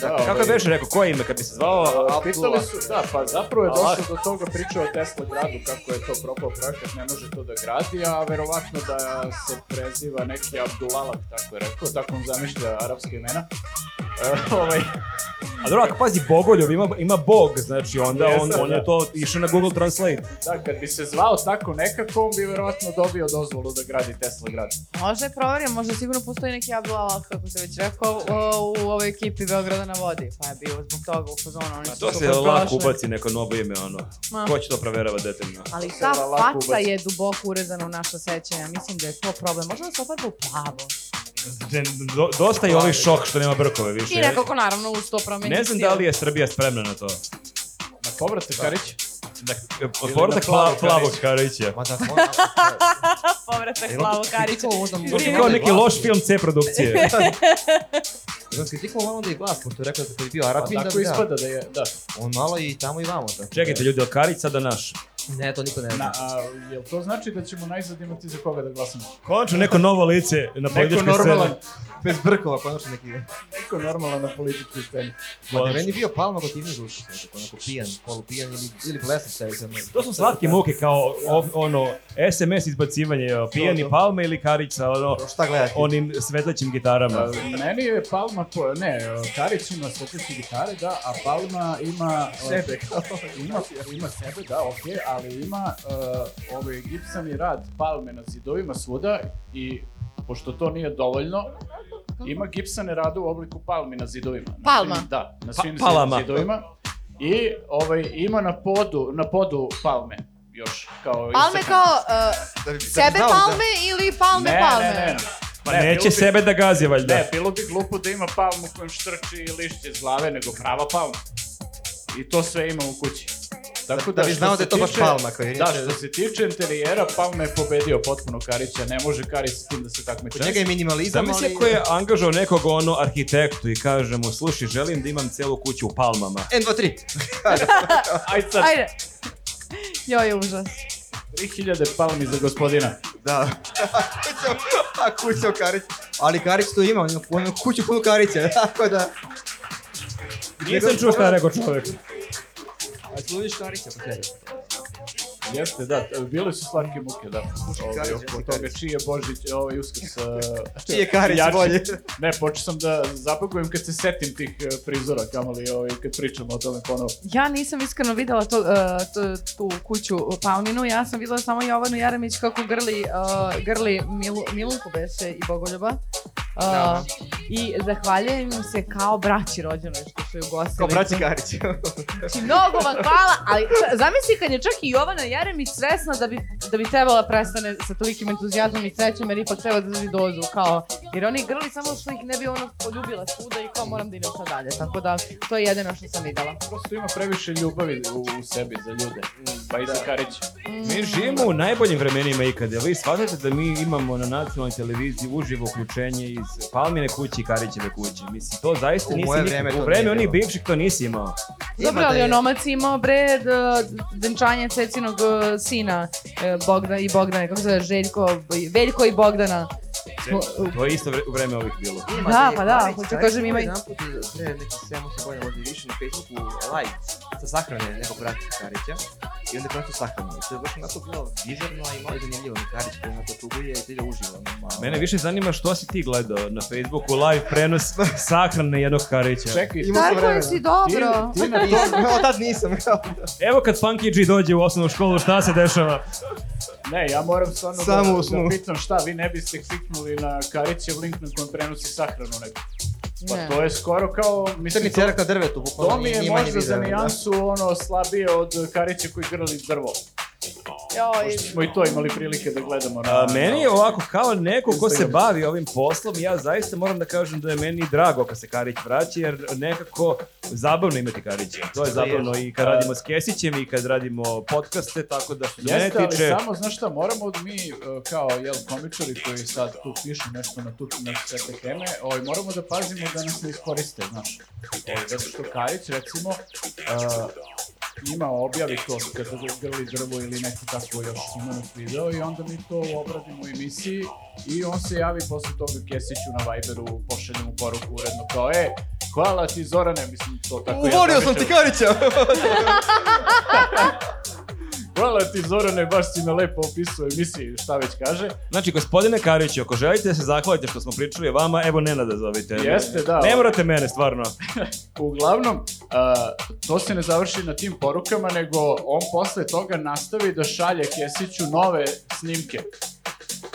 Speaker 3: Da,
Speaker 2: Kako je
Speaker 3: ovaj,
Speaker 2: već rekao, koje ime kad bi se zvao?
Speaker 3: A, Pitali su, da, pa zapravo je
Speaker 2: Allah.
Speaker 3: došlo do toga priča o Tesla gradu, kako je to propao projekat, ne može to da gradi, a verovatno da se preziva neki Abdulalak, tako je rekao, tako on zamišlja arapske imena. E, ovaj,
Speaker 2: A dobro, ako pazi, Bogoljub ima, ima Bog, znači onda on,
Speaker 3: Jesam,
Speaker 2: on
Speaker 3: da.
Speaker 2: je to išao na Google Translate.
Speaker 3: da, kad bi se zvao tako nekako, on bi verovatno dobio dozvolu da gradi Tesla grad.
Speaker 1: Možda je proverio, možda sigurno postoji neki Abdu Allah, kako se već rekao, o, u ovoj ekipi Beograda na vodi, pa je bio zbog toga u fazonu, oni su
Speaker 2: Pa To se
Speaker 1: super
Speaker 2: lako
Speaker 1: prošli.
Speaker 2: ubaci neko novo ime, ono.
Speaker 1: Ma.
Speaker 2: Ko će to proverava detaljno?
Speaker 1: Ali
Speaker 3: se
Speaker 1: ta
Speaker 3: lako
Speaker 1: faca
Speaker 3: ubaci.
Speaker 1: je duboko urezana u naša sećanja, mislim da je to problem. Možda da se opada u plavo.
Speaker 2: Do- dosta je ovaj šok što nema brkove
Speaker 1: I
Speaker 2: više.
Speaker 1: nekako, naravno, uz to promeni
Speaker 2: Ne znam da li je Srbija spremna na to.
Speaker 3: Na povrat
Speaker 4: Pa,
Speaker 3: Karić?
Speaker 2: Od povratak pla-
Speaker 3: plavog
Speaker 2: plavog Karića.
Speaker 1: *laughs*
Speaker 4: Ma da, ona...
Speaker 1: povratak Plavo
Speaker 2: *laughs*
Speaker 1: Karića.
Speaker 2: To je kao neki loš film C *laughs* produkcije.
Speaker 4: Znam, kritikao malo onda i glas, pošto je rekao da je bio Arapin,
Speaker 3: Pa
Speaker 4: da
Speaker 3: tako
Speaker 4: bi da.
Speaker 3: ispada da je, da.
Speaker 4: On malo i tamo i vamo. Tako. da-
Speaker 2: Čekajte ljudi, je Karić sada naš?
Speaker 4: Ne, to niko ne zna.
Speaker 3: Na, a, jel to znači da ćemo najzad imati za koga da glasamo?
Speaker 2: Končno neko novo lice na
Speaker 3: Neko
Speaker 2: političkoj sceni.
Speaker 3: normalan,
Speaker 4: Bez brkova, konačno neki.
Speaker 3: neko normalan na političkoj sceni.
Speaker 4: Ma da je meni bio palma gotivni duši, tako znači, onako pijan, polupijan ili, ili blesan se.
Speaker 2: To su slatke muke kao o- ono SMS izbacivanje, evo, pijani palme ili Karića, ono,
Speaker 4: Šta gledati?
Speaker 2: onim svetlećim gitarama.
Speaker 3: A, Meni je Palma, po, ne, Karić ima svetlične gitare, da, a Palma ima... Sebe. *laughs* ima, ima sebe, da, okej, ali ima uh, ovaj gipsani rad Palme na zidovima svuda i pošto to nije dovoljno, ima gipsane rade u obliku palmi na zidovima. Na
Speaker 1: Palma?
Speaker 3: svim- Da, na svim
Speaker 2: Pa, palama.
Speaker 3: zidovima. I ovaj, ima na podu, na podu palme još. Kao
Speaker 1: Palme
Speaker 3: istaknute.
Speaker 1: kao uh,
Speaker 4: Da
Speaker 1: sebe palme ili palme
Speaker 3: ne,
Speaker 1: palme?
Speaker 3: Ne, ne,
Speaker 2: Pa
Speaker 3: Ne, bilo
Speaker 2: neće
Speaker 3: bi-
Speaker 2: sebe da gazi, valjda.
Speaker 3: Ne, bilo bi glupo da ima palmu kojom štrči lišće iz glave, nego prava palma. I to sve ima u kući. Tako
Speaker 4: Da bi
Speaker 3: što
Speaker 4: znao da
Speaker 3: se
Speaker 4: je to baš
Speaker 3: tiče-
Speaker 4: palma koja je
Speaker 3: Da,
Speaker 4: inače-
Speaker 3: što se tiče interijera, palma je pobedio potpuno Karića, ne može Karić s tim da se takmiče.
Speaker 4: Kod njega je minimalizam,
Speaker 2: Zamisli
Speaker 4: ali...
Speaker 2: ako je angažao nekog ono arhitektu i kaže mu, slušaj, želim da imam celu kuću u palmama.
Speaker 4: N, 2, 3.
Speaker 3: Aj sad,
Speaker 1: Ajde. Joj, užas.
Speaker 3: 3000 palmi za gospodina.
Speaker 4: *laughs* Da. kuća, a kuća u Karić. Ali Karić to ima, on ima punu- kuću punu Karića, *laughs* tako da...
Speaker 2: Nisam čuo šta je rekao čovjek.
Speaker 4: A služiš Karića po sebi.
Speaker 3: Jeste, da, bile su slatke muke, da. Ovaj,
Speaker 4: Karić,
Speaker 3: oko
Speaker 4: Jesse
Speaker 3: toga
Speaker 4: Karić.
Speaker 3: čiji je Božić, ovaj
Speaker 4: *laughs*
Speaker 3: Uskrs. eh,
Speaker 4: Čiji je Karić
Speaker 3: jači.
Speaker 4: bolji?
Speaker 3: Ne, počeo sam da zapakujem kad se setim tih eh, prizora, kamoli ovaj, kad pričamo o tome ponovo.
Speaker 1: Ja nisam iskreno videla to, e, to- tu kuću e, Palminu, ja sam videla samo Jovanu Jaremić kako grli, e, grli Milu, Milunku beše i Bogoljuba. E,
Speaker 4: Da.
Speaker 1: I zahvaljujem im se kao braći rođenoj što su ju gostili.
Speaker 4: Kao braći Karić. *laughs*
Speaker 1: Znači, mnogo vam hvala, ali ča- zamisli kad je čak i Jovana Jeremić svesna da bi, da bi trebala prestane sa tolikim entuzijazmom i srećom, jer ipak treba da drži dozu, kao, jer oni grli samo što ih ne bi ono poljubila svuda i kao moram da idem sad dalje, tako da to je jedino što sam videla.
Speaker 3: Prosto ima previše ljubavi u, u sebi za ljude. Pa i za Karića.
Speaker 2: Mi živimo u najboljim vremenima ikada. Vi shvatate da mi imamo na nacionalnoj televiziji uživo uključenje iz Palmine kuće i Karićeve kuće. Mislim, to zaista
Speaker 4: U
Speaker 2: nisi
Speaker 4: moje
Speaker 2: nikad-
Speaker 4: vreme to
Speaker 2: u vreme
Speaker 4: nije
Speaker 2: onih
Speaker 4: bilo.
Speaker 2: bivših to nisi imao.
Speaker 1: Dobro,
Speaker 4: Ima da
Speaker 1: ali
Speaker 4: je-
Speaker 1: onomac je imao bre d- venčanje cecinog e, sina e, Bogda i Bogdana, kako se zove, Željko, Veljko i Bogdana. Smo-
Speaker 2: To je isto vre- u vreme ovih bilo.
Speaker 4: Ima
Speaker 1: Da,
Speaker 4: je
Speaker 1: pa da,
Speaker 4: Karić,
Speaker 1: hoću
Speaker 4: Karić
Speaker 1: kažem,
Speaker 4: je
Speaker 1: ima i-
Speaker 4: Jedanput, pre nekih 7-8 godina možda i više na Facebooku live sa sahrane nekog brata Karića i onda je prosto sahranio. To je baš onako bilo bizarno a i malo zanimljivo. da Karić koji onako tuguje i ide uživo. ono, malo.
Speaker 2: Mene više zanima što si ti gledao na Facebooku live prenos sahrane jednog Karića.
Speaker 3: Čekaj,
Speaker 4: Ima sam
Speaker 1: Tako
Speaker 4: vremena.
Speaker 1: je si dobro.
Speaker 3: ti, ti na to,
Speaker 4: Nisam, evo tad nisam.
Speaker 2: Evo kad Funky G dođe u osnovnu školu, šta se dešava?
Speaker 3: ne, ja moram stvarno
Speaker 4: Samo u
Speaker 3: da,
Speaker 4: snu.
Speaker 3: da pitam šta, vi ne biste kliknuli na Karićev link na kojem prenosi sahranu neko. Pa
Speaker 1: Ne.
Speaker 3: to je skoro kao, mislim,
Speaker 4: Crni
Speaker 3: to,
Speaker 4: cerak na drvetu, bukvalno.
Speaker 3: to mi je
Speaker 4: nije manje
Speaker 3: možda za
Speaker 4: bizarno, da.
Speaker 3: nijansu ono slabije od Karića koji grli drvo.
Speaker 1: Joj,
Speaker 3: Smo i to imali prilike da gledamo. Na,
Speaker 2: A, meni je
Speaker 3: na-
Speaker 2: ovako, kao neko ko se
Speaker 3: Instagram.
Speaker 2: bavi ovim poslom, ja zaista moram da kažem da je meni drago kad se Karić vraća, jer nekako zabavno imati Karića. To je zabavno i kad radimo s Kesićem i kad radimo podcaste, tako da što se mene
Speaker 3: Jeste, ali
Speaker 2: tiče...
Speaker 3: samo, znaš šta, moramo da mi, e, kao, jel, komičari koji sad tu pišu nešto na tu, na sve te teme, ovaj, moramo da pazimo da nas ne iskoriste, znaš. Ovaj, zato što Karić, recimo, e, ima objavi to kada grli drvo ili neki tako još imenu video i onda mi to obradimo u emisiji i on se javi posle toga Kesiću na Viberu, pošalje mu poruku uredno kao, e, hvala ti Zorane, mislim to tako
Speaker 4: Uvolio sam ti
Speaker 3: zamišljam.
Speaker 4: Karića!
Speaker 3: Hvala ti Zorane, baš si me lepo opisao u emisiji, šta već kaže.
Speaker 2: Znači, gospodine Kariću, ako želite da se zahvalite što smo pričali o vama, evo Nenada zovite.
Speaker 3: Jeste, da.
Speaker 2: Ne morate mene, stvarno.
Speaker 3: Uglavnom, a, to se ne završi na tim porukama, nego on posle toga nastavi da šalje Kesiću nove snimke.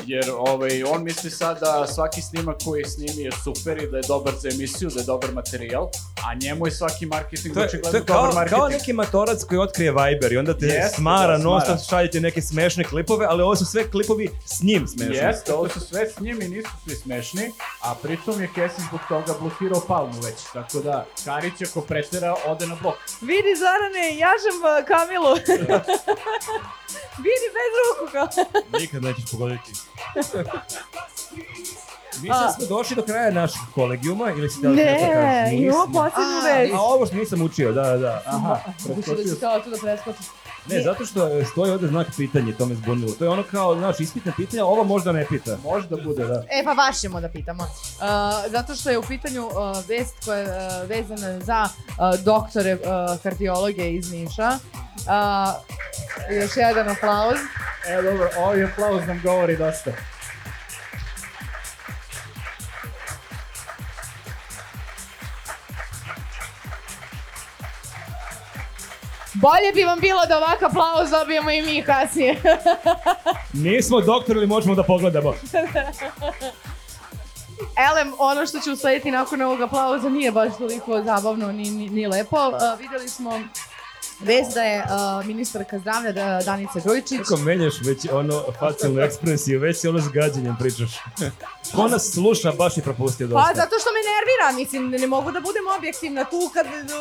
Speaker 3: Jer ovaj, on misli sad da svaki snimak koji je snimi je super i da je dobar za emisiju, da je dobar materijal, a njemu je svaki marketing
Speaker 2: To je, to
Speaker 3: očigledno
Speaker 2: je kao,
Speaker 3: dobar marketing.
Speaker 2: kao neki matorac koji otkrije Viber i onda te
Speaker 3: Jeste,
Speaker 2: smara,
Speaker 3: da,
Speaker 2: non
Speaker 3: smara.
Speaker 2: stop šaljete neke smešne klipove, ali ovo su sve klipovi s njim smešni.
Speaker 3: Jeste, ovo su sve s njim i nisu svi smešni, a pritom je Kesi zbog toga blokirao Palmu već, tako da Karić ako pretera ode na blok.
Speaker 1: Vidi Zorane, jažem uh, Kamilu. Vidi bez ruku. Ka-
Speaker 6: Nikad nećeš pogoditi.
Speaker 2: *laughs* Mi
Speaker 1: A.
Speaker 2: sad smo došli do kraja našeg kolegijuma ili si da
Speaker 7: Ne, imamo
Speaker 1: A,
Speaker 7: posebnu vest.
Speaker 2: A ovo što nisam učio, da, da.
Speaker 3: Aha,
Speaker 1: Mislim da
Speaker 3: preskočio
Speaker 1: će kao tu da preskočiš.
Speaker 2: Ne, zato što e, stoji ovde znak pitanje, to me zbunilo. To je ono kao, znaš, ispitne pitanja, ovo možda ne pita.
Speaker 3: Možda bude, da.
Speaker 1: E pa baš ćemo da pitamo. Uh, zato što je u pitanju uh, vest koja je uh, vezana za uh, doktore uh, kardiologe iz Niša. Uh, još jedan aplauz.
Speaker 3: E, dobro, ovaj aplauz nam govori dosta.
Speaker 1: Bolje bi vam bilo da ovakav aplauz dobijemo i mi kasnije.
Speaker 2: Nismo doktori, ali možemo da pogledamo.
Speaker 1: Elem, ono što će uslediti nakon ovog aplauza nije baš toliko zabavno ni, ni, ni lepo. Uh, videli smo vest da je uh, ministarka zdravlja da- Danica Grujičić
Speaker 2: Kako menjaš već ono facijalnu ekspresiju, već si ono s gađenjem pričaš. Ko nas sluša, baš je propustio dosta.
Speaker 1: Pa zato što me nervira, mislim, ne mogu da budem objektivna tu kad d- d-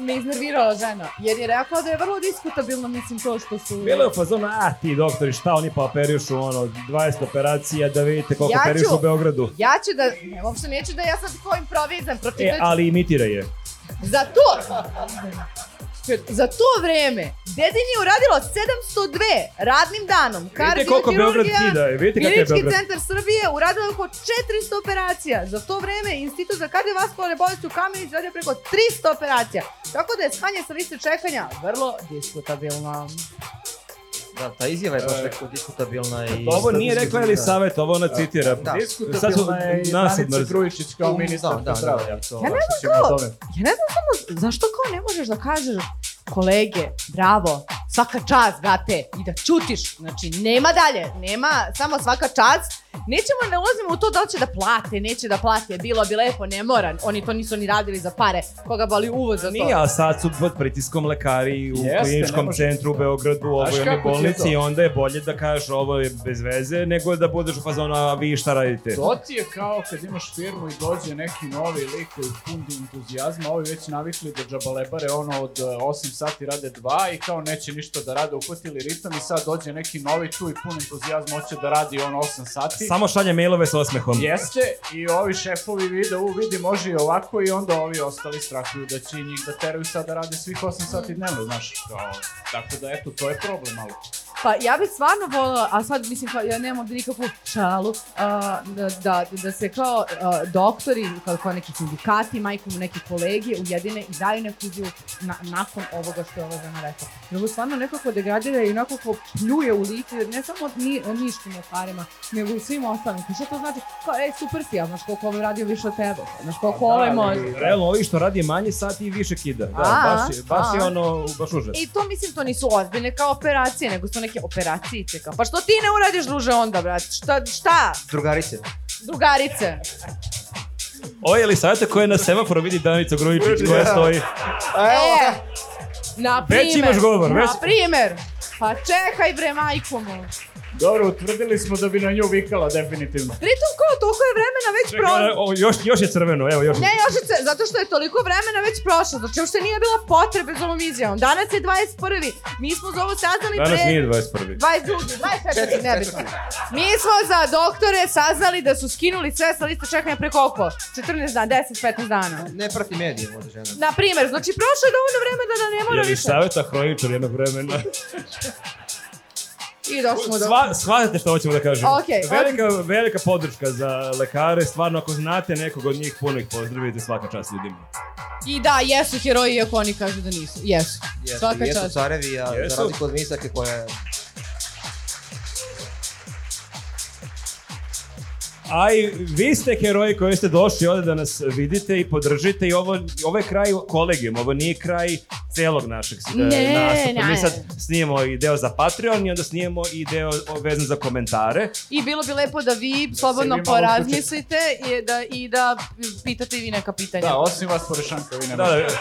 Speaker 1: me iznervirala žena. Jer je rekla da je vrlo diskutabilno, mislim, to što su...
Speaker 2: Bilo je u fazonu, a ti doktori, šta oni pa operišu, ono, 20 operacija, da vidite koliko
Speaker 1: Ja ću-
Speaker 2: operišu u Beogradu.
Speaker 1: Ja ću da, ne, uopšte neću da ja sad ko improvizam,
Speaker 2: E,
Speaker 1: pročitaću.
Speaker 2: ali imitira je.
Speaker 1: Za to... Za to vreme, Dedin je uradilo 702 radnim danom.
Speaker 2: Vidite koliko Beograd
Speaker 1: kardiokirurgija,
Speaker 2: kida, vidite kakav je
Speaker 1: Klinički
Speaker 2: Beograd.
Speaker 1: centar Srbije uradio je oko 400 operacija. Za to vreme Institut za kardiovaskularne bolesti u Kamenici izradio preko 300 operacija. Tako da je skanje sa liste čekanja vrlo diskutabilno.
Speaker 4: Da, ta izjava je baš rekao diskutabilna i...
Speaker 2: Pa Ovo nije rekla ili savjet, ovo ona citira.
Speaker 4: Da.
Speaker 2: Sad su
Speaker 3: Diskutabilna je i
Speaker 2: nasad
Speaker 3: Danica
Speaker 2: mrzi.
Speaker 3: Grujičić kao
Speaker 4: Da,
Speaker 3: ministar
Speaker 4: da, da,
Speaker 3: zdravlja.
Speaker 4: i to.
Speaker 1: Ja ne
Speaker 3: Baš
Speaker 1: znam
Speaker 3: ćemo o
Speaker 1: kao-
Speaker 3: tome.
Speaker 1: Ja ne znam samo zašto kao ne možeš da kažeš kolege, bravo, svaka čast, brate, i da čutiš. Znači, nema dalje, nema samo svaka čast. Nećemo, ne ulazimo u to da li će da plate, neće da plate, bilo bi lepo, ne moram. Oni to nisu ni radili za pare, koga boli uvoz za to.
Speaker 2: Nije, a sad su pod pritiskom lekari u
Speaker 3: Jeste, ne
Speaker 2: kliničkom
Speaker 3: može-
Speaker 2: centru u Beogradu, u ovoj
Speaker 3: Znaš
Speaker 2: onoj
Speaker 3: kako ti je
Speaker 2: bolnici
Speaker 3: to?
Speaker 2: i onda je bolje da kažeš ovo je bez veze nego da budeš u fazonu, a vi šta radite?
Speaker 3: To ti je kao kad imaš firmu i dođe neki novi lik koji pundi entuzijazma, ovi već navikli da džabalebare ono od e, 8 sati rade 2 i kao neće ništa da rade, uhvatili ritam i sad dođe neki novi tu i pun entuzijazma hoće da radi on 8 sati.
Speaker 2: Samo šalje mailove s osmehom.
Speaker 3: Jeste, i ovi šefovi vide, u vidi može i ovako i onda ovi ostali strahuju da će i njih da teraju sad da rade svih 8 sati dnevno, znaš, kao, tako da eto, to je problem malo.
Speaker 1: Pa ja bih stvarno volila, a sad mislim kao ja nemam ovde nikakvu šalu, a, da, da, da se kao a, doktori, kao, kao neki sindikati, majkom neke kolegije ujedine i daju neku izjavu na, nakon ovoga što je ova žena rekla. Drugo, stvarno nekako degradira i onako pljuje u lice, ne samo ni, o niškim lekarima, nego i svim ostalim. Kao, Šta to znači? Kao, ej, super si, ja znaš koliko ovo je radio više od tebe, Pa, znaš koliko ovo je
Speaker 3: ali-
Speaker 1: može.
Speaker 2: Realno, ovi što radi manje sati i više kida. Da,
Speaker 1: A,
Speaker 2: baš, je- baš je
Speaker 1: a.
Speaker 2: ono, baš užas.
Speaker 1: I to mislim to nisu ozbiljne kao operacije, nego su neke operacijice kao. Pa što ti ne uradiš druže onda, brate? Šta, šta?
Speaker 4: Drugarice.
Speaker 1: Drugarice.
Speaker 2: Ovo je Elisaveta koja na semaforu vidi da. Danicu Grujičić koja stoji.
Speaker 1: E, na primer.
Speaker 2: da. Već imaš govor, već-
Speaker 1: Na primer. Pa čekaj bre, majko mu.
Speaker 3: Dobro, utvrdili smo da bi na nju vikala definitivno.
Speaker 1: Pritom kao, toliko je vremena već prošlo.
Speaker 2: O, još, još je crveno, evo još.
Speaker 1: Ne, Jošice, zato što je toliko vremena već prošlo, znači uopšte nije bila potrebe za ovom izjavom. Danas je 21. Mi smo za ovo saznali
Speaker 2: Danas
Speaker 1: pre...
Speaker 2: nije 21.
Speaker 1: 22. 24. nebitno. Mi smo za doktore saznali da su skinuli sve sa liste čekanja pre koliko? 14 dana, 10, 15 dana.
Speaker 4: Ne prati medije, možda žena.
Speaker 1: Na primer, znači prošlo je dovoljno vremena da ne mora više.
Speaker 2: Elisaveta hroničar jednog vremena.
Speaker 1: I došli smo do...
Speaker 2: Sva, shvatate što hoćemo da kažemo.
Speaker 1: da. Okej,
Speaker 2: velika, velika podrška za lekare, stvarno ako znate nekog od njih, puno ih pozdravite, svaka čast ljudima.
Speaker 1: I da, jesu heroji, iako oni kažu da nisu. Jesu.
Speaker 4: Jeste,
Speaker 1: Svaka
Speaker 4: jesu
Speaker 1: čast.
Speaker 4: carevi, a
Speaker 2: Jesu.
Speaker 4: za razliku od Misake koja je...
Speaker 2: A i vi ste heroji koji ste došli ovde da nas vidite i podržite i ovo, ovo je kraj kolegijum, ovo nije kraj celog našeg e,
Speaker 1: Ne,
Speaker 2: nastupa. Mi
Speaker 1: ne.
Speaker 2: sad snijemo i deo za Patreon i onda snijemo i deo vezan za komentare.
Speaker 1: I bilo bi lepo da vi
Speaker 3: vi
Speaker 1: slobodno
Speaker 3: malo
Speaker 1: porazmislite i da, i da pitate i vi neka pitanja.
Speaker 3: Da, osim vas Porešanka, vi ne
Speaker 2: Da, da.
Speaker 3: možete.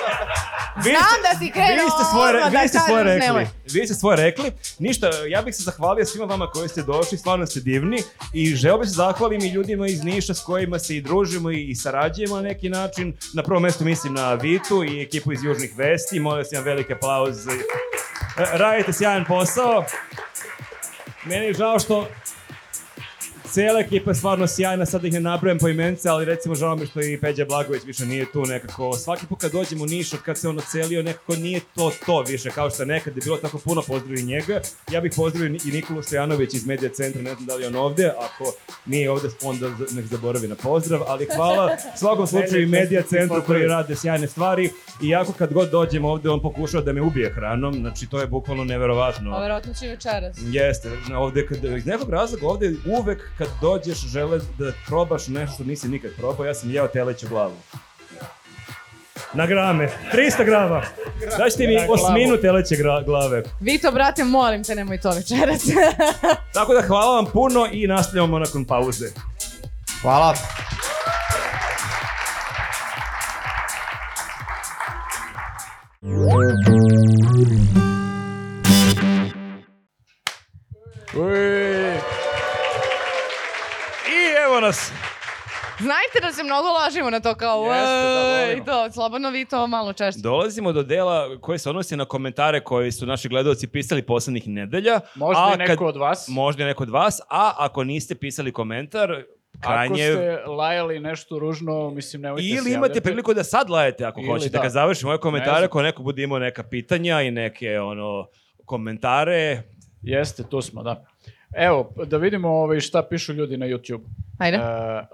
Speaker 2: Vi ste-
Speaker 1: Znam da si krenuo
Speaker 2: Vi ste svoje,
Speaker 1: odmah da
Speaker 2: vi ste svoje
Speaker 1: kažeš,
Speaker 2: rekli.
Speaker 1: nemoj.
Speaker 2: Vi ste svoje rekli. Ništa, ja bih se zahvalio svima vama koji ste došli, stvarno ste divni i želeo bih se zahvalim i ljudima iz Niša s kojima se i družimo i, i sarađujemo na neki način. Na prvom mestu mislim na Vitu i ekipu iz Južnih Vesti. Molim vas jedan veliki aplauz. E, Radite sjajan posao. Meni je žao što Cijela ekipa je stvarno sjajna, sad da ih ne nabrojam po imence, ali recimo žao mi što i Peđa Blagović više nije tu nekako. Svaki put kad dođem u Niš, od kad se on ocelio, nekako nije to to više, kao što je nekad je bilo tako puno pozdravi njega. Ja bih pozdravio i Nikolu Stojanović iz Medija centra, ne znam da li je on ovde, ako nije ovde onda nek zaboravi na pozdrav, ali hvala svakom slučaju i Medija centru koji rade sjajne stvari. I jako kad god dođem ovde, on pokušao da me ubije hranom, znači to je bukvalno neverovatno.
Speaker 1: A verovatno će večeras.
Speaker 2: Jeste, na- ovde kad, iz nekog razloga ovde uvek kad dođeš žele da probaš nešto što nisi nikad probao, ja sam jeo teleću glavu. Na grame, 300 grama. Daćete mi osminu teleće gra- glave.
Speaker 1: Vito, brate, molim te, nemoj to večeras.
Speaker 2: Tako da hvala vam puno i nastavljamo nakon pauze.
Speaker 4: Hvala.
Speaker 2: I evo nas.
Speaker 1: *laughs* Znajte da se mnogo lažimo na to kao
Speaker 2: Jeste, da,
Speaker 1: "Ej",
Speaker 2: volimo. Da.
Speaker 1: i to, slobodno vi to malo češće.
Speaker 2: Dolazimo do dela koji se odnosi na komentare koji su naši gledalci pisali poslednjih nedelja.
Speaker 3: Možda
Speaker 2: A
Speaker 3: i neko
Speaker 2: kad-
Speaker 3: od vas.
Speaker 2: Možda i neko od vas, a ako niste pisali komentar,
Speaker 3: Ako
Speaker 2: krajnje...
Speaker 3: ste lajali nešto ružno, mislim, nemojte se
Speaker 2: Ili
Speaker 3: javljati.
Speaker 2: imate priliku da sad lajete ako
Speaker 3: Ili
Speaker 2: hoćete,
Speaker 3: da.
Speaker 2: kad završimo ove
Speaker 3: Ne
Speaker 2: komentare,
Speaker 3: znam.
Speaker 2: ako neko bude imao neka pitanja i neke ono komentare.
Speaker 3: Jeste, tu smo, da. Evo, da vidimo ovaj, šta pišu ljudi na YouTube.
Speaker 1: Ajde.
Speaker 3: E,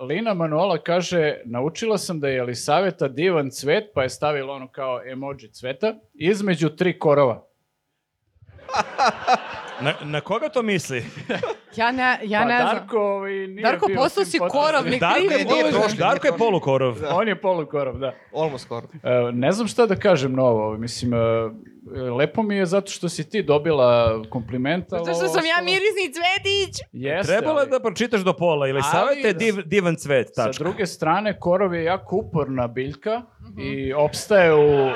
Speaker 3: Lina Manola kaže, naučila sam da je Elisaveta divan cvet, pa je stavila ono kao emoji cveta, između tri korova.
Speaker 2: Na, na koga to misli?
Speaker 1: Ja ne, ja
Speaker 3: pa
Speaker 1: ne znam.
Speaker 3: Darko, ovaj, nije
Speaker 1: Darko,
Speaker 3: bio
Speaker 1: postao
Speaker 3: s tim
Speaker 1: si
Speaker 3: podcastom.
Speaker 1: korovnik.
Speaker 2: Darko je,
Speaker 1: Krivi Bože.
Speaker 2: polu- Darko je polukorov.
Speaker 3: *laughs* On je polukorov, da.
Speaker 4: Almost skoro.
Speaker 3: E, ne znam šta da kažem novo, mislim, e, lepo mi je zato što si ti dobila komplimenta.
Speaker 1: Zato što sam ja mirisni cvetić.
Speaker 3: Jeste,
Speaker 2: Trebalo je
Speaker 3: ali-
Speaker 2: da pročitaš do pola ili
Speaker 3: Ali-
Speaker 2: savete div, divan cvet,
Speaker 3: Sa
Speaker 2: tačka.
Speaker 3: druge strane, korov je jako uporna biljka
Speaker 1: Mhm.
Speaker 3: i opstaje u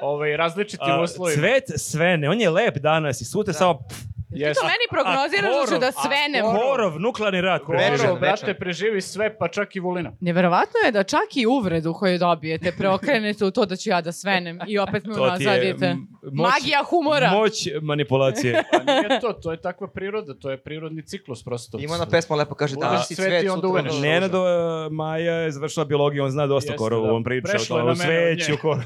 Speaker 3: ovaj, različitim
Speaker 2: A,
Speaker 3: uslovima. Da.
Speaker 2: cvet svene, on je lep danas i sutra samo... pff,
Speaker 1: Ti to
Speaker 3: Jeste.
Speaker 1: meni prognoziraš da ću
Speaker 2: korov,
Speaker 1: da
Speaker 2: a
Speaker 1: svenem.
Speaker 2: Korov, nuklearni rat.
Speaker 3: Korov,
Speaker 4: Večan,
Speaker 3: brate,
Speaker 4: večan.
Speaker 3: preživi sve, pa čak i vulina.
Speaker 1: Neverovatno je da čak i uvredu koju dobijete preokrenete u to da ću ja da svenem i opet me
Speaker 2: To ti je
Speaker 1: unazadite.
Speaker 2: m, moć,
Speaker 1: Magija humora.
Speaker 2: moć manipulacije.
Speaker 3: Pa nije to, to je takva priroda, to je prirodni ciklus prosto.
Speaker 4: Ima ona pesma lepo kaže
Speaker 3: Ulazi
Speaker 4: danas si
Speaker 3: da cvet i
Speaker 4: cvet,
Speaker 3: onda
Speaker 4: sutra
Speaker 3: uveneš.
Speaker 4: ruža.
Speaker 2: Nenad e, Maja je završila biologiju, on zna dosta
Speaker 3: Jeste,
Speaker 2: korova,
Speaker 3: da.
Speaker 2: on priča o
Speaker 3: Prešlo je
Speaker 2: tome, u
Speaker 3: na mene od nje.
Speaker 2: sveću, korov.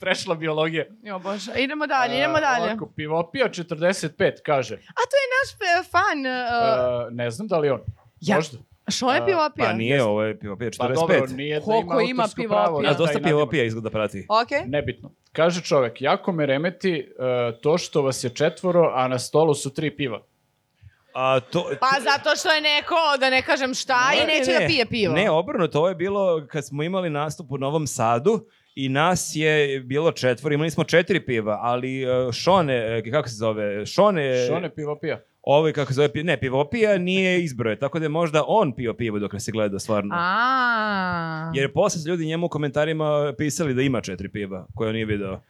Speaker 3: Prešla biologija.
Speaker 1: Jo bože, idemo dalje, idemo
Speaker 3: E,
Speaker 1: dalje.
Speaker 3: Ovako, pivopija 45, kaže.
Speaker 1: A to je naš e, fan. e,
Speaker 3: E, ne znam da li on.
Speaker 1: Ja.
Speaker 3: Možda.
Speaker 1: Što je
Speaker 3: a,
Speaker 1: bio
Speaker 2: Pa nije, ovo je pivopija 45.
Speaker 3: Pa dobro, nije da
Speaker 1: Koliko
Speaker 3: ima
Speaker 1: ima
Speaker 3: autorsko
Speaker 1: pivopija?
Speaker 3: pravo. na
Speaker 2: Nas
Speaker 1: Ja,
Speaker 2: dosta
Speaker 3: taj nadimak.
Speaker 2: pivopija izgleda prati.
Speaker 1: Okej.
Speaker 3: Nebitno. Kaže čovek, jako me remeti e, to što vas je četvoro, a na stolu su tri piva.
Speaker 2: A to,
Speaker 1: Pa zato što je neko, da ne kažem šta, i neće da pije pivo.
Speaker 2: Ne, obrnuto, ovo je bilo kad smo imali nastup u Novom Sadu i nas je bilo četvor, imali smo četiri piva, ali uh, Šone, e, kako se zove, Šone,
Speaker 3: Što ne pivopija?
Speaker 2: ovaj kako se zove, pi- ne, pivopija nije izbroje, tako da je možda on pio pivo dok nas je gledao stvarno.
Speaker 1: A.
Speaker 2: Jer posle su ljudi njemu u komentarima pisali da ima četiri piva, koje on nije video.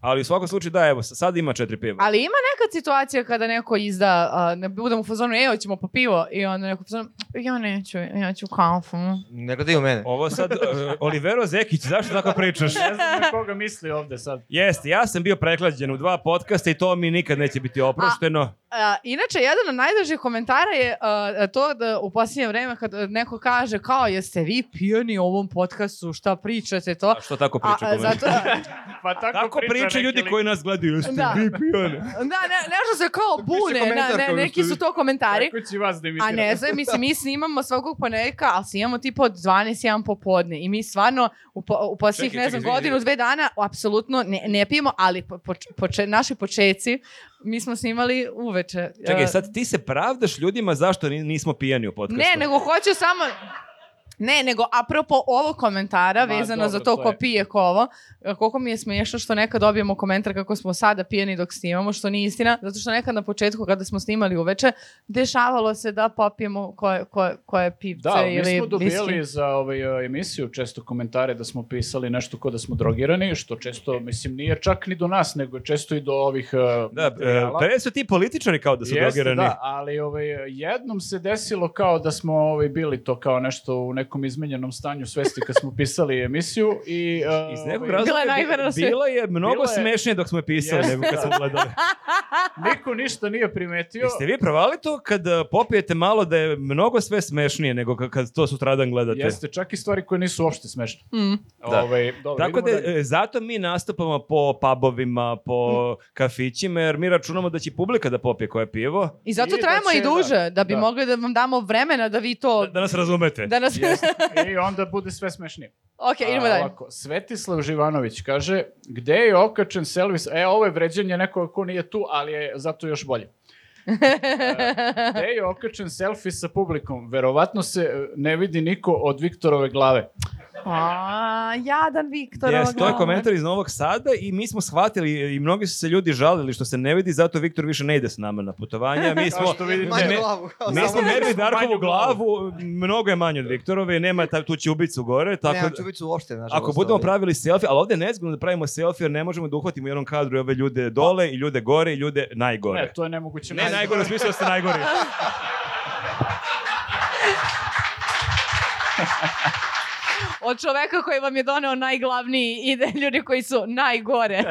Speaker 2: Ali u svakom slučaju da, evo, sad ima četiri piva.
Speaker 1: Ali ima nekad situacija kada neko izda, a, ne budem u fazonu, e, hoćemo po pivo, i onda neko u fazonu, ja neću, ja ću kafu.
Speaker 4: Ne gledaju mene.
Speaker 2: Ovo sad, e, Olivero Zekić, zašto tako pričaš?
Speaker 3: Ne znam na koga misli ovde sad.
Speaker 2: Jeste, ja sam bio preklađen u dva podcasta i to mi nikad neće biti oprošteno.
Speaker 1: A, inače, jedan od najdražih komentara je a, to da u posljednje vreme kad a, neko kaže kao jeste vi pijani u ovom podcastu, šta pričate to?
Speaker 2: A što tako
Speaker 1: A,
Speaker 2: priča
Speaker 1: a,
Speaker 2: komentar?
Speaker 1: zato, a,
Speaker 3: Pa tako,
Speaker 2: Tako priča
Speaker 3: neki
Speaker 2: ljudi
Speaker 3: lik.
Speaker 2: koji nas gledaju, jeste
Speaker 1: Da.
Speaker 2: vi pijani.
Speaker 1: da, ne, nešto se kao
Speaker 8: Piše
Speaker 1: bune,
Speaker 8: komentar
Speaker 1: ne, ne,
Speaker 8: kao da
Speaker 1: neki
Speaker 8: ste
Speaker 1: su
Speaker 8: vi-
Speaker 1: to komentari.
Speaker 3: Kako će vas da
Speaker 1: A
Speaker 3: imitirati?
Speaker 1: ne znam, mislim, mi snimamo svakog ponedjeljka, ali snimamo tipa od 12 1 popodne i mi stvarno u, po, u posljednjih,
Speaker 2: Čekaj,
Speaker 1: ne znam,
Speaker 2: čekaj, izvini,
Speaker 1: godinu,
Speaker 2: izvini.
Speaker 1: dve dana apsolutno ne, ne pijemo, ali po, poč- poče- naši počeci mi smo snimali uveče.
Speaker 2: Čekaj,
Speaker 1: E,
Speaker 2: sad ti se pravdaš ljudima zašto ni- nismo pijani u podcastu.
Speaker 1: Ne, nego hoću samo... Ne, nego apropo ovog komentara
Speaker 3: Ma,
Speaker 1: vezano za
Speaker 3: dobro,
Speaker 1: to
Speaker 3: to
Speaker 1: ko
Speaker 3: je.
Speaker 1: pije ko ovo, e, koliko mi je smiješno što nekad dobijemo komentar kako smo sada pijeni dok snimamo, što nije istina, zato što nekad na početku kada smo snimali uveče, dešavalo se da popijemo koje, koje, koje pivce
Speaker 3: Da,
Speaker 1: ili
Speaker 3: mi smo dobijali
Speaker 1: viski.
Speaker 3: za ovaj, e, emisiju često komentare da smo pisali nešto ko da smo drogirani, što često, mislim, nije čak ni do nas, nego je često i do ovih e,
Speaker 2: Da, e,
Speaker 3: materijala.
Speaker 2: pre su ti političari kao da su
Speaker 3: Jeste,
Speaker 2: drogirani.
Speaker 3: da, ali ovaj, jednom se desilo kao da smo ovaj, bili to kao nešto u nekom izmenjenom stanju svesti kad smo pisali emisiju i... e,
Speaker 2: *laughs* Iz nekog
Speaker 3: ovaj,
Speaker 2: razloga
Speaker 1: je
Speaker 2: bi-
Speaker 1: najgore na svijetu.
Speaker 2: bila je mnogo
Speaker 3: Bila je-
Speaker 2: smešnije dok smo je pisali
Speaker 3: Jeste,
Speaker 2: nego kad smo gledali.
Speaker 3: Niko ništa nije primetio.
Speaker 2: Jeste vi provali to kad e, popijete malo da je mnogo sve smešnije nego ka- kad to sutradan gledate?
Speaker 3: Jeste, čak i stvari koje nisu uopšte smešne.
Speaker 1: Mm.
Speaker 2: Da.
Speaker 3: Ovaj, dobro,
Speaker 2: Tako da,
Speaker 3: idemo dalje.
Speaker 2: e, zato mi nastupamo po pubovima, po kafićima, jer mi računamo da će publika da popije koje pivo.
Speaker 1: I zato
Speaker 3: I da
Speaker 1: trajamo
Speaker 3: će-
Speaker 1: i duže, da, bi
Speaker 3: da.
Speaker 1: mogli da vam damo vremena da vi
Speaker 3: *laughs*
Speaker 1: to...
Speaker 2: Da, da nas razumete.
Speaker 1: da
Speaker 2: *laughs*
Speaker 1: nas... *laughs*
Speaker 3: I onda bude sve smešnije.
Speaker 1: ok, idemo
Speaker 3: A,
Speaker 1: dalje.
Speaker 3: ovako, Svetislav Živanović kaže, gde je okačen selvis? E, ovo je vređanje nekoga ko nije tu, ali je zato još bolje.
Speaker 1: *laughs*
Speaker 3: E, gde je okačen selfie sa publikom? Verovatno se e, ne vidi niko od Viktorove glave.
Speaker 1: A, jadan Viktor.
Speaker 2: Jes, to je komentar iz Novog Sada i mi smo shvatili i mnogi su se ljudi žalili što se ne vidi, zato Viktor više ne ide s nama na putovanje. a Mi
Speaker 3: Kao
Speaker 2: smo,
Speaker 3: što vidite,
Speaker 8: Manju
Speaker 2: me-
Speaker 8: glavu. kao
Speaker 2: mi
Speaker 8: samo.
Speaker 2: smo merili Darkovu
Speaker 3: Manju
Speaker 2: glavu, mnogo je manje od Viktorove, nema ta, tu ćubicu gore, tako
Speaker 4: Nemam
Speaker 2: da-
Speaker 4: čubicu uopšte, nažalost.
Speaker 2: Ako budemo
Speaker 4: ali-
Speaker 2: pravili selfie, ali ovdje je nezgodno da pravimo selfie jer ne možemo da uhvatimo u jednom kadru i ove ljude dole i ljude gore i ljude najgore.
Speaker 3: Ne, E, to je nemoguće.
Speaker 2: Ne, najgore, u smislu da ste
Speaker 3: *laughs*
Speaker 2: najgori.
Speaker 1: Od čoveka koji vam je doneo najglavniji ide ljudi koji su
Speaker 3: *laughs*
Speaker 1: najgore.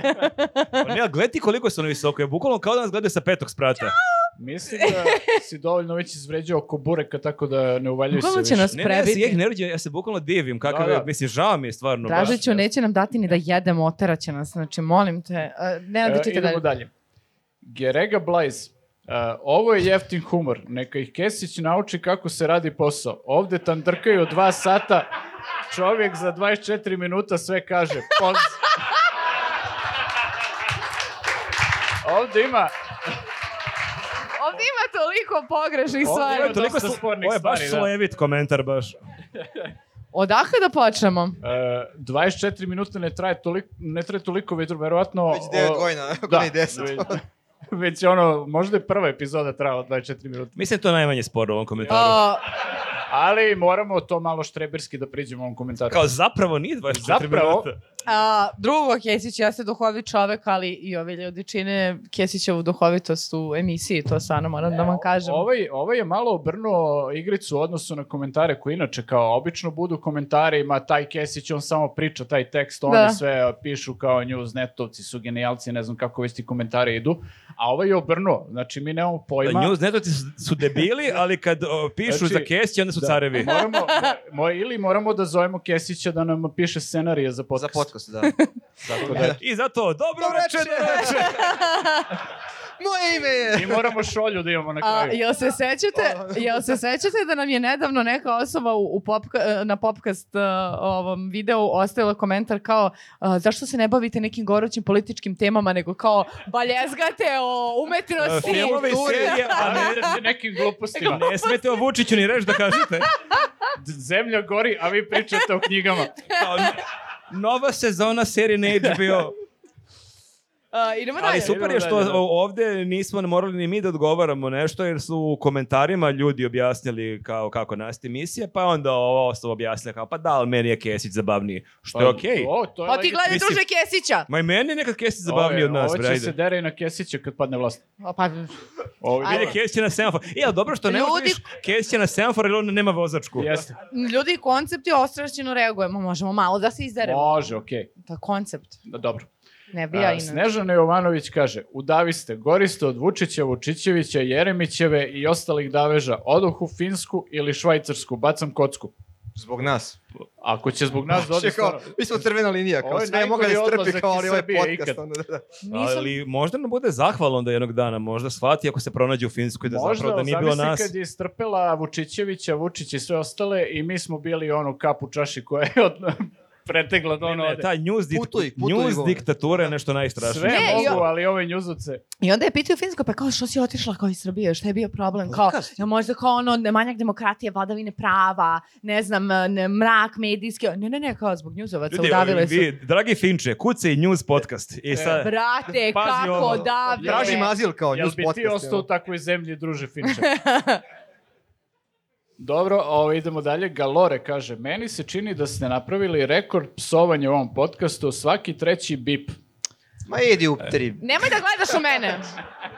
Speaker 2: Pa Ne, ali gledaj ti koliko su oni visoko. Je bukvalno kao da nas gledaju sa petog sprata.
Speaker 3: Mislim da si dovoljno već izvređao oko bureka, tako da ne uvaljuj se
Speaker 1: Uglavnom će
Speaker 3: više.
Speaker 1: nas
Speaker 2: Ne, ne, ja se
Speaker 1: prebiti.
Speaker 2: ih ne rođe, ja se bukvalno divim. Kakav
Speaker 3: Da,
Speaker 2: je,
Speaker 3: da.
Speaker 2: mislim, žao mi je stvarno. baš.
Speaker 1: Dražiću, neće nam dati ni da jedemo, oteraće nas. Znači, molim te. Ne,
Speaker 3: E,
Speaker 1: da ćete
Speaker 3: idemo
Speaker 1: dalje.
Speaker 3: dalje. Gerega Blajz. E, ovo je jeftin humor. Neka ih Kesić nauči kako se radi posao. Ovde tandrkaju dva sata. Čovjek za 24 minuta sve kaže. Poz... Ovde ima... uh,
Speaker 1: Ovdje ima toliko pogrešnih
Speaker 3: Ovdje
Speaker 1: stvari.
Speaker 2: Ovo je toliko
Speaker 3: Dosta
Speaker 2: sl-
Speaker 3: spornih
Speaker 2: Ovo je baš
Speaker 3: stvari, da.
Speaker 2: slevit komentar, baš.
Speaker 1: Odakle da počnemo?
Speaker 3: e, 24 minuta ne traje toliko, ne traje toliko već verovatno...
Speaker 4: Već 9
Speaker 3: o-
Speaker 4: godina, *laughs* ako
Speaker 3: Da,
Speaker 4: ne i 10.
Speaker 3: već, već ono, možda je prva epizoda trajala 24 minuta.
Speaker 2: Mislim, to je najmanje sporo u ovom komentaru.
Speaker 1: O,
Speaker 3: Ali moramo to malo štreberski da priđemo ovom komentaru.
Speaker 2: Kao zapravo nije 24
Speaker 3: Zapravo.
Speaker 2: minuta.
Speaker 1: a, drugo, Kesić, ja se duhovit čovek, ali i ovi ljudi čine Kesićevu duhovitost u emisiji, to stvarno moram da vam kažem.
Speaker 3: Ovaj, ovaj je malo obrnuo igricu u odnosu na komentare koji inače kao obično budu komentari, ima taj Kesić, on samo priča taj tekst, oni
Speaker 1: Da.
Speaker 3: sve pišu kao news, netovci su genijalci, ne znam kako već ti komentari idu, a ovaj je obrnuo, znači mi nemamo pojma.
Speaker 2: News netoci su- su debili, ali kad o, pišu
Speaker 3: Znači,
Speaker 2: za kesić, onda su
Speaker 3: Da.
Speaker 2: carevi.
Speaker 3: Moramo, mo, ili moramo da zovemo Kesića da nam piše scenarije za
Speaker 4: Za
Speaker 3: podcast.
Speaker 4: podcast, da.
Speaker 3: Tako da,
Speaker 2: I zato, dobro
Speaker 4: Dobro
Speaker 2: večer!
Speaker 4: Moje ime je...
Speaker 3: I moramo šolju da imamo na
Speaker 1: A,
Speaker 3: kraju.
Speaker 1: jel se sećate, jel se sećate da nam je nedavno neka osoba u, u popka- e, na popkast ovom videu ostavila komentar kao a, zašto se ne bavite nekim gorućim političkim temama nego kao baljezgate o
Speaker 2: E,
Speaker 1: umetnosti.
Speaker 2: Filmove i
Speaker 4: kulturi.
Speaker 2: serije, a
Speaker 3: A
Speaker 2: ne-
Speaker 3: ne, nekim glupostima.
Speaker 2: Ne smete o Vučiću ni reći da kažete.
Speaker 3: Zemlja gori, a vi pričate o knjigama.
Speaker 2: Kao, nova sezona serije na HBO.
Speaker 1: A, E, idemo dalje.
Speaker 2: Ali super je što
Speaker 3: Idemo dalje, da.
Speaker 2: ovdje nismo morali ni mi da odgovaramo nešto, jer su u komentarima ljudi objasnili kao kako nasti emisija, pa je onda ova osoba objasnila kao pa da, ali meni je Kesić zabavniji. Što je okej.
Speaker 3: O, to je
Speaker 1: Pa ti
Speaker 3: legit-
Speaker 1: gledaj
Speaker 2: Mislim-
Speaker 1: druže Kesića.
Speaker 2: Ma i meni je nekad Kesić zabavniji od nas,
Speaker 3: Ovo će
Speaker 2: brajde.
Speaker 3: se dera i na Kesića kad padne vlast.
Speaker 1: O, pa,
Speaker 3: Ovo
Speaker 1: Ajde.
Speaker 2: Vidi, Kesić je na semafor. I, ali dobro što ne
Speaker 1: Ljudi-
Speaker 2: možeš Kesić je na semafor, jer on nema vozačku.
Speaker 3: Jeste.
Speaker 1: ljudi, koncept je ostrašćeno reagujemo, možemo malo da se izderemo.
Speaker 3: Može, okej.
Speaker 1: Da, koncept.
Speaker 3: Da, dobro.
Speaker 1: Ne bi
Speaker 2: E,
Speaker 1: ja
Speaker 3: A,
Speaker 1: inače.
Speaker 3: Snežana Jovanović kaže, udavi ste, gori ste od Vučića, Vučićevića, Jeremićeve i ostalih daveža, odoh u Finsku ili Švajcarsku, bacam kocku.
Speaker 4: Zbog nas. Znači,
Speaker 3: Ako će zbog nas dodi
Speaker 4: Kao, mi smo crvena linija,
Speaker 3: Ovo
Speaker 4: kao
Speaker 3: je
Speaker 4: sve mogu da
Speaker 3: najgori
Speaker 4: strpi
Speaker 3: odlazak
Speaker 4: kao
Speaker 3: iz
Speaker 4: ali ovaj
Speaker 3: Srbije
Speaker 4: podcast.
Speaker 3: ikad.
Speaker 4: Onda, da, da.
Speaker 1: Nisam...
Speaker 2: Ali možda nam bude zahvala onda jednog dana, možda shvati ako se pronađe u Finskoj da
Speaker 3: Možda,
Speaker 2: zapravo da nije bilo nas.
Speaker 3: kad je istrpela Vučićevića, Vučić i sve ostale i mi smo bili onu kapu čaši koja je od, *laughs* pretegla do
Speaker 2: Ne,
Speaker 3: ono
Speaker 2: ne,
Speaker 3: ode.
Speaker 2: ta news, dit,
Speaker 4: Putuj, putuj
Speaker 2: news
Speaker 4: govor.
Speaker 2: diktatura je nešto najstrašnije.
Speaker 3: Sve
Speaker 1: Ne, i
Speaker 3: mogu,
Speaker 1: o-
Speaker 3: ali ove njuzuce.
Speaker 1: I onda je pitao Finsko, pa kao što si otišla kao iz Srbije, šta je bio problem? Kao,
Speaker 4: Podcast.
Speaker 1: ja, možda kao ono, ne- manjak demokratije, vladavine prava, ne znam, ne, mrak medijski. Ne, ne, ne, kao zbog njuzovaca
Speaker 2: Ljudi,
Speaker 1: udavile su.
Speaker 2: vi, dragi Finče, kuce i news podcast.
Speaker 3: E,
Speaker 2: I sad,
Speaker 1: Brate,
Speaker 2: Pazi
Speaker 1: kako
Speaker 2: ovo.
Speaker 1: odavde.
Speaker 4: Tražim azil kao
Speaker 3: Jel
Speaker 4: news
Speaker 3: bi ti
Speaker 4: podcast.
Speaker 3: ostao u
Speaker 4: evo.
Speaker 3: takvoj zemlji, druže Finče? *laughs* Dobro, ovo, idemo dalje. Galore kaže, meni se čini da ste napravili rekord psovanja u ovom podcastu, svaki treći bip.
Speaker 4: Ma idi u
Speaker 3: E,
Speaker 4: tri.
Speaker 1: Nemoj da gledaš u mene.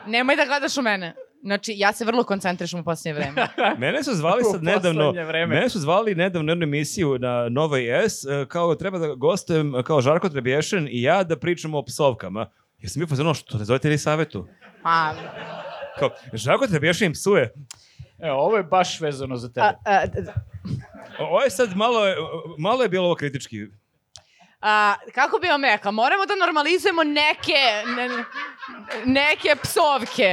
Speaker 1: Nemoj da gledaš u mene. Znači, ja se vrlo koncentrišem u posljednje vreme.
Speaker 2: mene su zvali
Speaker 3: U
Speaker 2: sad nedavno,
Speaker 3: poslednje vreme.
Speaker 2: mene su zvali nedavno na jednu emisiju na Novoj S, e, kao treba da gostujem, e, kao Žarko Trebješin i ja da pričamo o psovkama. Ja sam bio fazon, što ne zovete li savetu?
Speaker 1: A,
Speaker 2: Kao, Žarko Trebješin psuje.
Speaker 3: Evo, E, ovo je baš vezano za tebe.
Speaker 1: a, a,
Speaker 2: O- Ovo je sad malo, je- malo je bilo ovo kritički.
Speaker 1: a, kako bi vam rekla, moramo da normalizujemo neke, ne- neke psovke.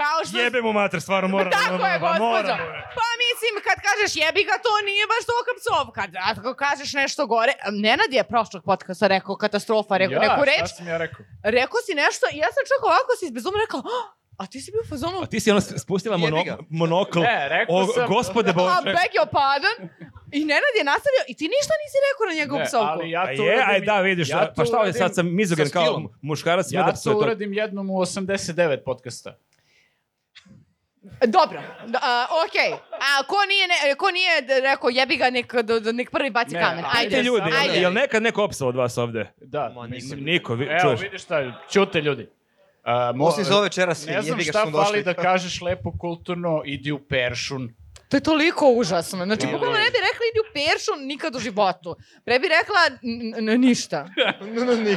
Speaker 1: Kao što...
Speaker 2: Jebe mu mater, stvarno moram.
Speaker 1: Tako je,
Speaker 2: ba,
Speaker 1: gospođo.
Speaker 2: moram, bre.
Speaker 1: Pa mislim, kad kažeš jebi ga, to nije baš tolika psovka. Da, Ako kažeš nešto gore... Nenad je prošlog podcasta rekao katastrofa, rekao neku
Speaker 3: šta
Speaker 1: reč.
Speaker 3: sam ja rekao?
Speaker 1: Rekao si nešto i ja sam čak ovako si izbezumno rekao... "Ah, A ti si bio u fazonu,
Speaker 2: A Pa ti si ono spustila
Speaker 4: Jebi
Speaker 2: mono,
Speaker 4: ga.
Speaker 2: monokl.
Speaker 3: Ne, rekao
Speaker 2: o,
Speaker 3: sam-
Speaker 2: Gospode
Speaker 1: A,
Speaker 2: Bože.
Speaker 1: beg your pardon. I Nenad je nastavio i ti ništa nisi rekao na njegovu
Speaker 3: Ne,
Speaker 1: psovku.
Speaker 3: ali ja
Speaker 2: Pa
Speaker 3: to
Speaker 2: je,
Speaker 3: uradim-
Speaker 2: aj da, vidiš,
Speaker 3: ja
Speaker 2: pa
Speaker 3: to
Speaker 2: šta ovdje
Speaker 3: uradim-
Speaker 2: sad sam mizogen
Speaker 4: sa
Speaker 2: kao
Speaker 4: skillom.
Speaker 2: muškarac, sme da
Speaker 3: Ja
Speaker 2: psuje
Speaker 3: to
Speaker 2: to.
Speaker 3: uradim jednom u 89 podcasta.
Speaker 1: Dobro, da, a, okej. A ko nije, ne, ko nije d- rekao jebi ga, nek, d- d- nek prvi baci
Speaker 3: Ne,
Speaker 1: kamen.
Speaker 3: ajde
Speaker 1: Ajde,
Speaker 2: Ajde ljudi, jel-
Speaker 1: ajde.
Speaker 2: jel nekad neko opsao od vas ovde?
Speaker 3: Da,
Speaker 4: Ma,
Speaker 3: mislim.
Speaker 4: nisam.
Speaker 2: Niko, vi,
Speaker 3: Evo,
Speaker 2: čuješ.
Speaker 3: vidiš šta, ćute ljudi. A, mo-
Speaker 4: Osim za ove čeras,
Speaker 3: Ne znam
Speaker 4: jebi ga
Speaker 3: šta
Speaker 4: što smo
Speaker 3: fali da
Speaker 4: došli.
Speaker 3: kažeš lepo kulturno, idi u peršun.
Speaker 1: To je toliko užasno. Znači,
Speaker 3: Ili-
Speaker 1: bukvalno ne bi rekla idi u peršu nikad u životu. Pre bi rekla n- n- ništa.
Speaker 4: No, no, ni.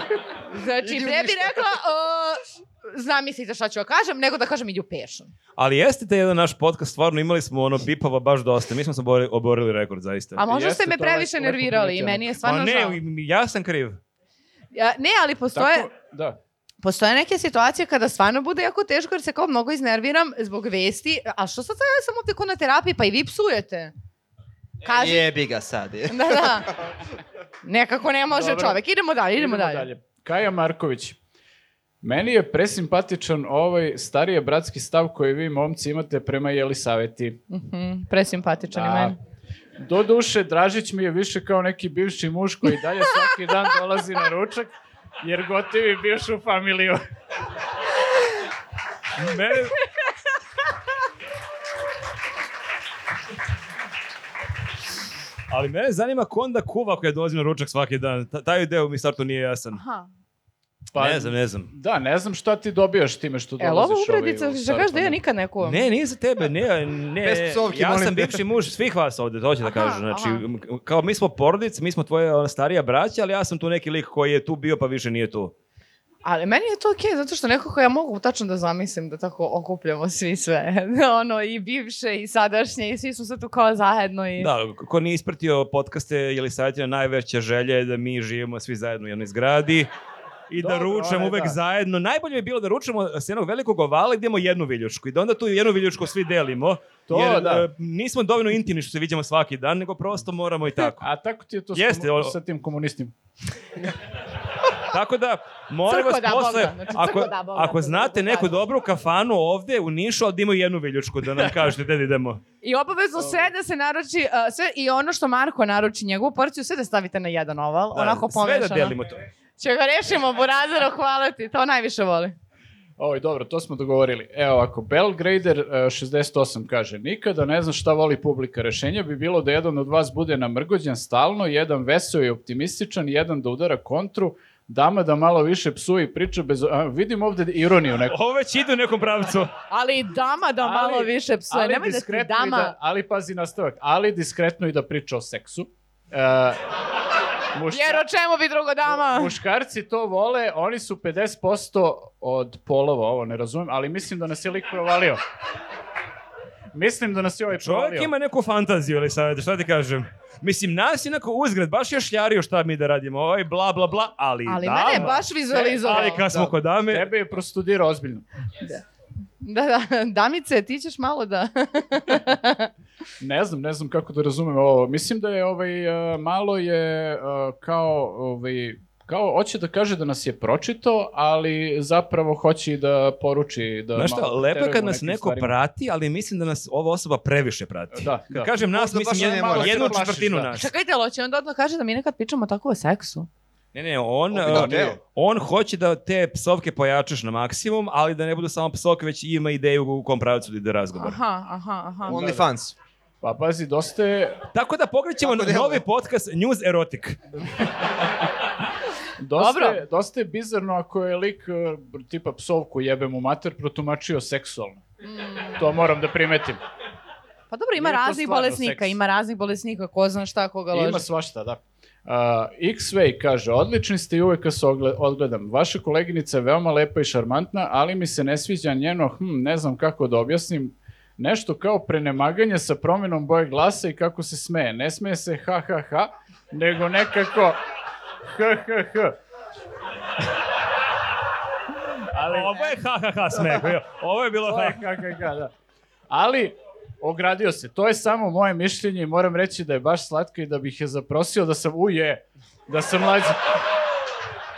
Speaker 1: Znači,
Speaker 4: Idi u
Speaker 1: pre bi
Speaker 4: ništa.
Speaker 1: rekla uh, zamislite šta ću ja kažem, nego da kažem idi u peršu.
Speaker 2: Ali jeste taj jedan naš podcast, stvarno imali smo ono bipova baš dosta. Mi smo se obori- oborili rekord, zaista.
Speaker 1: A možda
Speaker 3: Jeste,
Speaker 1: ste me
Speaker 3: to je lepo-
Speaker 1: previše
Speaker 3: lepo
Speaker 1: nervirali i
Speaker 3: primećeno.
Speaker 1: meni je
Speaker 2: Pa
Speaker 1: stvarno žao.
Speaker 2: ne, ja sam kriv.
Speaker 1: Ja, ne, ali postoje...
Speaker 3: Tako, da.
Speaker 1: Postoje neke situacije kada stvarno bude jako teško jer se kao mnogo iznerviram zbog vesti. A što sad sad ja sam ovdje ko na terapiji pa i vi psujete? Kaži.
Speaker 4: Jebi ga sad. je.
Speaker 1: Da, da. Nekako ne može
Speaker 3: Dobro.
Speaker 1: čovek. Idemo dalje, idemo, dalje.
Speaker 3: Kaja Marković. Meni je presimpatičan ovaj starije bratski stav koji vi momci imate prema Jelisaveti.
Speaker 1: Mhm, presimpatičan i
Speaker 3: Da.
Speaker 1: meni.
Speaker 3: Doduše, Dražić mi je više kao neki bivši muž koji dalje svaki dan dolazi na ručak, jer gotivi bivšu familiju. *laughs*
Speaker 2: Mene... Ali mene zanima ko onda kuva koja dolazi na ručak svaki dan. Ta- taj deo mi startu nije jasan.
Speaker 1: Aha.
Speaker 3: Pa-
Speaker 2: ne znam, ne znam.
Speaker 3: Da, ne znam šta ti dobijaš time što
Speaker 1: Jel ovo
Speaker 3: dolaziš ovaj
Speaker 1: uvredica?
Speaker 3: u
Speaker 1: Što kažeš da ja
Speaker 3: savetovanje.
Speaker 1: nikad ne kuvam?
Speaker 2: Ne, nije za tebe, ne, ne.
Speaker 4: Bez psovki,
Speaker 2: ja
Speaker 4: molim
Speaker 2: sam
Speaker 4: te.
Speaker 2: bivši muž svih vas ovde, to hoću da
Speaker 1: Aha,
Speaker 2: kažem. Znači,
Speaker 1: aha.
Speaker 2: m- kao mi smo porodica, mi smo tvoje ona, starija braća, ali ja sam tu neki lik koji je tu bio pa više nije tu.
Speaker 1: Ali meni je to okej, zato što nekako ja mogu tačno da zamislim da tako okupljamo svi sve. *laughs* ono, i bivše, i sadašnje, i svi smo sad tu kao zajedno. I...
Speaker 2: Da, ko nije ispratio podcaste Jelisavetina, najveća želja je da mi živimo svi zajedno u jednoj zgradi i da
Speaker 3: Dobro,
Speaker 2: ručamo
Speaker 3: one,
Speaker 2: uvek
Speaker 3: da.
Speaker 2: zajedno. Najbolje bi bilo da ručamo s jednog velikog ovala i da imamo jednu viljušku i da onda tu jednu viljušku svi delimo.
Speaker 3: To,
Speaker 2: jer
Speaker 3: da.
Speaker 2: e, nismo dovoljno intimni što se viđamo svaki dan, nego prosto moramo i tako.
Speaker 1: *laughs*
Speaker 3: A tako ti je to s
Speaker 2: Jeste,
Speaker 3: komu-
Speaker 2: o-
Speaker 3: sa tim komunistima.
Speaker 2: Tako da, molim
Speaker 1: Crko
Speaker 2: vas
Speaker 1: da
Speaker 2: posle,
Speaker 1: Bogdan, znači,
Speaker 2: ako,
Speaker 1: crko da Bogdan,
Speaker 2: ako
Speaker 1: to
Speaker 2: znate
Speaker 1: drugo
Speaker 2: neku
Speaker 1: da.
Speaker 2: dobru kafanu ovde u Nišu, ali da imaju jednu viljučku,
Speaker 1: *laughs*
Speaker 2: da nam kažete gde da idemo.
Speaker 1: I obavezno sve da se naruči, a, sve i ono što Marko naruči njegovu porciju, sve da stavite na jedan oval,
Speaker 2: Da,
Speaker 1: onako pomešano.
Speaker 2: Sve da delimo to.
Speaker 1: Če ga rešimo, Burazero, hvala ti, to najviše voli.
Speaker 3: Oj, dobro, to smo dogovorili. Evo ako Belgrader e, 68 kaže, nikada ne znam šta voli publika. Rešenje bi bilo da jedan od vas bude namrgođen stalno, jedan veseo i optimističan, jedan da udara kontru, dama da malo više psuje i priča bez... A, vidim ovde ironiju neku.
Speaker 2: Ovo već ide u nekom pravcu.
Speaker 1: Ali i dama *laughs* da malo
Speaker 3: Ali-
Speaker 1: više psuje, nemoj da ti
Speaker 3: diskretno i
Speaker 1: dama...
Speaker 3: da- ali pazi nastavak, ali diskretno i da priča o seksu. E, Muška-
Speaker 1: Jer o čemu bi drugo
Speaker 2: *laughs*
Speaker 1: dama?
Speaker 3: Muškarci to vole, oni su 50% od polova, ovo ne razumijem, ali mislim da nas je lik provalio. Mislim da nas je ovaj provalio.
Speaker 2: Čovjek ima neku fantaziju, ali sad, šta ti kažem? Mislim, nas je onako uzgred, baš je šljario šta mi da radimo, ovaj bla bla bla, ali,
Speaker 1: Ali
Speaker 2: da,
Speaker 1: mene je baš vizualizovao.
Speaker 2: Ali kad smo kod dame,
Speaker 3: Tebe je prostudirao ozbiljno.
Speaker 1: *laughs* Da, da, damice, ti ćeš malo da...
Speaker 3: Ne znam, ne znam kako da razumem ovo. Mislim da je ovaj, e, malo je e, kao, ovaj, kao hoće da kaže da nas je pročito, ali zapravo hoće i da poruči. Da
Speaker 2: znaš šta,
Speaker 3: malo
Speaker 2: lepo je
Speaker 3: preterujemo
Speaker 2: kad
Speaker 3: u
Speaker 2: nas
Speaker 3: nekim
Speaker 2: neko
Speaker 3: stvarima.
Speaker 2: prati, ali mislim da nas ova osoba previše prati.
Speaker 3: Da, da.
Speaker 2: Kad kažem nas,
Speaker 4: Možda baš
Speaker 2: mislim
Speaker 4: ne
Speaker 2: jednu,
Speaker 4: mora.
Speaker 2: jednu
Speaker 3: Možda plašiš,
Speaker 2: četvrtinu
Speaker 3: da.
Speaker 2: nas.
Speaker 1: Čekajte, ali će onda odmah kaže da mi nekad pričamo tako o seksu.
Speaker 2: Ne, ne, on,
Speaker 4: Opet
Speaker 3: da,
Speaker 2: uh,
Speaker 4: deo.
Speaker 2: on hoće da te psovke pojačaš na maksimum, ali da ne budu samo psovke, već ima ideju u kom pravcu da ide razgovor.
Speaker 1: Aha, aha, aha.
Speaker 4: Only fans.
Speaker 3: Pa pazi, dosta je,
Speaker 2: Tako da pokrećemo
Speaker 4: Tako deluje.
Speaker 2: novi podcast News Erotic.
Speaker 3: dosta,
Speaker 1: Dobro.
Speaker 3: je, dosta je bizarno ako je lik e, tipa psovku jebem u mater protumačio seksualno. To moram da primetim.
Speaker 1: Pa dobro, ima
Speaker 3: Nije to
Speaker 1: raznih
Speaker 3: stvarno
Speaker 1: bolesnika,
Speaker 3: seks.
Speaker 1: ima raznih bolesnika, ko zna šta koga loži.
Speaker 3: Ima svašta, da. Uh, X-Way kaže, odlični ste i uvek kad se ogle- odgledam. Vaša koleginica je veoma lepa i šarmantna, ali mi se ne sviđa njeno, hm, ne znam kako da objasnim, nešto kao prenemaganje sa promjenom boje glasa i kako se smeje. Ne smeje se ha ha ha, nego nekako h h h.
Speaker 2: Ali... Ovo je ha ha ha smeh. bio. Ovo je bilo
Speaker 1: Pa.
Speaker 2: ha.
Speaker 3: Ha, ha, ha, da. Ali, ogradio se. To je samo moje mišljenje i moram reći da je baš slatka i da bih je zaprosio da sam, uje, da sam mlađi.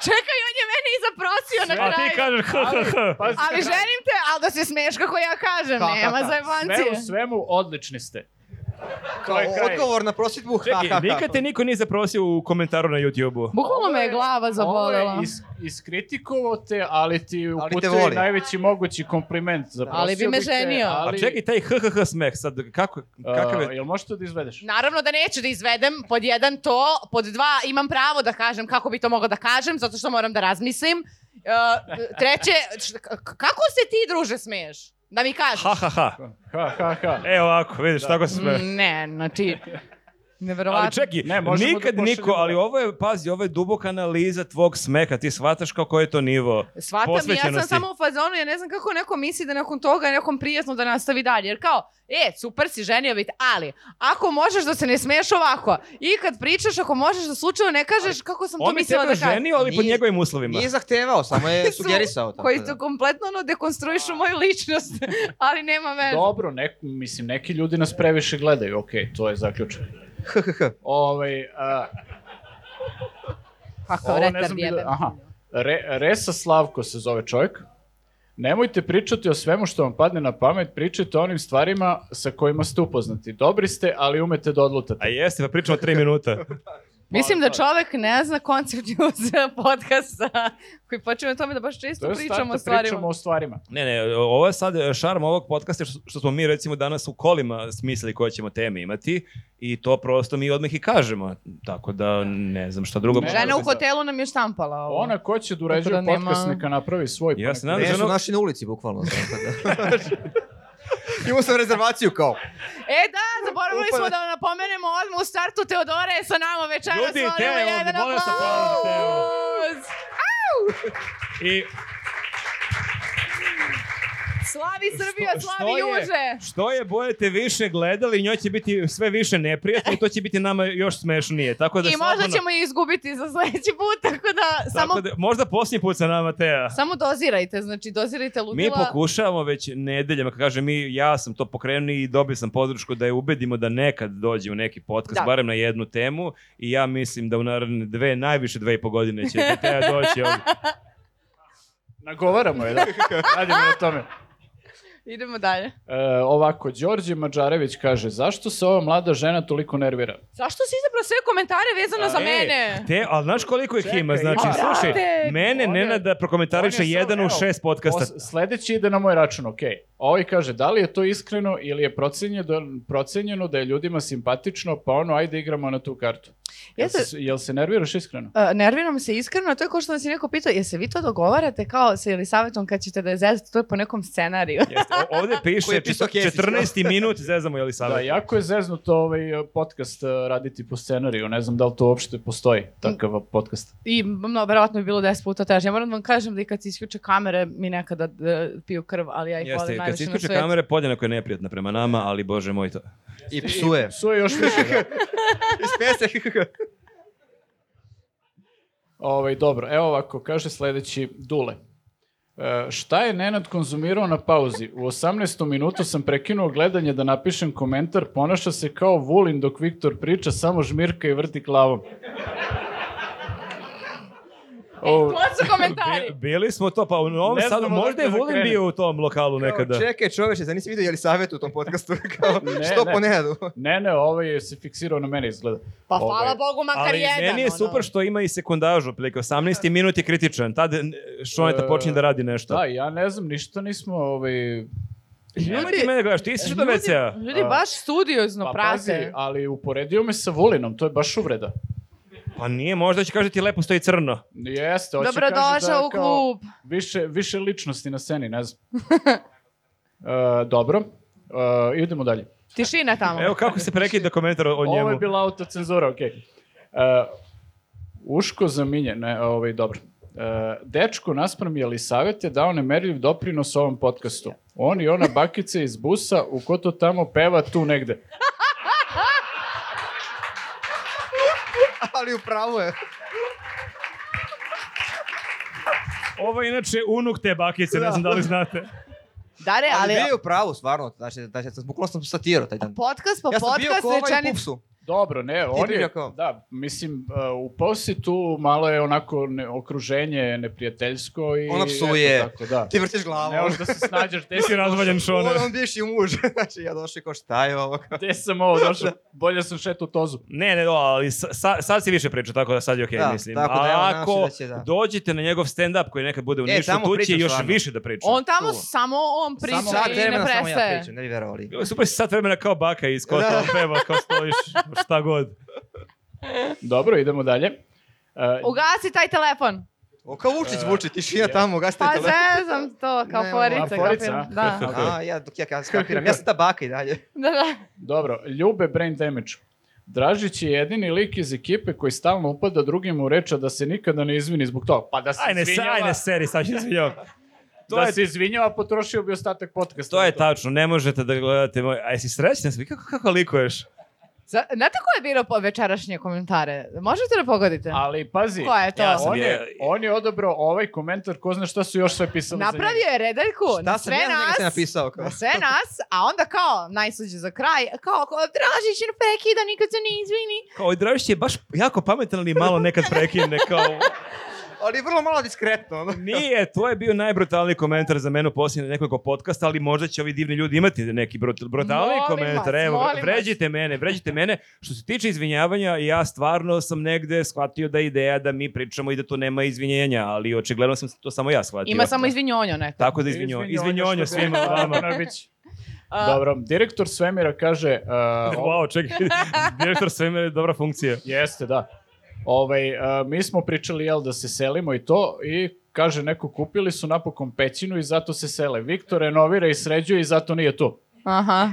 Speaker 1: Čekaj, on je mene i zaprosio na
Speaker 2: A
Speaker 1: kraju.
Speaker 2: ti kažeš ha ha ha.
Speaker 3: Pazi,
Speaker 1: Ali želim te, ali da se smeješ kako ja kažem, nema
Speaker 3: Pa, Sve u
Speaker 1: zajebancije.
Speaker 3: svemu odlični ste.
Speaker 4: Kao
Speaker 3: je kraj.
Speaker 4: odgovor na prosvjetbu.
Speaker 2: Čekaj, nikad te niko nije zaprosio u komentaru na YouTube-u.
Speaker 1: Bukvalno me je glava zabolela.
Speaker 3: Ovo je is, iskritikovao te, ali ti
Speaker 4: te
Speaker 3: uputio
Speaker 4: voli.
Speaker 3: i najveći mogući kompliment. Zaprosio
Speaker 1: Ali bi me
Speaker 3: bih te,
Speaker 1: ženio.
Speaker 2: A Pa čekaj, taj ha ha ha smeh, sad kako, kakav
Speaker 3: a,
Speaker 2: je...
Speaker 3: jel možeš to da izvedeš?
Speaker 1: Naravno da neću da izvedem, pod jedan to, pod dva imam pravo da kažem kako bi to mogla da kažem, zato što moram da razmislim. E, treće, š- k- kako se ti druže smeješ? Da mi kažeš.
Speaker 2: Ha ha ha.
Speaker 3: Ha, ha, ha.
Speaker 2: E ovako, vidiš, tako se smeh.
Speaker 1: Mm, Ne, znači,
Speaker 2: Ali
Speaker 1: neverovatno.
Speaker 2: čekaj,
Speaker 3: Ne, možemo
Speaker 2: nikad
Speaker 3: da pošaljemo-
Speaker 2: niko, ali ovo je, pazi, ovo je duboka analiza tvog smeha, ti shvataš kao koji je to nivo.
Speaker 1: Shvatam, ja sam
Speaker 2: posvećenosti.
Speaker 1: samo u fazonu, ja ne znam kako neko misli da nakon toga je nekom prijatno da nastavi dalje. Jer kao, e, super si ženio bit, ali ako možeš da se ne smeješ ovako i kad pričaš, ako možeš da slučajno ne kažeš kako sam to
Speaker 2: On bi
Speaker 1: mislila da
Speaker 2: tebe
Speaker 1: kažem.
Speaker 2: ženio, ali pod
Speaker 4: Nije-
Speaker 2: njegovim uslovima.
Speaker 4: Nije zahtevao,
Speaker 3: *laughs*
Speaker 4: samo je
Speaker 1: su-
Speaker 4: sugerisao. tako
Speaker 1: koji
Speaker 4: da.
Speaker 1: su kompletno ono dekonstruišu moju ličnost, *laughs* ali nema veze.
Speaker 3: Dobro, nek, mislim, neki ljudi nas previše gledaju, okej, to je zaključak. Ovaj, a,
Speaker 1: Pa kao
Speaker 3: Ovo ne
Speaker 1: retard
Speaker 3: znam ni da-
Speaker 1: jebem.
Speaker 3: Aha. Re, Resa Slavko se zove čovjek. Nemojte pričati o svemu što vam padne na pamet, pričajte o onim stvarima sa kojima ste upoznati. Dobri ste, ali umete da odlutate.
Speaker 2: A jeste, pa pričamo tri minuta.
Speaker 1: Mislim da čovek ne zna koncept news podcasta koji počinje na tome da baš često
Speaker 3: To je
Speaker 1: pričamo
Speaker 3: stvarno
Speaker 1: o
Speaker 3: da
Speaker 1: stvarima.
Speaker 3: pričamo o stvarima.
Speaker 2: Ne, ne, ovo je sad e, šarm ovog podcasta što- što smo mi recimo danas u kolima smislili koje ćemo teme imati i to prosto mi odmah i kažemo. Tako da ne znam šta drugo.
Speaker 3: Ne.
Speaker 2: možemo
Speaker 1: Žena u
Speaker 2: da-
Speaker 1: hotelu nam je štampala ovo.
Speaker 3: Ona ko će da uređuje
Speaker 1: Tako da nema-
Speaker 3: podcast, neka napravi svoj.
Speaker 2: Ja se nadam da
Speaker 4: Ne,
Speaker 2: Ženo-
Speaker 4: su naši na ulici,
Speaker 3: *laughs*
Speaker 4: bukvalno. tako da. Imao sam rezervaciju kao.
Speaker 1: E da, zaboravili smo da napomenemo odmah u startu Teodora je sa nama večeras.
Speaker 2: Ljudi,
Speaker 1: molimo
Speaker 2: Teo,
Speaker 1: jedan
Speaker 2: molim vas,
Speaker 1: aplauz!
Speaker 2: aplauz I
Speaker 1: Slavi Srbija,
Speaker 2: Što-
Speaker 1: slavi
Speaker 2: što je-
Speaker 1: Juže!
Speaker 2: što je budete više gledali, njoj će biti sve više neprijatno i to će biti nama još smešnije. Tako da
Speaker 1: I možda
Speaker 2: slobodno-
Speaker 1: ćemo i izgubiti za sledeći put, tako da
Speaker 2: Tako
Speaker 1: samo
Speaker 2: da, možda posljednji put sa nama Teja.
Speaker 1: Samo dozirajte, znači dozirajte ludila.
Speaker 2: Mi pokušavamo već nedeljama, kako kažem, mi, ja sam to pokrenuo i dobio sam podršku da je ubedimo da nekad dođe u neki podcast,
Speaker 1: Da.
Speaker 2: barem na jednu temu i ja mislim da u naredne dve, najviše dve i po godine će Teja doći ovdje. *laughs*
Speaker 3: Nagovaramo je, da. Radimo na tome.
Speaker 1: Idemo dalje.
Speaker 3: E, ovako, Đorđe Mađarević kaže, zašto se ova mlada žena toliko nervira?
Speaker 1: Zašto si izabrao sve komentare vezano za
Speaker 2: E,
Speaker 1: mene?
Speaker 2: Te, ali znaš koliko ih ima, znači,
Speaker 3: ima.
Speaker 2: slušaj,
Speaker 1: Brate!
Speaker 2: mene
Speaker 3: On je-
Speaker 2: Nenada
Speaker 3: on je
Speaker 2: prokomentariše
Speaker 3: sam-
Speaker 2: jedan u
Speaker 3: evo,
Speaker 2: šest podcasta.
Speaker 3: Pos- sledeći ide na moj račun, okej. Ovaj kaže, da li je to iskreno ili je procenjeno, procenjeno da je ljudima simpatično, pa ono, ajde igramo na tu kartu. Jel
Speaker 1: Jeste-
Speaker 3: se, jel se nerviraš iskreno?
Speaker 1: Uh, nerviram se iskreno, to je kao što nas je neko pitao, jesi vi to dogovarate kao sa Elisavetom kad ćete da je zezate, to je po nekom scenariju.
Speaker 2: Jeste, o- ovde piše
Speaker 4: Koji je pisao Kesić,
Speaker 2: 14. minut, zezamo je li
Speaker 3: Da, jako je zeznuto ovaj podcast eh, raditi po scenariju, ne znam da li to uopšte postoji, takav podcast.
Speaker 1: I no, verovatno bi bilo 10 puta teže. Ja moram da vam kažem da i kad se isključe kamere mi nekada e, piju krv, ali ja ih volim
Speaker 2: Jeste, kad se
Speaker 1: najviše na
Speaker 2: isključe
Speaker 1: svetu.
Speaker 2: kamere, podjednako je neprijatna prema nama, ali bože moj to.
Speaker 4: I
Speaker 3: *laughs*
Speaker 4: psuje.
Speaker 3: Psuje još više, da.
Speaker 4: Ispeje se.
Speaker 3: Ovaj, dobro, evo ovako, kaže sledeći Dule. E, šta je Nenad konzumirao na pauzi? U 18. minutu sam prekinuo gledanje da napišem komentar, ponaša se kao Vulin dok Viktor priča, samo žmirka i vrti glavom.
Speaker 1: E,
Speaker 3: O,
Speaker 1: Ko E, su komentari?
Speaker 2: *laughs* Bi- bili smo to, pa u Novom
Speaker 3: Ne
Speaker 2: Sadu,
Speaker 3: znamo
Speaker 2: možda
Speaker 3: odakle
Speaker 2: je
Speaker 3: da
Speaker 2: Vulin
Speaker 3: krenem.
Speaker 2: bio u tom lokalu nekada.
Speaker 4: Čekaj čoveče, zar nisi vidio je li savjet u tom podcastu? *laughs* Kao,
Speaker 3: Ne,
Speaker 4: što
Speaker 3: ne.
Speaker 4: po Nenadu?
Speaker 3: ne, ne, ovaj je se fiksirao na mene izgleda.
Speaker 1: Pa
Speaker 3: Ovaj,
Speaker 1: hvala Bogu, makar
Speaker 2: Ali
Speaker 1: jedan.
Speaker 2: meni je
Speaker 1: ono.
Speaker 2: super što ima i sekundažu, otprilike 18. minut je kritičan, tad e, Šoneta
Speaker 3: E,
Speaker 2: počinje da radi nešto.
Speaker 3: Da, ja ne znam, ništa nismo ovaj,
Speaker 2: Nemoj ti mene da gledaš, ti isiš do WC-a.
Speaker 1: Ljudi, ljudi baš studiozno
Speaker 3: pa
Speaker 1: prate.
Speaker 3: pazi, ali uporedio me sa Vulinom, to je baš uvreda.
Speaker 2: Pa nije, možda će kaže ti lepo stoji crno.
Speaker 3: Jeste, hoće kaže da
Speaker 1: Dobrodošao u
Speaker 3: kao-
Speaker 1: klub.
Speaker 3: Više, više ličnosti na sceni, ne znam. *laughs* e, dobro, e, idemo dalje.
Speaker 1: Tišina tamo.
Speaker 2: Evo kako se prekida komentar o o
Speaker 3: Ovo je
Speaker 2: njemu.
Speaker 3: bila autocenzura, okej. E, Uško za minje, ne, ovaj, dobro. E, dečko naspram Jelisavet je dao nemerljiv doprinos ovom podcastu. On i ona bakica iz busa u ko to tamo peva tu negde.
Speaker 4: *laughs* Ali upravo je.
Speaker 1: E,
Speaker 2: Ovo je inače unuk te bakice, ne znam da li znate.
Speaker 1: Dare,
Speaker 4: Ali,
Speaker 1: ali...
Speaker 4: bio je upravo, stvarno. Znači, znači, sam bukvalno sam satirao taj dan.
Speaker 1: Podcast po
Speaker 4: ja sam bio
Speaker 1: podcast
Speaker 4: ko ovaj u
Speaker 1: rečenic...
Speaker 4: pupsu.
Speaker 3: Dobro, ne, on
Speaker 4: bio
Speaker 3: je,
Speaker 4: kao-
Speaker 3: da, mislim, e, u posi tu malo je onako ne, okruženje neprijateljsko i...
Speaker 4: Ona psuje.
Speaker 3: eto Tako, da.
Speaker 4: Ti vrtiš glavom.
Speaker 3: Ne možeš da se snađaš, gde
Speaker 2: Ti si razvaljen Šone.
Speaker 4: On, on bivši muž. *laughs* znači, ja došao i kao šta je ovo?
Speaker 3: *laughs* Gde sam ovo došao? Bolje sam šetao u tozu.
Speaker 2: Ne, ne, do, ali sa- sa, sad si više pričao, tako da sad je okej,
Speaker 4: Da,
Speaker 2: mislim.
Speaker 4: tako da
Speaker 2: A
Speaker 4: evo, nadam se
Speaker 2: ako
Speaker 4: da će da.
Speaker 2: dođete na njegov stand-up koji nekad bude u
Speaker 4: E,
Speaker 2: Nišu,
Speaker 4: tamo
Speaker 2: tu će
Speaker 4: pričam
Speaker 2: još
Speaker 4: stvarno.
Speaker 2: više da priča.
Speaker 1: On tamo
Speaker 4: Tu.
Speaker 1: samo on priča
Speaker 3: Samo
Speaker 4: Sat
Speaker 1: i ne
Speaker 4: vremena samo ja
Speaker 1: prestaje.
Speaker 4: pričam, ne bi verovali.
Speaker 2: Bilo je Super si sat vremena kao baka iz kota,
Speaker 4: Da.
Speaker 2: on peva, kao stojiš, šta god.
Speaker 3: Dobro, idemo dalje. E,
Speaker 1: Ugasi taj telefon.
Speaker 4: O, kao Vučić zvuči, tišina
Speaker 3: ja.
Speaker 4: tamo, gasite
Speaker 1: Pa
Speaker 4: telefon.
Speaker 1: zezam to, kao
Speaker 4: Ne,
Speaker 1: forica.
Speaker 3: a,
Speaker 1: kao
Speaker 3: forica,
Speaker 1: film.
Speaker 3: a?
Speaker 1: Da.
Speaker 4: A, ja, dok ja, ja skapiram. Ja sam ta baka i dalje.
Speaker 1: da, da.
Speaker 3: dobro, ljube brain damage. Dražić je jedini lik iz ekipe koji stalno upada drugim u reč, a da se nikada ne izvini zbog toga. Pa da se
Speaker 2: Ajde, se,
Speaker 3: izvinjava,
Speaker 2: ajde, seri, sad ću izvinjavam. To
Speaker 3: da
Speaker 2: je-
Speaker 3: se izvinjava, potrošio bi ostatak podcasta.
Speaker 2: To je
Speaker 3: na
Speaker 2: tačno, ne možete da gledate moj... A jesi srećan svi? Kako, kako likuješ?
Speaker 1: Za- Znate ko je birao po večerašnje komentare? Možete da pogodite?
Speaker 3: Ali pazi,
Speaker 1: Ko je to?
Speaker 2: Ja sam
Speaker 3: on,
Speaker 2: je-
Speaker 3: je, on je odobrao ovaj komentar, ko zna šta su još sve pisali za njega.
Speaker 1: Napravio je redaljku na
Speaker 4: Šta sam
Speaker 1: sve
Speaker 4: ja za njega se
Speaker 1: nas.
Speaker 4: napisao? Kao.
Speaker 1: Na sve nas, a onda kao, najsuđe za kraj, kao, kao Dražić ne prekida, nikad se ne izvini.
Speaker 2: Kao, Dražić je baš jako pametan, ali malo nekad prekine, kao...
Speaker 4: Ali vrlo malo diskretno. Ono.
Speaker 2: Nije, to je bio najbrutalniji komentar za mene u posljednje nekoliko podcasta, ali možda će ovi divni ljudi imati neki brut- brutalni
Speaker 1: Molim
Speaker 2: komentar.
Speaker 1: vas,
Speaker 2: Evo,
Speaker 1: molim vas.
Speaker 2: vređite mene, vređite mene. Što se tiče izvinjavanja, ja stvarno sam negde shvatio da je ideja da mi pričamo i da tu nema izvinjenja, ali očigledno sam to samo ja shvatio.
Speaker 1: Ima samo izvinjonjo neko.
Speaker 2: Tako da izvinjo, izvinjonja
Speaker 3: što bi
Speaker 2: svima
Speaker 3: rekao
Speaker 2: vama.
Speaker 3: Brnabić.
Speaker 1: *laughs* A-
Speaker 3: Dobro, direktor Svemira kaže... Uh,
Speaker 2: *laughs* Wow, čekaj, direktor svemira je dobra funkcija.
Speaker 3: Jeste, da. Ovaj, a, mi smo pričali, jel, da se selimo i to, i kaže neko, kupili su napokon pećinu i zato se sele. Viktor renovira i sređuje i zato nije tu.
Speaker 1: Aha.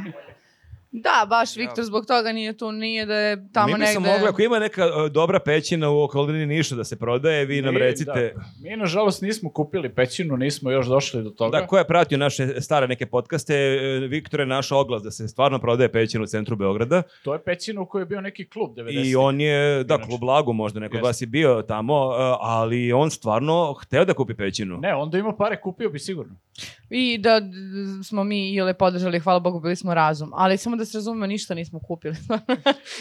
Speaker 1: Da, baš Viktor zbog toga nije tu, nije da je tamo
Speaker 2: mi
Speaker 1: negde.
Speaker 2: bismo mogli, ako ima neka e, dobra pećina u okolini Niša da se prodaje, vi nam
Speaker 3: Mi,
Speaker 2: recite.
Speaker 3: Da, mi, nažalost, nismo kupili pećinu, nismo još došli do toga.
Speaker 2: Da, ko je pratio naše stare neke podcaste, e, Viktor je našao oglas da se stvarno prodaje pećina u centru Beograda
Speaker 3: To je pećina u kojoj je bio neki klub 90.
Speaker 2: i on je, da,
Speaker 3: Inače.
Speaker 2: klub Lago možda neko od
Speaker 3: Jeste.
Speaker 2: vas je bio tamo, e, ali on stvarno hteo da kupi pećinu.
Speaker 3: Ne, onda ima pare, kupio bi sigurno.
Speaker 1: I da d- d- smo mi Ile podržali, hvala Bogu, bili smo razum. Ali samo da se razumemo, ništa nismo kupili.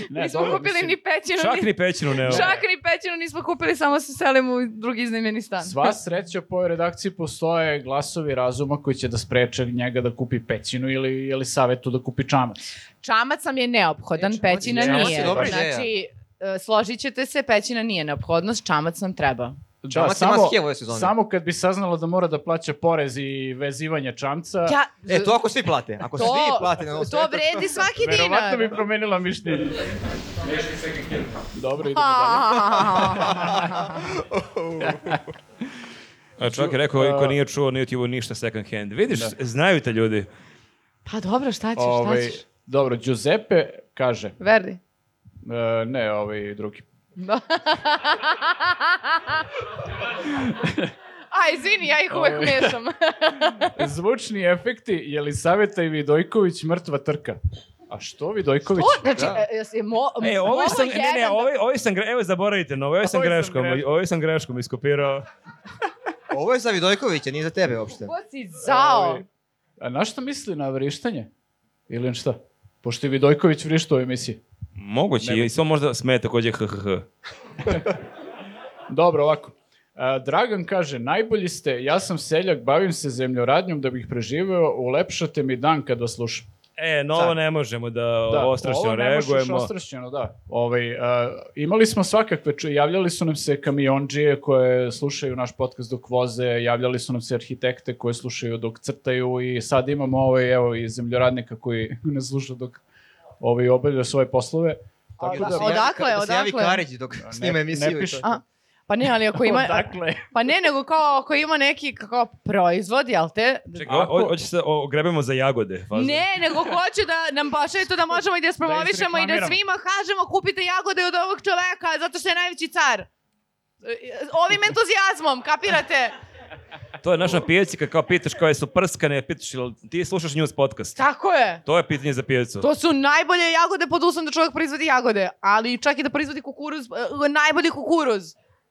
Speaker 3: Ne,
Speaker 1: nismo
Speaker 3: dobro,
Speaker 1: kupili
Speaker 3: mislim,
Speaker 1: ni pećinu, ni,
Speaker 2: Čak ni pećinu ne.
Speaker 1: *laughs* čak ni pećinu nismo kupili, samo se selimo u drugi iznajmljeni stan.
Speaker 3: Sva sreća po ovoj redakciji postoje glasovi razuma koji će da spreče njega da kupi pećinu ili, ili savetu da kupi čamac.
Speaker 1: Čamac nam je neophodan,
Speaker 4: E, čamac-
Speaker 1: pećina
Speaker 3: čamac je
Speaker 1: nije.
Speaker 3: dobra
Speaker 1: Znači, e, složit ćete se, pećina nije neophodnost, čamac nam treba.
Speaker 3: Da,
Speaker 4: Čamac ima
Speaker 3: samo,
Speaker 4: skevo ove sezone.
Speaker 3: samo kad bi saznala da mora da plaća porez i vezivanje čamca,
Speaker 1: Ja,
Speaker 4: E, to ako svi plate. Ako
Speaker 1: to,
Speaker 4: svi plate na ovom
Speaker 1: to
Speaker 4: svetu,
Speaker 1: vredi svaki
Speaker 3: verovatno
Speaker 1: dinar.
Speaker 3: bi promenila mišljenje. Dobro, idemo dalje.
Speaker 1: Pa. Ha,
Speaker 2: A Da. čovjek je rekao, ko nije čuo na YouTube ništa second hand. Vidiš, znaju te ljudi.
Speaker 1: Pa dobro, šta ćeš, šta
Speaker 3: Ovaj,
Speaker 1: ćeš?
Speaker 3: dobro, Giuseppe kaže,
Speaker 1: Verdi.
Speaker 3: e, ne, ovaj drugi.
Speaker 1: A, izvini, ja ih uvek
Speaker 3: Ovaj.
Speaker 1: mešam.
Speaker 3: Zvučni efekti, Jelisaveta i Vidojković mrtva trka. A što Vidojković?
Speaker 1: O, znači, e, jesi mo,
Speaker 2: E, ovo
Speaker 1: mogao
Speaker 2: sam, ne, ne, ovaj-
Speaker 1: jedan da-
Speaker 2: ovo, ovo sam, gre- evo zaboravite na ovo, ovo sam
Speaker 3: Ovo sam
Speaker 2: greškom,
Speaker 3: greškom.
Speaker 2: ovo sam greškom iskopirao.
Speaker 4: Ovo je za Vidojkovića, nije za tebe uopšte.
Speaker 1: Ko da si zao?
Speaker 3: Ovaj, A na što misli na vrištanje? Ili na šta? Pošto je Vidojković vrištao u emisiji.
Speaker 2: Moguće, i to možda sme takođe hhh.
Speaker 3: Dobro, ovako. A, Dragan kaže, najbolji ste, ja sam seljak, bavim se zemljoradnjom da bih preživeo, ulepšate mi dan kada slušam.
Speaker 2: E, no ovo ne možemo da,
Speaker 3: Da,
Speaker 2: ostrašćeno
Speaker 3: ovo ne možeš
Speaker 2: reagujemo.
Speaker 3: ostrašćeno, da. Ovaj, a, imali smo svakakve, ču- javljali su nam se kamionđije koje slušaju naš podcast dok voze, javljali su nam se arhitekte koje slušaju dok crtaju i sad imamo ovaj, evo, i zemljoradnika koji *laughs* ne sluša dok ovaj, obavlja svoje poslove. Tako
Speaker 4: Da
Speaker 3: da,
Speaker 4: se javi-
Speaker 1: Odakle,
Speaker 4: Da se javi
Speaker 1: odakle?
Speaker 4: Karić dok
Speaker 3: ne-
Speaker 4: snima emisiju.
Speaker 3: ne
Speaker 4: i
Speaker 3: piše. Dakle,
Speaker 4: to.
Speaker 1: A, pa ne, ali ako ima...
Speaker 3: *laughs* Odakle?
Speaker 1: Pa ne, nego kao ako ima neki kao proizvod, jel te?
Speaker 2: Čekaj, o- o- hoće se o, grebemo za jagode. fazon.
Speaker 1: Ne, nego hoću da nam pošalje to da možemo i da spromovišemo i da
Speaker 3: izreklamiramo.
Speaker 1: svima kažemo kupite jagode od ovog čoveka zato što je najveći car. E, Ovim entuzijazmom, kapirate?
Speaker 2: To je naša pijaci kad kao pitaš koje su prskane, pitaš ili ti slušaš news podcast.
Speaker 1: Tako je.
Speaker 2: To je pitanje za pijacu.
Speaker 1: To su najbolje jagode pod uslovom da čovjek proizvodi jagode, ali čak i da proizvodi kukuruz, e, najbolji kukuruz.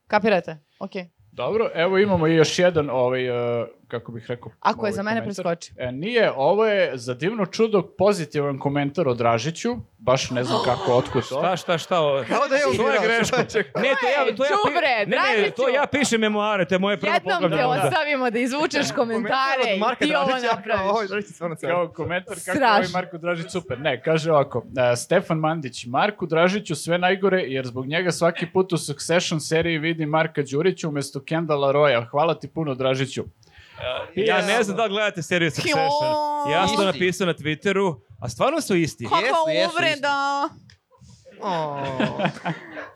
Speaker 1: Kapirate? Okej.
Speaker 3: Dobro, evo imamo i još jedan, ovaj, e, kako bih rekao...
Speaker 1: Ako je
Speaker 3: ovaj
Speaker 1: za mene,
Speaker 3: komentar.
Speaker 1: preskoči.
Speaker 3: E, nije, ovo je za divno čudo pozitivan komentar o Dražiću, baš ne znam
Speaker 1: *gasps*
Speaker 3: kako, otkud to.
Speaker 2: Šta, šta, šta? Ovo?
Speaker 4: Kao da je
Speaker 2: To je
Speaker 4: ugrao.
Speaker 2: greško. Ne, to ja, to ja, pi-
Speaker 1: đubre,
Speaker 2: ne, ne,
Speaker 1: Dragiću.
Speaker 2: to ja pišem memoare, to je moje prvo
Speaker 1: Jednom
Speaker 2: poglavlje.
Speaker 1: te
Speaker 2: onda.
Speaker 1: ostavimo da izvučeš
Speaker 4: Komentar
Speaker 1: komentare
Speaker 4: od Marka
Speaker 1: i ti ovo
Speaker 4: Dražića, kao,
Speaker 1: napraviš.
Speaker 4: Ovo je Dražić stvarno car.
Speaker 3: Kao komentar kako
Speaker 1: Strašno.
Speaker 3: ovaj Marko Dražić super. Ne, kaže ovako, e, Stefan Mandić, Marku Dražiću sve najgore jer zbog njega svaki put u Succession seriji vidi Marka Đurića umesto Kendala Roja. Hvala ti puno Dražiću.
Speaker 2: Ja ne znam da li gledate seriju Succession. Ja sam to
Speaker 4: Isti.
Speaker 2: napisao na Twitteru, a stvarno su isti.
Speaker 1: Kako
Speaker 4: Jesu, jesu,
Speaker 1: uvreda!
Speaker 4: O,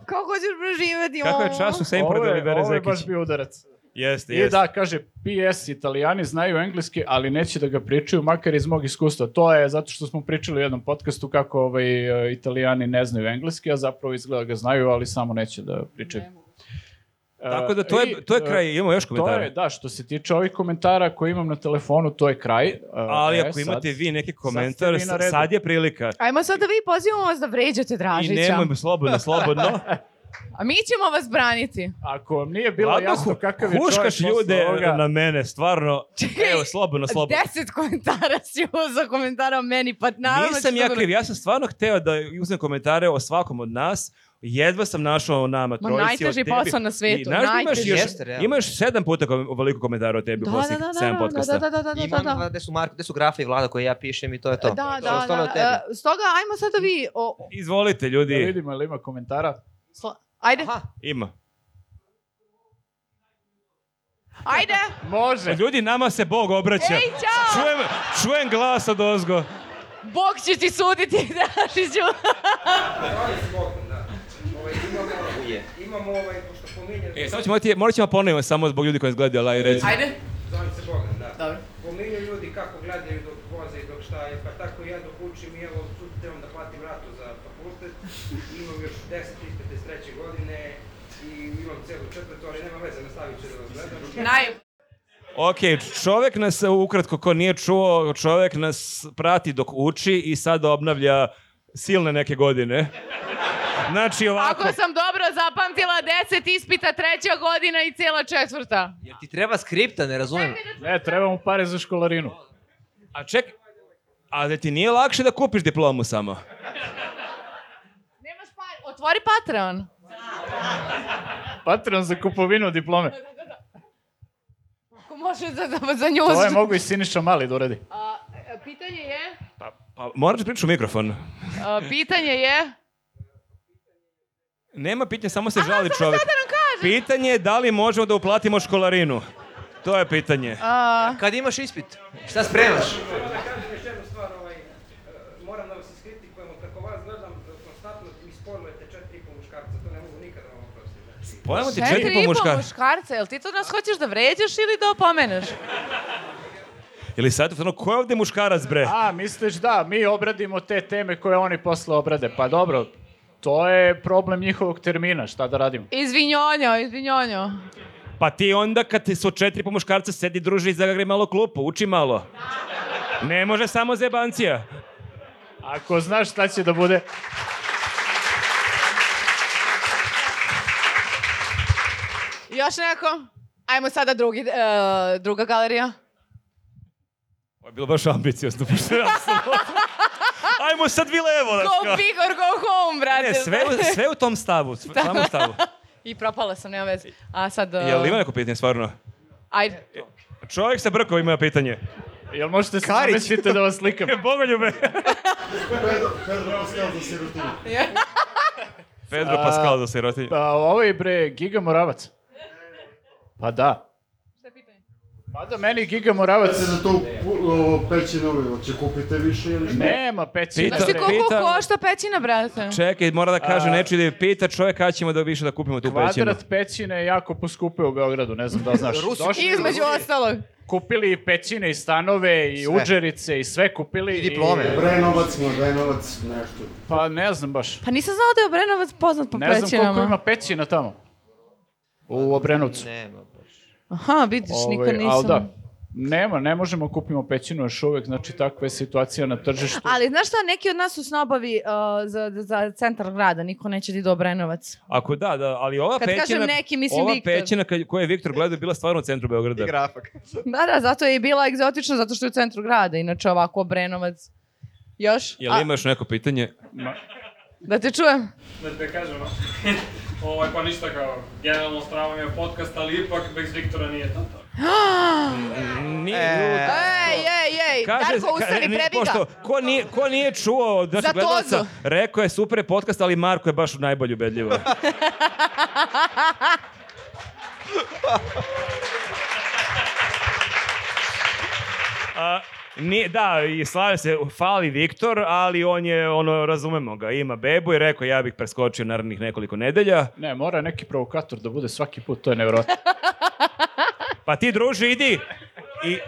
Speaker 1: Kako hoćeš preživeti
Speaker 2: Kako je
Speaker 1: ovo?
Speaker 2: čas u Sejmu
Speaker 3: Ovo
Speaker 2: pred
Speaker 3: je,
Speaker 2: Olivera
Speaker 3: ovo je baš
Speaker 2: Zekić?
Speaker 3: bio udarac.
Speaker 2: Jeste,
Speaker 3: I
Speaker 2: jeste.
Speaker 3: da, kaže, PS, italijani znaju engleski, ali neće da ga pričaju, makar iz mog iskustva. To je zato što smo pričali u jednom podcastu kako ovaj, e, italijani ne znaju engleski, a zapravo izgleda da ga znaju, ali samo neće da pričaju. E,
Speaker 2: Tako da to je, to je kraj, imamo još
Speaker 3: To je,
Speaker 2: komentare.
Speaker 3: da, što se tiče ovih komentara koje imam na telefonu, to je kraj. E,
Speaker 2: Ali
Speaker 3: e,
Speaker 2: ako
Speaker 3: sad-
Speaker 2: imate vi neki
Speaker 3: ste
Speaker 2: komentar,
Speaker 3: vi na redu.
Speaker 2: sad je prilika.
Speaker 1: Ajmo sad da vi pozivamo vas da vređate
Speaker 2: I
Speaker 1: Dražića.
Speaker 2: nemojmo slobodno, slobodno.
Speaker 1: A mi ćemo vas braniti.
Speaker 3: Ako vam nije *laughs* bilo
Speaker 2: Ladno,
Speaker 3: jasno
Speaker 2: hu-
Speaker 3: kakav je čovjek
Speaker 2: Huškaš
Speaker 3: posle
Speaker 2: ljude
Speaker 3: ovoga, da
Speaker 2: na mene, stvarno.
Speaker 1: Čekaj,
Speaker 2: Evo, slobodno, slobodno.
Speaker 1: Deset komentara si za komentara o meni, pa naravno
Speaker 2: Nisam
Speaker 1: ću
Speaker 2: ja
Speaker 1: to-
Speaker 2: kriv, ja sam stvarno hteo da uzmem komentare o svakom od nas. Jedva sam našao o nama
Speaker 1: Ma,
Speaker 2: trojici
Speaker 1: najteži
Speaker 2: o tebi.
Speaker 1: posao na svetu,
Speaker 2: I znaš da imaš,
Speaker 1: najteži.
Speaker 2: još,
Speaker 4: Jeste, realno.
Speaker 2: imaš sedam puta kom, veliko komentara o tebi
Speaker 1: Da,
Speaker 2: u
Speaker 1: da,
Speaker 2: posljednjih
Speaker 1: da,
Speaker 2: sedam
Speaker 1: da,
Speaker 2: podcasta.
Speaker 1: da, da, da, da, da,
Speaker 4: Imam
Speaker 1: da.
Speaker 4: dva, gde su Marko, gde su grafe i Vlada koje ja pišem i to je to.
Speaker 1: Da, da,
Speaker 4: To je
Speaker 1: da.
Speaker 4: ostalo od tebe.
Speaker 1: E, Stoga, ajmo sad da vi... O,
Speaker 2: Izvolite,
Speaker 3: Da
Speaker 2: ljudi.
Speaker 3: vidimo ili ima komentara.
Speaker 1: sla- ajde,
Speaker 4: Aha,
Speaker 2: Ima.
Speaker 1: ajde!
Speaker 3: Može.
Speaker 2: Ljudi, nama se Bog obraća.
Speaker 1: Ej, čao!
Speaker 2: Čujem, čujem glas od ozgo.
Speaker 1: Bog će ti suditi, *laughs* Dražiću!
Speaker 2: E, samo ćemo, ti- morat ćemo ponovno samo zbog ljudi koji nas gledaju, ali ajde, reci.
Speaker 1: Ajde.
Speaker 7: Zovem se Bogan, da.
Speaker 1: Dobro.
Speaker 7: Pominju ljudi kako gledaju dok voze i dok šta je, pa tako i ja dok učim i evo sutra trebam da platim ratu za fakultet. Imam još 10 ispite iz treće godine i imam celu četvrtu, ali nema veze, nastavit ću da vas gledam.
Speaker 1: Naj...
Speaker 2: Ok, čovek nas, ukratko, ko nije čuo, čovek nas prati dok uči i sad obnavlja silne neke godine. Znači ovako,
Speaker 1: Ako sam dobro zapamtila, deset ispita treća godina i cijela četvrta.
Speaker 4: jer ti treba skripta, ne razumijem.
Speaker 3: Ne, E, treba mu pare za školarinu.
Speaker 2: a ček, a da ti nije lakše da kupiš diplomu samo?
Speaker 1: Nemaš par... Otvori Patreon.
Speaker 3: Patreon za kupovinu diplome.
Speaker 1: Ako može za, za, za nju...
Speaker 3: To je mogu i Siniša Mali da uradi.
Speaker 1: A, e, pitanje je...
Speaker 2: Pa, pa moraš pričati u mikrofon.
Speaker 1: A, pitanje je...
Speaker 2: Nema pitanja, samo se žali
Speaker 1: samo
Speaker 2: čovek.
Speaker 1: sad da nam kaže,
Speaker 2: Pitanje je da li možemo da uplatimo školarinu. To je pitanje.
Speaker 1: A,
Speaker 4: Kad imaš ispit? Šta spremaš?
Speaker 7: Samo da kažem još jednu stvar, ovaj, e, moram da vas iskritikujemo, kako vas gledam, e, konstantno mi spolujete četiri i po muškarca, to ne mogu nikada vam oprostiti. Znači,
Speaker 2: Pojamo ti četiri
Speaker 1: četiri i po
Speaker 2: muška.
Speaker 1: muškarca, jel ti to nas hoćeš da vređaš ili da opomeneš?
Speaker 2: Ili sad, ono, ko je ovde muškarac, bre?
Speaker 3: A, misliš da, mi obradimo te teme koje oni posle obrade. Pa dobro, to je problem njihovog termina, šta da radimo?
Speaker 1: Izvinjonjo, izvinjonjo.
Speaker 2: Pa ti onda kad ti su četiri po muškarca sedi, druži i zagri malo klupu, uči malo. Ne može samo zebancija.
Speaker 3: Ako znaš šta će da bude...
Speaker 1: Još neko? Ajmo sada drugi, e, druga galerija.
Speaker 2: Ovo je bilo baš ambiciozno, *laughs* pošto ja sam
Speaker 1: *laughs*
Speaker 2: ovde. Ajmo sad vi levo, znaš
Speaker 1: Go
Speaker 2: kao.
Speaker 1: big or go home, brate.
Speaker 2: Ne, E, sve, u- sve u tom stavu, sve, samo u stavu.
Speaker 1: I propala sam, nema veze. A sad... e,
Speaker 2: Jel ima neko pitanje, stvarno?
Speaker 1: Ajde.
Speaker 2: Čovjek sa brkovima ima pitanje.
Speaker 3: Jel možete se zamislite da vas slikam?
Speaker 2: Bogoljube. Pedro Pascal za sirotinju.
Speaker 3: Pa ovo je bre Giga Moravac. Pa da.
Speaker 1: Šta je pitanje?
Speaker 3: Pa da meni Giga Moravac...
Speaker 9: na da to uh, pećinu, hoće kupite više ili šta?
Speaker 3: Nema pećina.
Speaker 2: Pita-
Speaker 1: Znaš ti
Speaker 2: Pitao-
Speaker 1: koliko
Speaker 2: pitao-
Speaker 1: košta pećina, brate?
Speaker 2: Čekaj, mora da kaže nečiji da je pita čovjek kada ćemo da više da kupimo tu pećinu.
Speaker 3: Kvadrat pećine je jako poskupio u Beogradu, ne znam da li znaš.
Speaker 4: Rusi-
Speaker 3: Došli,
Speaker 1: I između ostalog.
Speaker 3: kupili i pećine i stanove i
Speaker 4: Sve.
Speaker 3: uđerice i sve kupili.
Speaker 4: I diplome.
Speaker 9: Braj novac mu, daj novac, nešto.
Speaker 3: Pa ne znam baš.
Speaker 1: Pa nisam znao da je Obrenovac poznat po
Speaker 3: Ne
Speaker 1: pećinama.
Speaker 3: znam koliko ima pećina tamo. U
Speaker 2: Pa
Speaker 3: Obrenovcu.
Speaker 4: Nema baš.
Speaker 1: Aha, vidiš, nikad
Speaker 3: Ovaj,
Speaker 1: nisam.
Speaker 3: ali da, nema, ne možemo da kupimo pećinu još uvek, znači takva je situacija na tržištu.
Speaker 1: Ali znaš šta, neki od nas su snobovi uh, za, za centar grada, niko neće da ide u Obrenovac.
Speaker 2: Ako da, da, ali ova
Speaker 1: Kad
Speaker 2: pećina...
Speaker 1: kažem neki, mislim
Speaker 2: ova
Speaker 1: Viktor.
Speaker 2: pećina kad- koju je Viktor gledao je bila stvarno u centru Beograda.
Speaker 4: Grafak.
Speaker 1: Da, da, zato je i bila egzotična, zato što je u centru grada, inače ovako Obrenovac. Još?
Speaker 2: Jel
Speaker 1: A,
Speaker 2: imaš neko pitanje?
Speaker 1: Da te čujem.
Speaker 10: da te kažem, ovaj, pa ništa kao, generalno strava mi je podcast, ali ipak bez Viktora nije to tako.
Speaker 2: Nije,
Speaker 4: E,
Speaker 1: Ej, ej, ej, E, Darko usani,
Speaker 2: nije,
Speaker 1: prebi
Speaker 2: pošto
Speaker 1: ga.
Speaker 2: ko nije, ko nije čuo od naših
Speaker 1: Za tozu.
Speaker 2: gledalaca, rekao je super je podcast, ali Marko je baš najbolje ubedljivo.
Speaker 1: *laughs*
Speaker 2: A, nije, da, i slažem se, fali Viktor, ali on je, ono, razumemo ga, ima bebu i rekao ja bih preskočio narednih nekoliko nedelja.
Speaker 3: Ne, mora neki provokator da bude svaki put, to je nevjerojatno.
Speaker 2: E, Pa ti druži, idi! I,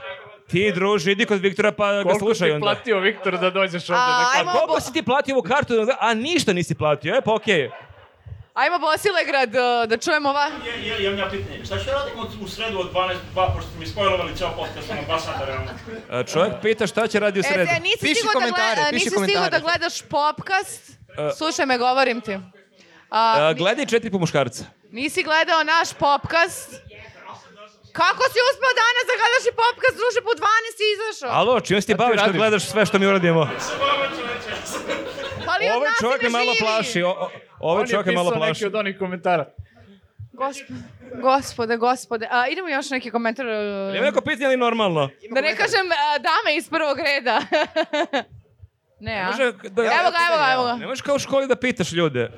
Speaker 2: ti druži, idi kod Viktora pa ga
Speaker 3: Koliko
Speaker 2: slušaj
Speaker 3: ti
Speaker 2: onda.
Speaker 3: platio Viktor da dođeš ovde?
Speaker 1: A,
Speaker 3: na
Speaker 1: ajmo-
Speaker 2: A koliko si ti platio ovu kartu? da A ništa nisi platio, e pa okej.
Speaker 1: Ajmo Bosilegrad, uh, da čujemo ova.
Speaker 10: Ja, ja, imam ja pitanje, šta ću raditi u sredu od 12 do 2, pošto mi spojlovali ceo podcast, ono, dva sata realno.
Speaker 2: A E, Čovjek pita šta će radi u
Speaker 1: E,
Speaker 2: sredu.
Speaker 1: te, nisi
Speaker 4: Piši
Speaker 1: stigao da,
Speaker 4: komentare,
Speaker 1: gleda,
Speaker 4: piši
Speaker 1: nisi stigao
Speaker 4: komentare.
Speaker 1: da gledaš popkast.
Speaker 2: E.
Speaker 1: Slušaj me, govorim ti. A,
Speaker 2: A, E, gledaj četiri po muškarca.
Speaker 1: Nisi gledao naš popkast? Kako si uspeo danas da gledaš i popkast, druže, po 12 si izašao?
Speaker 2: Alo, čim se ti baviš kad
Speaker 3: radiš?
Speaker 2: gledaš sve što mi uradimo?
Speaker 1: Pa li od
Speaker 2: Ovaj
Speaker 1: nas
Speaker 2: čovjek
Speaker 1: ne
Speaker 2: me malo
Speaker 1: živi?
Speaker 2: plaši. O, o, ovaj
Speaker 3: On je
Speaker 2: čovjek me malo
Speaker 3: pisao
Speaker 2: plaši.
Speaker 3: neki od onih komentara.
Speaker 1: Gospode, gospode, gospode. A, idemo još neki komentar. e,
Speaker 2: Ima neko pitanje ali normalno?
Speaker 1: Da ne kažem e, dame iz prvog reda. *laughs* ne, a?
Speaker 2: Može da,
Speaker 1: Evo ga, evo ga, evo ga.
Speaker 2: Ne možeš kao u školi da pitaš ljude.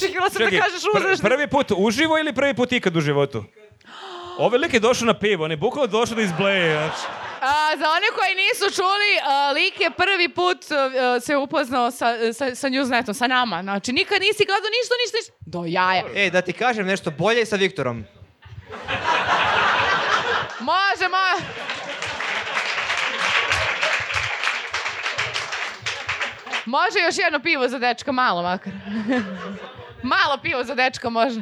Speaker 1: Čekala sam da kažeš uzreš.
Speaker 2: pr prvi put uživo ili prvi put ikad u životu? Ovaj lik je došao na pivo, on je bukvalo došao da izbleje. Znači.
Speaker 1: A, za one koji nisu čuli, a, lik je prvi put a, se upoznao sa, sa, sa Newsnetom, sa nama. Znači, nikad nisi gledao ništa, ništa, ništa. Do jaja.
Speaker 4: E, da ti kažem nešto, bolje je sa Viktorom.
Speaker 1: Može, može. Može još jedno pivo za dečka, malo makar. *laughs* malo pivo za dečka može.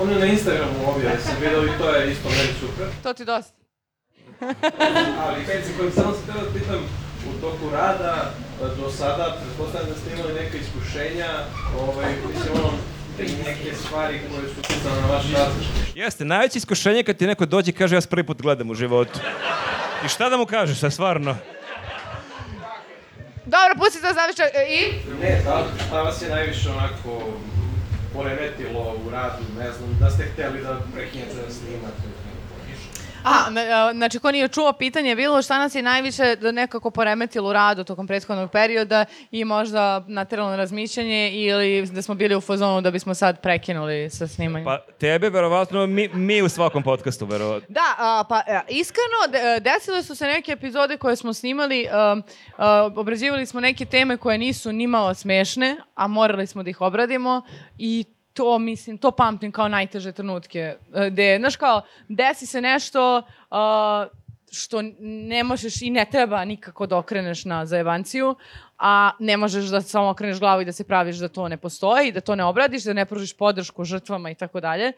Speaker 10: Ono je na Instagramu objave se videli, to je isto meni super.
Speaker 1: to ti dosta.
Speaker 10: Ali peci kojim samo se teo da pitam, u toku rada, e, do sada, pretpostavljam da ste imali neke iskušenja, ovaj, mislim, ono, neke stvari koje su uticale na vaš rad.
Speaker 2: Jeste, najveće iskušenje je kad ti neko dođe i kaže ja vas prvi put gledam u životu. I šta da mu kažeš, a stvarno?
Speaker 1: Dobro, pusti za zaviča i...
Speaker 10: Ne, da, li- šta vas je najviše onako poremetilo u radu, ne znam, da ste hteli da prekinete da snimate?
Speaker 1: A, na- a, znači, ko nije čuo, pitanje je bilo šta nas je najviše da nekako poremetilo u radu tokom prethodnog perioda i možda nateralo na razmišljanje ili da smo bili u fazonu da bismo sad prekinuli sa snimanjem.
Speaker 2: Pa tebe, verovatno, mi, mi u svakom podcastu, verovatno.
Speaker 1: Da, a, pa e, iskreno, de- desile su se neke epizode koje smo snimali, um, a, obrađivali smo neke teme koje nisu nimalo smešne, a morali smo da ih obradimo i to, mislim, to pamtim kao najteže trenutke. e, Gde, znaš kao, desi se nešto a, što ne možeš i ne treba nikako da okreneš na zajebanciju, a ne možeš da samo okreneš glavu i da se praviš da to ne postoji, da to ne obradiš, da ne pružiš podršku žrtvama i tako dalje.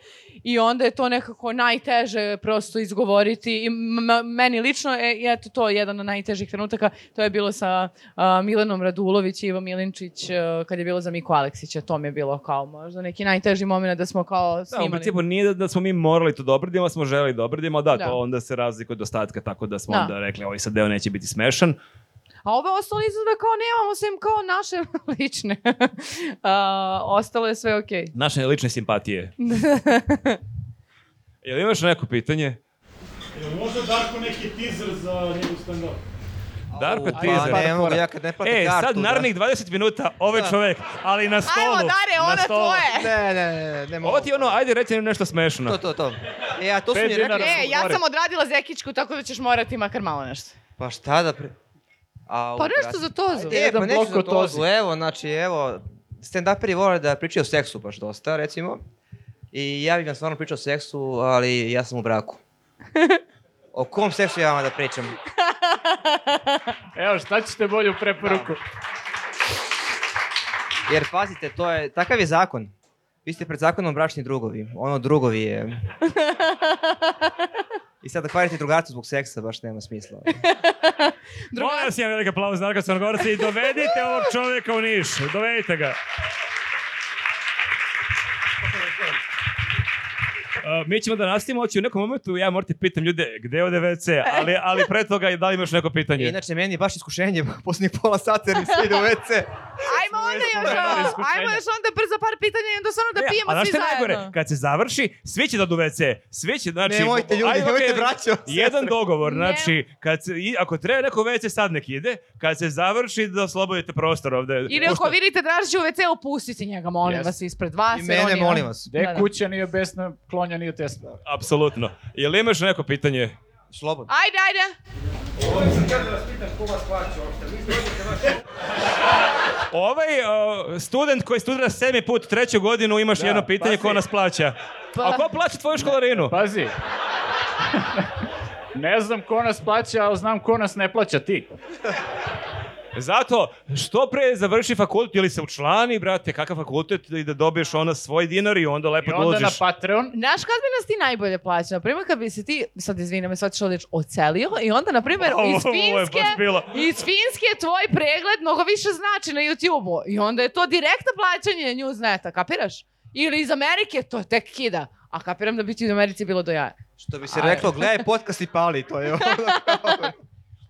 Speaker 1: I onda je to nekako najteže prosto izgovoriti. I m- m- meni lično je, je to, to jedan od najtežih trenutaka. To je bilo sa a, Milanom Radulović i Ivom Ilinčić a, kad je bilo za Miku Aleksića. To mi je bilo kao možda neki najteži moment da smo kao
Speaker 2: Da, u
Speaker 1: snimali.
Speaker 2: principu nije da, da smo mi morali to da obradimo, ali smo želeli da obradimo, da,
Speaker 1: Da.
Speaker 2: to onda se razlikuje od ostatka, tako da smo
Speaker 1: Da.
Speaker 2: onda rekli, ovaj sad deo neće biti smešan.
Speaker 1: A ove ostale izgleda kao nemamo sem kao naše *laughs* lične. A, ostalo je sve okej.
Speaker 2: Naše lične
Speaker 4: *laughs*
Speaker 2: simpatije. Jel imaš neko pitanje?
Speaker 10: Jel možda Darko neki teaser za njegov stand-up?
Speaker 2: Darko,
Speaker 4: Pa
Speaker 2: ti je
Speaker 4: ne mogu, ja kad ne platim
Speaker 2: E,
Speaker 4: kartu,
Speaker 2: sad
Speaker 4: da.
Speaker 2: narednih 20 minuta, ovaj čovek, ali na stolu.
Speaker 1: Dare,
Speaker 2: na
Speaker 1: ona
Speaker 2: stolu.
Speaker 1: tvoje.
Speaker 4: Ne, ne, ne, ne, ne mogu.
Speaker 2: Ovo ti je ono, ajde reći nam nešto smešno.
Speaker 4: To, to, to. E, a to su
Speaker 6: Pet
Speaker 4: mi rekli...
Speaker 6: dinara.
Speaker 4: da-
Speaker 1: E, ja
Speaker 2: Gore.
Speaker 1: sam odradila Zekićku, tako da ćeš morati makar malo nešto.
Speaker 4: Pa šta da pre... A,
Speaker 1: Pa
Speaker 4: u
Speaker 1: nešto
Speaker 4: krasi-
Speaker 1: za tozu.
Speaker 4: E,
Speaker 6: Jedan
Speaker 4: pa neću
Speaker 6: blok
Speaker 4: za
Speaker 6: od
Speaker 4: to,
Speaker 6: tozi.
Speaker 4: evo, znači, evo, stand-uperi vole da pričaju o seksu baš dosta, recimo. I ja bih vam stvarno pričao o seksu, ali ja sam u braku.
Speaker 2: *laughs*
Speaker 4: o kom seksu ja vam da pričam?
Speaker 6: Evo, šta ćete bolju preporuku?
Speaker 1: Da,
Speaker 4: Jer pazite, to je, takav je zakon. Vi ste pred zakonom bračni drugovi. Ono drugovi je... I sad da kvarite drugarcu zbog seksa baš nema smisla.
Speaker 2: Molim vas jedan veliki aplauz Darko Crnogorca i dovedite ovog čoveka u Niš. Dovedite ga. Uh, mi ćemo da nastavimo, hoću u nekom momentu ja morate pitam ljude gde je ovde WC, ali, ali pre toga da li imaš neko pitanje?
Speaker 4: Inače, meni je baš iskušenje, posljednjih pola sata jer mi se ide u WC.
Speaker 1: Ajmo onda još,
Speaker 2: spomenuli
Speaker 1: a,
Speaker 2: iskušenje.
Speaker 1: ajmo još onda brzo par pitanja i onda stvarno da
Speaker 2: E,
Speaker 1: pijemo
Speaker 2: a znaš
Speaker 1: svi
Speaker 2: šta je
Speaker 1: zajedno.
Speaker 2: najgore? Kad se završi, svi će da odu u WC. Svi će, znači...
Speaker 4: Nemojte, ljudi,
Speaker 2: ajde,
Speaker 4: nemojte,
Speaker 2: okej,
Speaker 4: braćo,
Speaker 2: Jedan dogovor,
Speaker 1: Ne.
Speaker 2: znači, kad se, i, ako treba neko u WC, sad nek ide. Kad se završi, da oslobodite prostor ovde.
Speaker 1: Ili ako
Speaker 2: Pošto-
Speaker 1: vidite Dražića u WC, opustite njega, molim
Speaker 6: Jeste.
Speaker 1: vas, ispred vas.
Speaker 4: I
Speaker 1: jer on
Speaker 4: mene,
Speaker 1: je-
Speaker 4: molim vas.
Speaker 6: Gde
Speaker 1: Da, da.
Speaker 6: kuća nije besna, klonja nije tesna.
Speaker 2: Apsolutno. Jel imaš neko pitanje?
Speaker 4: Slobodno.
Speaker 1: Ajde, ajde.
Speaker 7: Ovo sam htio da vas pitam ko vas plaća uopšte. Vi dođete vaš...
Speaker 2: Ovaj uh, student koji studira sedmi put, treću godinu,
Speaker 6: Da,
Speaker 2: imaš jedno pitanje ko nas plaća.
Speaker 1: Pa-
Speaker 2: A ko plaća tvoju školarinu?
Speaker 6: Pazi. *laughs* ne znam ko nas plaća, ali znam ko nas ne plaća, ti.
Speaker 2: Zato, što pre završi fakultet ili se učlani, brate, kakav fakultet i da dobiješ ona svoj dinar i onda lepo
Speaker 6: I
Speaker 2: da
Speaker 6: onda na pa-
Speaker 2: uložiš.
Speaker 6: Patreon.
Speaker 1: Znaš kad bi nas ti najbolje plaćao? Na primjer, kad bi se ti, sad izvini, me sad ću reći, ocelio i onda, na primjer,
Speaker 2: Ovo-
Speaker 1: iz
Speaker 2: ovo je baš
Speaker 1: Finske,
Speaker 2: bilo.
Speaker 1: iz Finske tvoj pregled mnogo više znači na YouTube-u. I onda je to direktno plaćanje Newsneta, kapiraš? Ili iz Amerike, to tek kida. A kapiram da bi ti u Americi bilo do jaja.
Speaker 4: Što bi se reklo, gledaj podcast i pali, to je ono.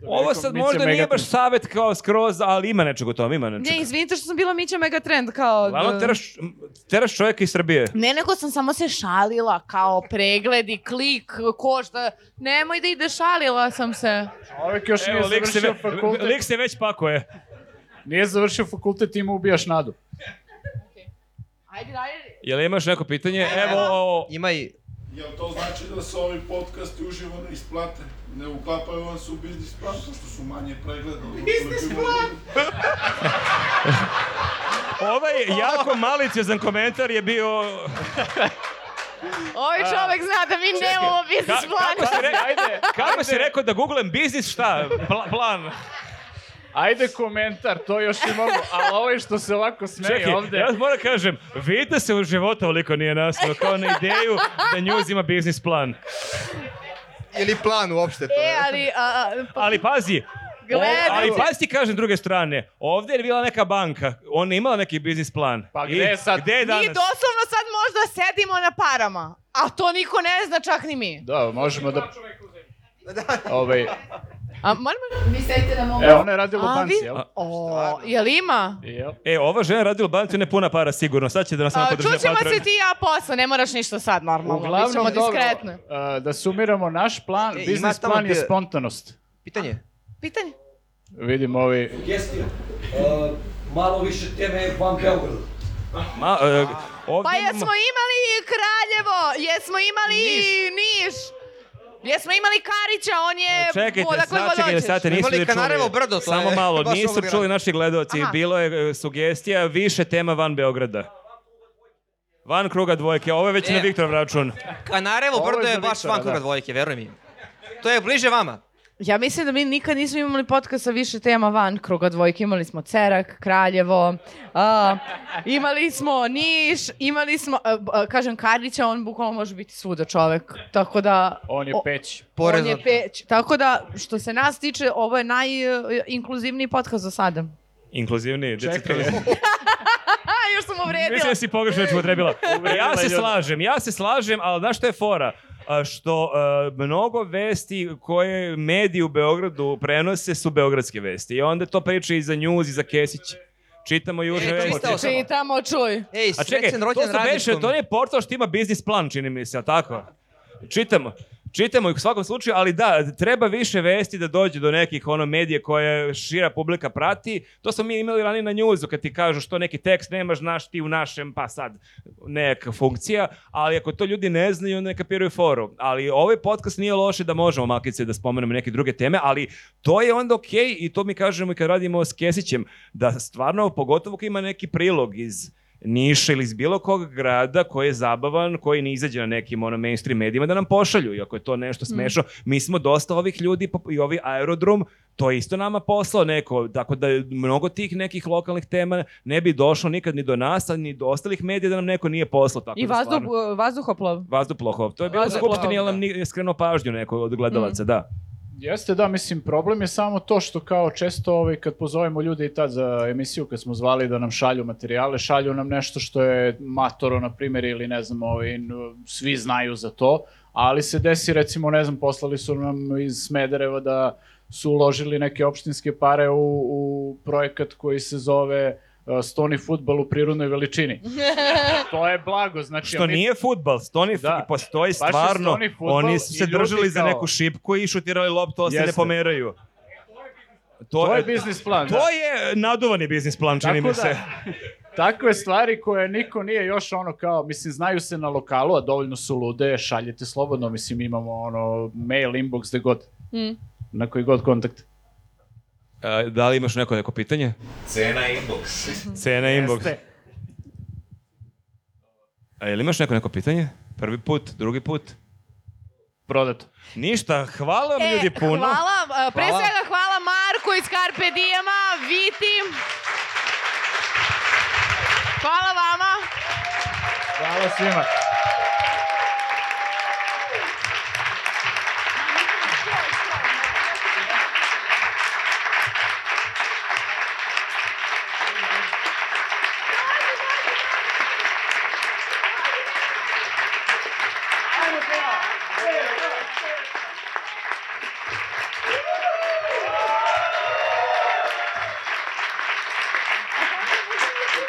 Speaker 2: Ovo sad
Speaker 6: Mica
Speaker 2: možda nije
Speaker 6: Megaton.
Speaker 2: baš savet kao skroz, ali ima nečeg u tom, ima nečeg.
Speaker 1: Ne, izvinite što sam bila Mića Megatrend, kao...
Speaker 2: Uglavnom,
Speaker 1: da-
Speaker 2: teraš, teraš čovjeka iz Srbije.
Speaker 1: Ne, nego sam samo se šalila, kao pregled i klik, košta. Nemoj da ide, šalila sam se.
Speaker 6: Čovjek još
Speaker 2: Evo,
Speaker 6: nije
Speaker 2: lik se,
Speaker 6: završio
Speaker 2: ve-
Speaker 6: fakultet.
Speaker 2: lik se već pakuje.
Speaker 6: Nije završio fakultet i mu ubijaš nadu.
Speaker 1: Ajde, ajde.
Speaker 2: Jel imaš neko pitanje? Evo, o-
Speaker 4: Ima i...
Speaker 10: Jel to znači da se ovi podcasti uživo ne isplate? Ne uklapaju vam se u biznis plan, pošto su manje pregleda. Biznis plan?
Speaker 2: ovaj jako maliciozan komentar je bio...
Speaker 1: Ovaj čovek zna da mi nemamo biznis
Speaker 2: Ka-
Speaker 1: plan.
Speaker 2: kako si, re-
Speaker 6: Ajde,
Speaker 2: kako si rekao da googlam biznis, šta? Pla- plan.
Speaker 6: ajde komentar, to još i mogu. Ali ovaj što se ovako smeje
Speaker 2: Čekaj,
Speaker 6: ovde.
Speaker 2: ja moram da kažem, vidite se u životu oliko nije nastao, kao na ideju da News ima biznis plan.
Speaker 4: Ili plan uopšte to
Speaker 1: E,
Speaker 4: je.
Speaker 1: ali... A, a, pa,
Speaker 2: Ali pazi,
Speaker 1: Gledajte.
Speaker 2: o- ali pazi ti kažem druge strane, ovde je bila neka banka, ona je imala neki biznis plan.
Speaker 6: Pa
Speaker 2: I
Speaker 6: gde je sad?
Speaker 2: Gde je
Speaker 1: mi
Speaker 2: danas?
Speaker 1: doslovno sad možda sedimo na parama. A to niko ne zna, čak ni mi.
Speaker 6: Da, možemo da... Ovaj,
Speaker 1: A moramo...
Speaker 11: Mi sedite na mom...
Speaker 3: E, ona je radila u
Speaker 1: A,
Speaker 3: banci,
Speaker 1: vi-
Speaker 3: jel?
Speaker 1: O, jel ima?
Speaker 2: E, ova žena je radila u banci, ne puna para sigurno. Sad će da nas samo
Speaker 1: A,
Speaker 2: podrži na
Speaker 1: Čućemo se
Speaker 2: Patreonu.
Speaker 1: ti i ja posle, ne moraš ništa sad normalno. Uglavnom,
Speaker 3: Uglavnom,
Speaker 1: Bićemo
Speaker 3: dobro,
Speaker 1: diskretno.
Speaker 3: e, da sumiramo naš plan,
Speaker 6: E, ima
Speaker 3: biznis
Speaker 6: tamo
Speaker 3: plan je
Speaker 6: bio-
Speaker 3: spontanost.
Speaker 6: Pitanje?
Speaker 1: Pitanje?
Speaker 3: Vidim ovi...
Speaker 7: Sugestija. Uh, malo više teme van Beograda.
Speaker 2: Ma, e, ovdje
Speaker 1: Pa
Speaker 2: imamo-
Speaker 1: jesmo imali i Kraljevo, jesmo imali i Niš. Jesmo imali Karića, on je...
Speaker 2: E, Čekajte,
Speaker 1: odakle
Speaker 2: sad,
Speaker 1: Dakle, god
Speaker 2: čekajte,
Speaker 1: hoćeš.
Speaker 2: sad nisu li čuli, samo malo, nisu čuli naši gledoci,
Speaker 1: Aha.
Speaker 2: bilo je e, sugestija, više tema van Beograda. Van kruga dvojke, ovo je već
Speaker 6: E.
Speaker 2: na Viktorov račun.
Speaker 6: Kanarevo
Speaker 1: Ovo je
Speaker 6: brdo je
Speaker 1: za
Speaker 6: baš
Speaker 1: Viktora,
Speaker 6: van kruga
Speaker 1: da.
Speaker 6: dvojke, veruj mi. To je bliže vama.
Speaker 1: Ja mislim da mi nikad nismo imali podcast sa više tema van kruga dvojke. Imali smo Cerak, Kraljevo, a, imali smo Niš, imali smo, a, b- a, kažem, Karića, on bukvalno može biti svuda čovek. Tako da...
Speaker 3: On je
Speaker 1: o-
Speaker 3: peć.
Speaker 1: On je peć. Tako da, što se nas tiče, ovo je najinkluzivniji podcast do sada.
Speaker 2: Inkluzivniji, decentralizam.
Speaker 1: A, još sam uvredila.
Speaker 2: Mislim da si pogrešno reč upotrebila. E,
Speaker 1: Uvredila
Speaker 2: ja se
Speaker 1: ljude.
Speaker 2: slažem, ja se slažem, ali znaš što je fora? A, Što e, mnogo vesti koje mediji u Beogradu prenose su beogradske vesti. I onda to priča i za njuz i za Kesić. Čitamo južne vesti.
Speaker 1: Čitamo, čuj.
Speaker 6: Ej,
Speaker 2: A čekaj, to su beše, to nije portal što ima biznis plan, čini mi se, a tako? Čitamo. Čitamo ih u svakom slučaju, ali da, treba više vesti da dođe do nekih ono medije koje šira publika prati. To smo mi imali ranije na njuzu kad ti kažu što neki tekst nemaš, znaš ti u našem, pa sad neka funkcija, ali ako to ljudi ne znaju, ne kapiraju foru. Ali ovaj podcast nije loše da možemo makice da spomenemo neke druge teme, ali to je onda okej i to mi kažemo i kad radimo s Kesićem, da stvarno, pogotovo kad ima neki prilog iz Niša ili iz bilo kog grada koji je zabavan, koji ne izađe na nekim ono mainstream medijima da nam pošalju. I ako je to
Speaker 1: Mm.
Speaker 2: nešto smešno, mi smo dosta ovih ljudi pop- i ovi aerodrom, to je isto nama poslao neko, tako da mnogo tih nekih lokalnih tema ne bi došlo nikad ni do nas, a ni do ostalih medija da nam neko nije poslao. Tako
Speaker 1: I
Speaker 2: da
Speaker 1: vazduh,
Speaker 2: stvarno-
Speaker 1: vazduhoplov.
Speaker 2: Vazduhoplovstvo. To je bilo
Speaker 1: Vazduhoplovstvo,
Speaker 2: skupštini, ali nam nije skrenuo pažnju neko od
Speaker 1: Mm.
Speaker 2: gledalaca, da.
Speaker 3: Jeste, da, mislim, problem je samo to što kao često ovaj, kad pozovemo ljude i tad za emisiju, kad smo zvali da nam šalju materijale, šalju nam nešto što je matoro, na primjer, ili ne znam, ovaj, n- svi znaju za to, ali se desi, recimo, ne znam, poslali su nam iz Smedereva da su uložili neke opštinske pare u, u projekat koji se zove uh, Stoni futbal u prirodnoj veličini. To je blago, znači...
Speaker 2: Što
Speaker 3: a mi-
Speaker 2: nije futbal, stoni da. postoji
Speaker 3: Baš je
Speaker 2: stvarno,
Speaker 3: stoni fudbal
Speaker 2: oni su
Speaker 3: i
Speaker 2: se
Speaker 3: ljudi
Speaker 2: držali za
Speaker 3: kao-
Speaker 2: neku šipku i šutirali loptu, ali se ne
Speaker 3: Jeste.
Speaker 2: pomeraju.
Speaker 3: To je biznis plan,
Speaker 2: To
Speaker 3: da.
Speaker 2: je naduvani biznis plan, čini mi
Speaker 3: *laughs*
Speaker 2: se.
Speaker 3: takve da, stvari koje niko nije još ono kao, mislim, znaju se na lokalu, a dovoljno su lude, šaljete slobodno, mislim, imamo ono mail, inbox, gde god, na koji god kontakt.
Speaker 2: A, da li imaš neko neko pitanje?
Speaker 12: Cena inbox.
Speaker 2: *laughs* Cena inbox. A jel imaš neko neko pitanje? Prvi put, drugi put?
Speaker 3: Prodato.
Speaker 2: Ništa, hvala
Speaker 3: E,
Speaker 2: vam ljudi puno.
Speaker 1: E, Hvala, e, pre
Speaker 2: Hvala.
Speaker 1: svega hvala Marku iz Carpe Diema, Viti. Hvala vama.
Speaker 3: Hvala svima.
Speaker 13: Hvala puno ljudi.
Speaker 11: Hvala puno.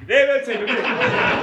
Speaker 13: Gde je veće ljudi?